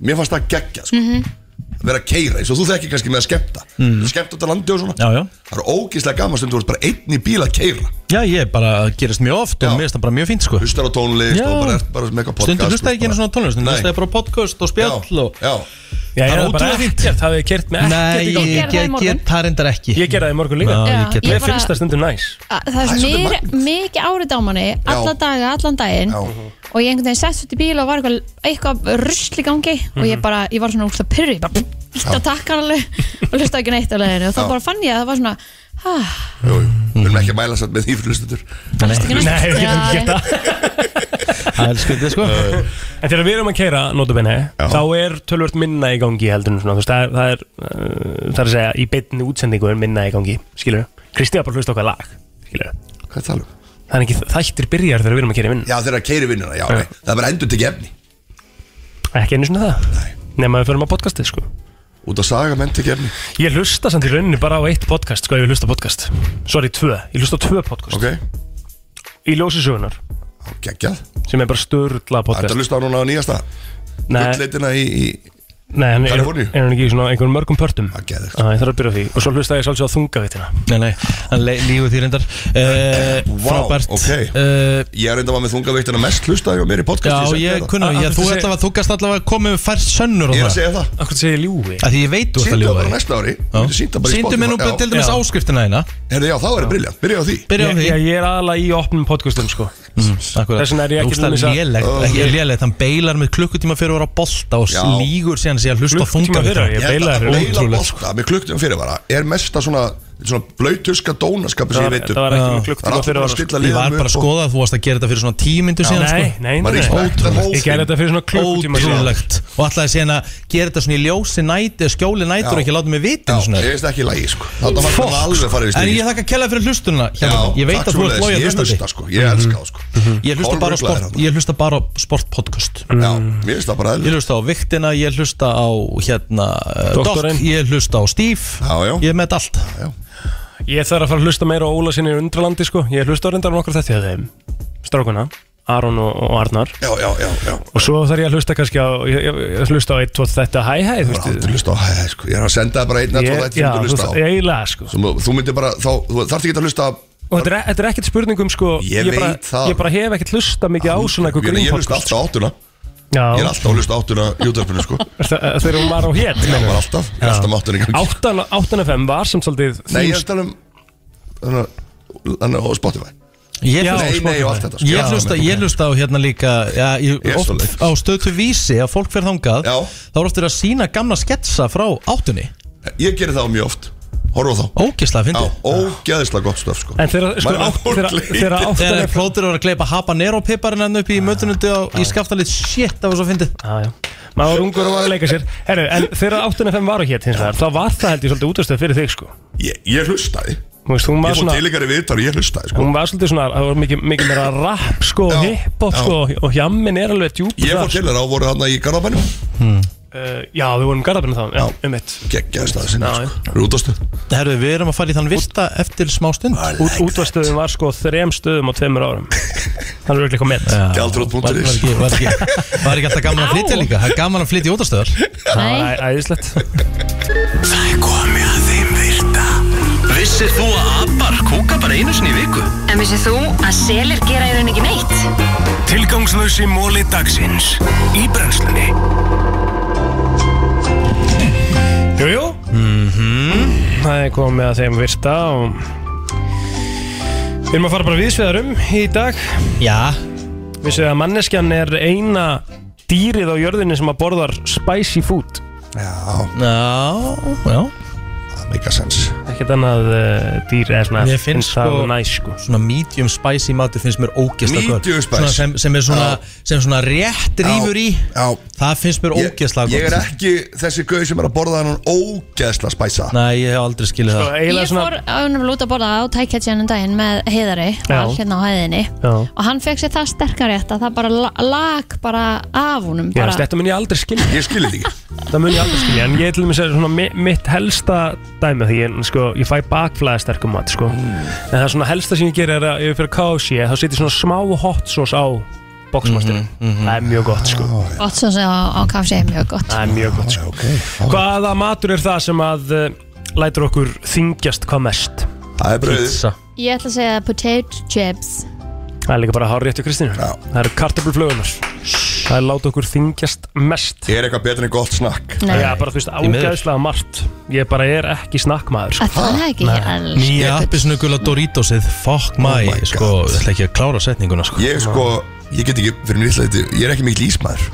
H: mér fannst það geggja sko.
A: Mhm.
H: að vera að keira eins og þú þekkir kannski með að skemmta mm. skemmta út að landi og svona
A: já, já.
H: það er ógeðslega gaman stund þú ert bara einn í bíl að keira
A: Já, ég bara gerist mjög oft og mér finnst það bara mjög fínt sko
H: Hlustar á tónlist
A: Já.
H: og bara ert bara með eitthvað podcast
A: Stundur hlusta ekki einu svona tónlist Stundur
H: Nei.
A: hlusta bara á podcast og spjall og
H: Já,
C: Já, ég
A: Það er
C: er bara
A: ótrúlega fínt.
C: ekkert, hafið þið kert með
A: Nei,
C: ekkert í gangi.
A: ég
B: gerði það í
A: get
B: morgun.
A: get- það reyndar ekki
C: Ég gerði það í morgun líka
A: Já, ég
B: Já,
A: get
B: ég
C: Mér
B: bara-
C: finnst það stundum næs
B: A- Það er
C: svolítið
B: mér, mikið árið á manni alla daga, allan daginn og ég einhvern veginn sett út í bíl og var eitthvað, eitthvað rusl í gangi og ég bara, ég var svona úrst að pyrri, ég bara ítt á takkar alveg og hlusta ekki neitt á leiðinu og þá
H: Já.
B: bara fann ég að það var svona ah,
H: jú, jú. við erum ekki að mæla satt með því fyrir hlustendur
B: Nei,
C: Nei, við getum
B: Já,
C: ekki gert það Það er skuldið sko
H: Eh.
C: En þegar við erum að keira notabenni Þá er tölvört minna í gangi heldur en svona, þú veist, Það er, það er, uh, það er að segja Í beinni útsendingu er minna í gangi Skilur Kristi var bara hlust okkar lag Skilur
H: Hvað er það alveg?
C: Það er ekki þættir byrjar þegar við erum að keira vinna
H: Já, þeirra keiri vinnuna, já, nei. það er bara endur til gefni
C: Ekki einu svona það Nei Nefn að við förum að podcastið sko
H: Út að saga menn til gefni
C: Ég hlusta samt í rauninni bara á eitt podcast Sko ef ég hlusta á podcast Sorry, tvö Ég hlusta á tvö podcast
H: Ok.
C: Í ljósi sögunar
H: Geggjað
C: Sem er bara störla
H: Þetta
C: podcast
H: hlusta á núna á nýjasta
C: Nei.
H: Gullleitina í, í
C: Nei, hann er,
H: Kaliforníu? Ah,
C: er hann ekki í svona einhverjum mörgum pörtum
H: Það geður
C: Það þarf að byrja á því Og svo hlusta ég svolítið á þungavittina
A: Nei, nei, hann lífið því reyndar uh,
H: Vá,
A: Frábært
H: ok Ég er enda var með þungaveiktina mest hlustaði á mér í
A: Eh, Já,
H: podcast
A: ég kunna,
C: Ah,
A: ég, þú, ætla, þú gast allavega komið með færst sönnur á
H: Ég er að
A: það
H: segja það
C: Akkur segir ég ljúi
A: Af Því ég veit þú ert að
H: Sýndu það
A: ljúga
H: bara
A: því.
H: næsta ári
A: Já.
H: Sýndu bara í
A: Sýndu mér nú
H: Spotify.
A: til dæmis
H: Já.
A: áskriftina þína
H: Herðu, já, þá er það briljant Byrja á því
A: Byrja á
C: Ég,
A: því
C: ég, ég er aðalega í opnum podcastum sko Þess vegna er ég ekki til
A: Rústa
C: dæmis að- Ó.
A: lélegt, ekki lélegt Hann beilar með klukkutíma fyrir að vera á bolta og
H: Já.
A: slígur síðan síðan hlusta á
C: Klukkutíma
A: þunga
C: fyrir, ég
H: Ég held að
C: beilaði fyrir
H: Beila
C: ótrúlega sko.
H: bolta með klukktum fyrirvara Er mesta svona Svona blautuska dónaskapu sem
C: Það
H: ég
C: var-
H: veit um
C: það var sko. ekki
H: Já.
C: með klukkutíma
H: Það er alltaf
C: fyrirvara,
H: búin að stilla
A: Ég var
H: liðum
A: bara að
H: upp og-
A: skoða að þú varst að gera þetta fyrir svona tímyndu síðan
C: Nei,
A: sko.
C: nei, nei,
H: Maður
C: nei.
H: respectar
C: Ég gerði þetta fyrir svona klukkutíma síðan
A: Ótrúlegt Og alltaf síðan að gera þetta svona í ljósi næti skjóli nætur og
H: Já.
A: ekki láta mig vita einu
H: Já,
A: sinni.
H: ég veist ekki í lagi sko Þetta var
A: Fokk,
H: svona alveg farið í
A: En ég
H: stíð
A: þakka kella fyrir hlustunna
H: Já,
A: Hjálmar. Ég
H: takk
A: veit að þú ert
H: svoleiðis.
A: lója
H: Ég hlusta sko, ég elska það sko
A: Ég hlusta bara á
H: Kolbruglaðir
A: sport, ég hlusta bara á sportpodcast
H: þarna. Já, mér finnst það bara
A: Ég
H: eðlur
A: hlusta á Viktina, ég hlusta á hérna eh, Doc,
C: Doktorinn.
A: ég hlusta á Steve
H: Já, já,
A: Ég er með þetta allt
C: Ég þarf að fara að hlusta meira á Óla sinni í undralandi sko Ég hlusta á reyndar um okkur þetta hjá þeim Strákuna, Aron og, og Arnar
H: já, já, já, já
C: Og svo þarf ég að hlusta kannski á Ég, ég, ég hlusta á eitt, tvo, þetta, hæ, hæ
H: Ég
C: Þú
H: var aldrei að hlusta á hæ, hæ, sko Ég er að senda það bara einn að tvo
C: Ég-
H: þætti
C: Já,
H: sem þú
C: þú
H: hlusta á
C: veist, eiginlega sko
H: Sem þú- Þú myndir bara, þá, þú þarft ekki að hlusta á-
C: Og þetta er, þetta er ekkert spurningum sko
H: Ég
C: bara,
H: veit það.
C: ég bara hef ekkert hlusta mikið á svona
H: Ég
C: eitthvað
H: ég hlusta
C: grínpodcast
H: alltaf á áttuna Ég er
C: Já,
H: alltaf að hlusta á áttuna í útvarpinu sko Já,
C: þe- þegar hún var á hér
H: maður alltaf, ég er alltaf með áttuna í gangi
C: Áttan, áttan FM var sem svolítið
H: Nei, ég er
C: þín-
H: að tala um Þannig að- þannig að á Spotify
A: Ég
C: Já,
A: hlusta-
H: Nei, nei, og allt þetta sko.
A: Ég
H: Já,
A: hlusta,
H: menn,
A: ég
H: ok.
A: hlusta á hérna líka já, ég,
H: Ég er
A: oft,
H: svoleiðis.
A: Á stöðtu vísi að fólk fer þangað
H: Já.
A: Þá er oft verið að sína gamla sketsa frá áttunni
H: Ég gerir það mjög oft Horfa á þá
A: Ógislega
H: Já,
A: fyndið
H: ógeðislega gott stöf sko
C: En þegar sko,
H: Maður er
C: átt-
H: hálfleitur.
C: þegar- þegar áttan
A: Þegar
C: FM
A: plótur voru að gleypa habanero piparinn hann upp í mötunundi á, í skaftalit Shit, það var svo fyndið
C: Já, já. Maður var ungur og var að leika sér Herru, en þegar áttan FM var á hér hins vegar Þá var það held ég svolítið útastöð fyrir þig sko
H: Ég, ég hlustaði
C: Þú veist, hún var
H: Ég fór
C: svona
H: til ykkar í viðtal og ég hlustaði sko.
C: Hún var svolítið svona, það var mikið, mikið meira rap sko, og hip-hop
H: já.
C: sko, og hjammin er alveg djúpt Eh,
H: Ég fór til þeirra og voru þarna í Garðabænum
A: Hmm.
C: Já, við vorum garðabinu þá, já, um mitt
H: Gekkjaði staðið sinni Rútastu
A: Herru, við erum að fara í þann virta eftir smá stund
C: Út, Útvarstöðum var sko þrem stöðum á tveimur árum Það er auðvitað met
A: Var, var, ekki, var, ekki, var ekki alltaf gaman að flytja líka Það er gaman að flytja í útastöðar
C: Nei Æðislegt
D: Það er komið að þeim virta Vissir þú að abar kúka bara einu sinni í viku?
M: En vissið þú að selir gera í raun ekki neitt?
D: Tilgangslösi móli dagsins Í brennslunni
C: Jú, jú
D: Mhm.
C: Það er komið að þeim virta og Við erum að fara bara viðsveðarum í dag
A: Já
C: Vissu að manneskjan er eina dýrið á jörðinni sem að borðar spicy food
H: Já
A: Já, já
H: Það meika sens
C: Ekkert annað uh, dýr eða svona
A: Mér finnst
C: það
A: sko,
C: næs sko
A: svona medium spicy matur finnst mér ógeðslega gott.
H: Medium spice.
A: Svona sem, sem er svona,
H: Já.
A: sem svona rétt rýfur í
H: já.
A: Það finnst mér
H: Ég,
A: ógeðslega
H: ég
A: gott
H: er ekki þessi gauð sem er að borða hann ógeðsla spæsa
A: Nei, ég hef aldrei skilið
H: Sko,
A: það
B: Ég fór ánum lúta að borða á tækjatsjönum daginn með heiðari
A: Já.
B: var hérna á hæðinni
C: Já
B: og hann fekk sér það sterkar rétt að það bara la- lag bara af honum
C: Já,
B: bara.
C: þetta mun ég aldrei skilja
H: Ég skilja því
C: Það mun ég aldrei skilja En ég til dæmis er svona mi- mitt helsta dæmi Því ég, sko, ég fæ bakflæða sterkum mat sko.
H: Mm.
C: En það er svona helsta sem ég gerir er að Ef ég fyrir kási Þá setjum svona smá hot sauce á Boxmasterinn
H: Mhm,
C: Það er mjög gott sko
H: Ah,
B: Gott svo sem á, á KFC er mjög gott
C: Það er mjög gott sko Hvaða matur er það sem að uh, Lætur okkur þingjast hvað mest
H: Það er brauðið.
B: Ég ætla að segja potato chips
C: Það er líka bara hár réttu Kristínu Það eru kartöfluflögunar Það er láta okkur þingjast mest
H: Er eitthvað betur en gott snakk
C: Nei. Já, bara þú veist,
H: Því miður.
C: ágæðslega margt Ég bara er ekki snakkmaður sko.
B: Að það er ekki, ég elska
A: Nýja appisnugula Doritosið
C: Oh
A: Fuck my, sko, ég ætla ekki að klára setninguna sko.
H: Ég sko, ég get ekki fyrir mér illa þetta Ég er ekki mikil ísmaður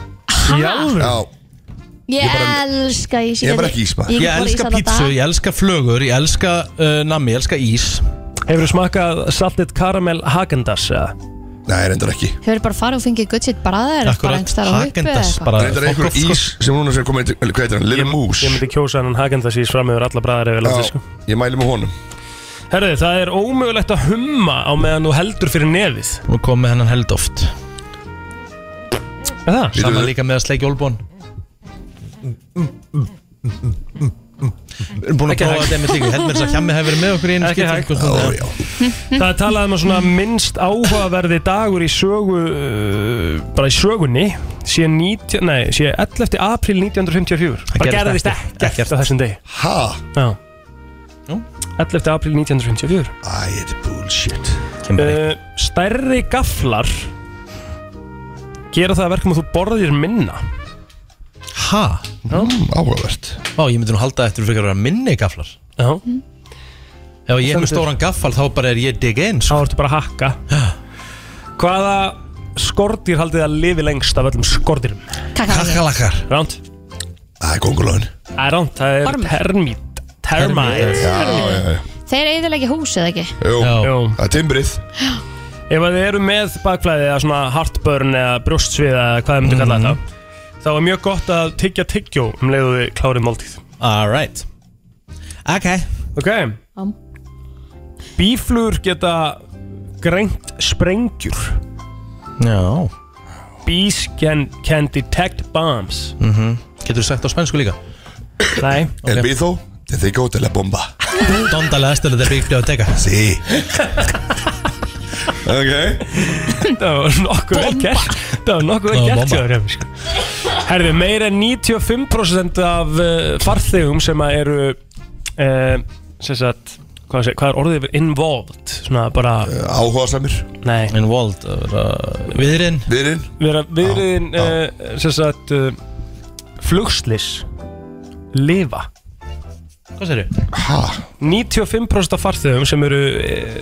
C: Já,
H: já
B: Ég elska ís
H: Ég er
B: get-
H: bara ekki
B: ég
H: ísmaður.
A: Ég
B: get borðað ís
A: elska
B: alla
A: pítsu,
B: daga.
A: ég elska flögur, ég elska uh, nammi, ég elska ís
C: Hefur þú smakað saltit karamel Hagendas?
H: Nei, reyndar ekki
B: Þau eru bara farið og fengið gutt sitt bara þeir bara einhverstaðar á huppu eða eitthvað.
H: Reyndar einhver ís sem núna sem komið Hvað heitir hann? Little Moose
C: Ég myndi kjósa hennan Hagendas ís fram yfir alla bræðar yfir landið sko.
H: Ég mæli með honum
C: Herðu, það er ómögulegt að humma á meðan þú heldur fyrir nefið
A: Nú kom með hennan held oft
C: Er það?
A: Sama líka með að sleikja olbón Við erum búin að
C: Ekki
A: prófa
C: hægt.
A: þetta með líka Held mér þess að hjemmi hefur verið með okkur í einu
C: Ekki
A: skipti,
C: hægt.
A: eitthvað svona.
C: Það er talað um að svona minnst áhugaverði dagur í sögu uh, bara í sögunni sé, 90, nei, sé 11. april 1954
A: Það
C: bara
A: gerðist
C: gerðist
A: ekki.
C: ekkert á þessum degi
H: Ha?
C: Já 11. april 1954
H: Æ, þetta er bullshit
C: uh, Stærri gaflar gera það að verkum að þú borðir minna
A: Ha?
H: Mm, áhugavert
A: Ó, ég myndi nú halda eftir fyrir að vera minni gaflar
C: Já
A: Ef ég er
C: Stendur.
A: með stóran gaffal þá bara er ég dig sko. eins
C: Þá ertu bara að hakka Hvaða skordýr haldið þið að lifi lengst af öllum skordýrum?
A: Kakalakar
C: Ránt
H: Það er kongulóðin
C: Það er ránt, það er
B: Ormur.
C: termít Termít
H: Já, já, já
B: Þeir eiginlega húsið ekki
H: Jú,
C: Jú.
H: það er timbrið
C: Ef að þið eru með bakflæði eða svona heartburn eða brjóstsvið eða hvað þið myndu kalla
A: Mhm.
C: þetta þá er mjög gott að tyggja tyggjó um leiðu þið klárið máltíð
A: Alright Ok
C: Ok
B: Am.
C: Bíflugur geta greint sprengjur
A: Já
C: Bees can, can detect bombs
A: mm Getur þú sagt á spænsku líka?
C: Nei
H: El Bizo, te digo de la bomba
A: Donda la estela de big biblioteca
H: Sí Ok
C: Það var nokkuð vel gert Það var nokkuð vel
A: Það var
C: gert
A: bomba.
C: hjá þeim sko. Herðu, meira en 95% af uh, farþegum sem að eru uh, sem sagt, hvað, sé, hvað er orðið yfir involved svona bara
H: Áhuga samir
C: Nei
A: Involved uh, Viðrin
H: Viðrin
C: vera viðriðin uh, sem sagt uh, flugslis lifa
A: Hvað sér þau?
H: Hæ?
C: 95% af farþegum sem eru uh,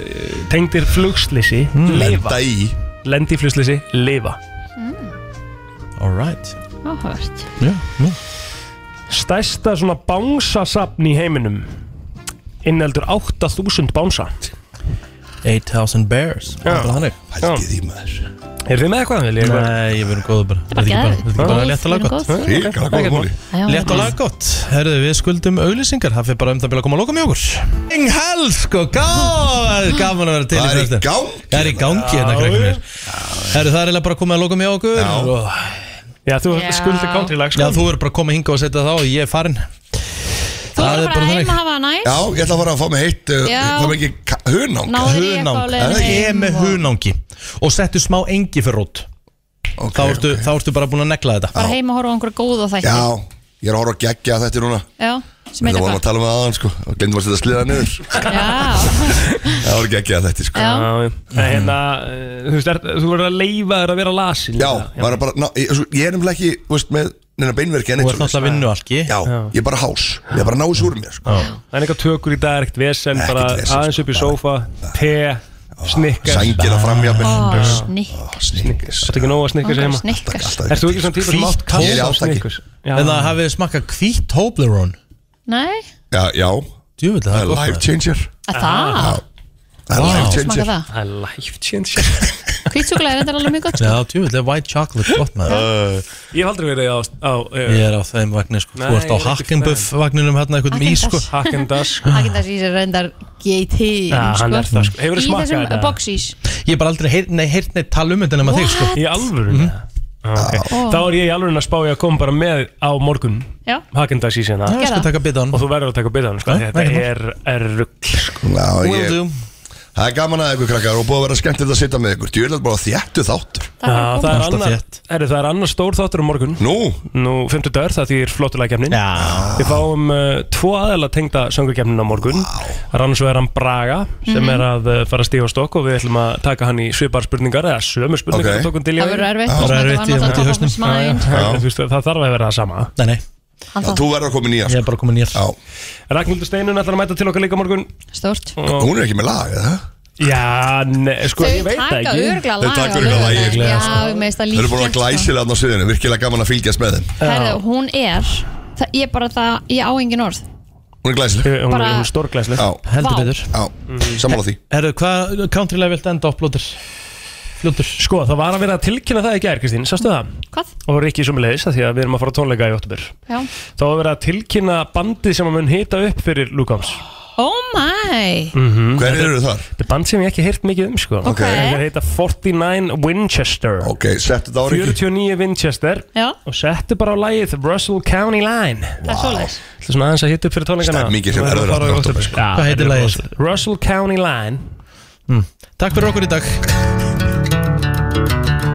C: tengdir flugslisi
A: Hmm.
C: lifa
H: Lenda í
C: lendi í flugslisi lifa
A: Alright
B: Áhört
A: Hmm. Já, já
C: Stærsta svona bánsasafn í heiminum Inneldur 8000 bánsa
A: 8000 bears
C: Já.
A: Þannig
H: Pældi því maður
C: Er þið með eitthvað?
A: Nei, ég verðum góð bara
C: bara
A: Þetta er
C: geðveikt.
A: ekki bara, bara
C: Góð,
A: létt og
C: við erum
A: laggott
C: góð. Ríkalega góð
A: Ekkert
C: múli.
A: mál.
C: Já,
A: Létt og
C: já.
A: laggott Herðu við skuldum auglýsingar Það fyrir bara um það bila að koma að loka með okkur King Hell sko Gáð Gaman að vera til í
H: Það er í
A: fyrstu.
H: gangi
A: Það er í gangi
H: Já,
A: þetta krakkanir Herðu það er eiginlega bara að koma að loka með okkur Og-
C: Já, þú
B: Já. skuldar country lag, sko.
A: Já, þú verður bara að koma hinga og setja það á og Ég er farin
B: Þú verður bara heima að hafa það næst
H: Já, ég ætla að fara að fá mig heitt uh,
B: Já.
H: Fá mig ekki ka- hunang
B: Náður í eitthvað á
A: hunang
B: leiðinni
A: Ég er
B: heim
A: með
B: og-
A: hunangi Og settu smá engi fyrir rót þá, ertu, þá ertu bara búin að negla þetta
B: Bara heima að horfa á einhverja góða þætti
H: Já, ég er að horfa að gegja þetta núna
B: Já, sem
H: Þetta
B: heitir
H: vorum
B: hvað
H: að tala um það aðan sko Og glindum að setja sliða niður Það voru gegja þetta sko
B: Já.
C: Nei, hérna, eh, þú veist, er, þú verður að leifa þér að vera lasin
H: Já, bara, bara, ná, ég, svo- ég er nefnilega ekki, þú veist, með neina beinverki en
A: Þú ert náttúrulega vinnualki
H: Já, ég er bara hás, ég er bara náðs úr mér sko.
C: Það er eitthvað tökur í dag, ekkert vesen,
H: Ekkert sko.
C: bara
H: vesen,
C: aðeins upp í sófa, te, snikkar
H: Sængina fram, jafnvel. Ó,
B: snikk
H: Snikkis
C: Þetta er ekki nóg að snikka sig heima
B: Snikkar
C: Erst þú ekki svona típa sem átt
H: Ég er í
C: kalla
H: átaki.
C: snikkus? Já.
A: En það hafið smakka hvít Toblerone
B: Nei,
H: Já, já
A: Djúvill, það
H: Það
A: er
H: er
A: gott
H: life
A: maður.
H: changer
B: að það
H: Það er
A: Vá.
H: life
B: Smaka
H: changer
B: það
C: Það er life changer
B: Hvítsúkulega er þetta alveg mjög gott sko.
A: Já, djúvill, er white chocolate gott maður
C: Ég hef aldrei verið á, á eh,
H: Uh.
A: Ég er á þeim vagnir sko Þú
C: Uh, Nei, ég
A: ert á
C: er ekki
A: Hackenbuff vagninum hérna eitthvað með ís sko
B: Hackendash.
C: Hakendas
B: Agendas ís er reyndar GT
A: Já, hann er það, sko. Hefurðu
B: Í
A: smakkað
B: þessum
A: þetta?
B: boxís
A: Ég er bara aldrei heyrt neitt heyr, nei, tala um þetta nema þig sko
B: What?
C: Í alvöru mm okay.
B: Ó.
C: Þá er ég í alvöru að spá ég að koma bara með á morgun
B: Já.
C: Hakendas í sinna
A: Já, ég skal Gerðu það. taka bita á hann.
C: Og þú verður að taka bita á hann sko.
A: Já,
C: Þetta
A: ekkert mál.
C: er, er rugg sko.
H: Já,
C: Will do.
H: ég Það er gaman að ykkur krakkar og búið að vera skemmtilegt að sitja með ykkur Djúlega bara þjættu þáttur
C: Já, það, er
H: Alltaf
C: annar,
H: þétt.
C: er, það er annar stór þáttur um morgun
H: Nú?
C: Nú, 50 dagur, það þýr flottulækjafnin
A: Já
C: Við fáum uh, tvo aðeila tengda söngurkjafnin á morgun Það er annars vegar hann Braga sem
B: Mhm.
C: er að uh, fara að stífa stokk og við ætlum að taka hann í svipar spurningar eða sömu spurningar
A: Ok.
C: okay. tókum til
B: Það verður erfitt,
C: Það
B: Það verður
C: verður
B: þetta var erfitt, ég náttúrulega veit í top of hausnum. his mind.
H: Já.
C: Það þarf að vera það sama
A: Nei, nei
B: Hann þarf-
H: Þú verður að koma nýja
A: Ég er bara komin nýjar
C: Ragnhildur Steinun ætlar að mæta til okkar líka á morgun
B: Stort
H: Hún er ekki með lag, eða?
C: Já, ne, sko,
B: Þau
C: ég veit það
B: taka
C: ekki
B: örugglega lag
H: Þau taka
B: á
H: örugglega lag,
B: laugardaginn.
H: örugglega, sko.
B: Já, mér finnst það
H: Þau eru búin að
B: líklegt
H: glæsilega þarna á sviðinu, virkilega gaman að fylgjast með þeim
B: Herðu, hún er það, Ég bara það, ég á engin orð
H: Hún er glæsileg
B: Hún er- Bara- hún er
C: stórglæsileg Mhm.
A: Heldur
B: Vá.
A: betur
H: Já, sammála því
A: Herru, hvað countrylega vilt enda upplótir? Fljótur
C: Sko, það var að vera að tilkynna það í gær, Kristín, sástu það?
B: Hvað?
C: Og Rikki sumulegis, því að við erum að fara á tónleika í oktober
B: Já.
C: Þá var að vera að tilkynna bandið sem að mun hita upp fyrir Lukams
B: Oh my
C: mm -hmm.
H: Hver eru þar?
C: Þetta er band sem ég hef ekki heyrt mikið um sko
B: Ok.
C: Það heita 49 Winchester
H: Ok, settu þetta á
C: Rikki 49 Winchester
B: Já.
C: Og settu bara á lagið Russell County Line
B: Það er svoleiðis
C: Það er svona aðeins að hita upp fyrir tónleikana
H: Stemmingin sem
C: Það
H: verður
C: að Mm. fara
H: þarna í
C: á
H: október,
C: október,
H: sko.
C: sko. Já,
A: Hvað
C: þetta
A: heitir
C: er
A: lagið?
C: rosa- Russell County Line
A: Takk fyrir okkur í dag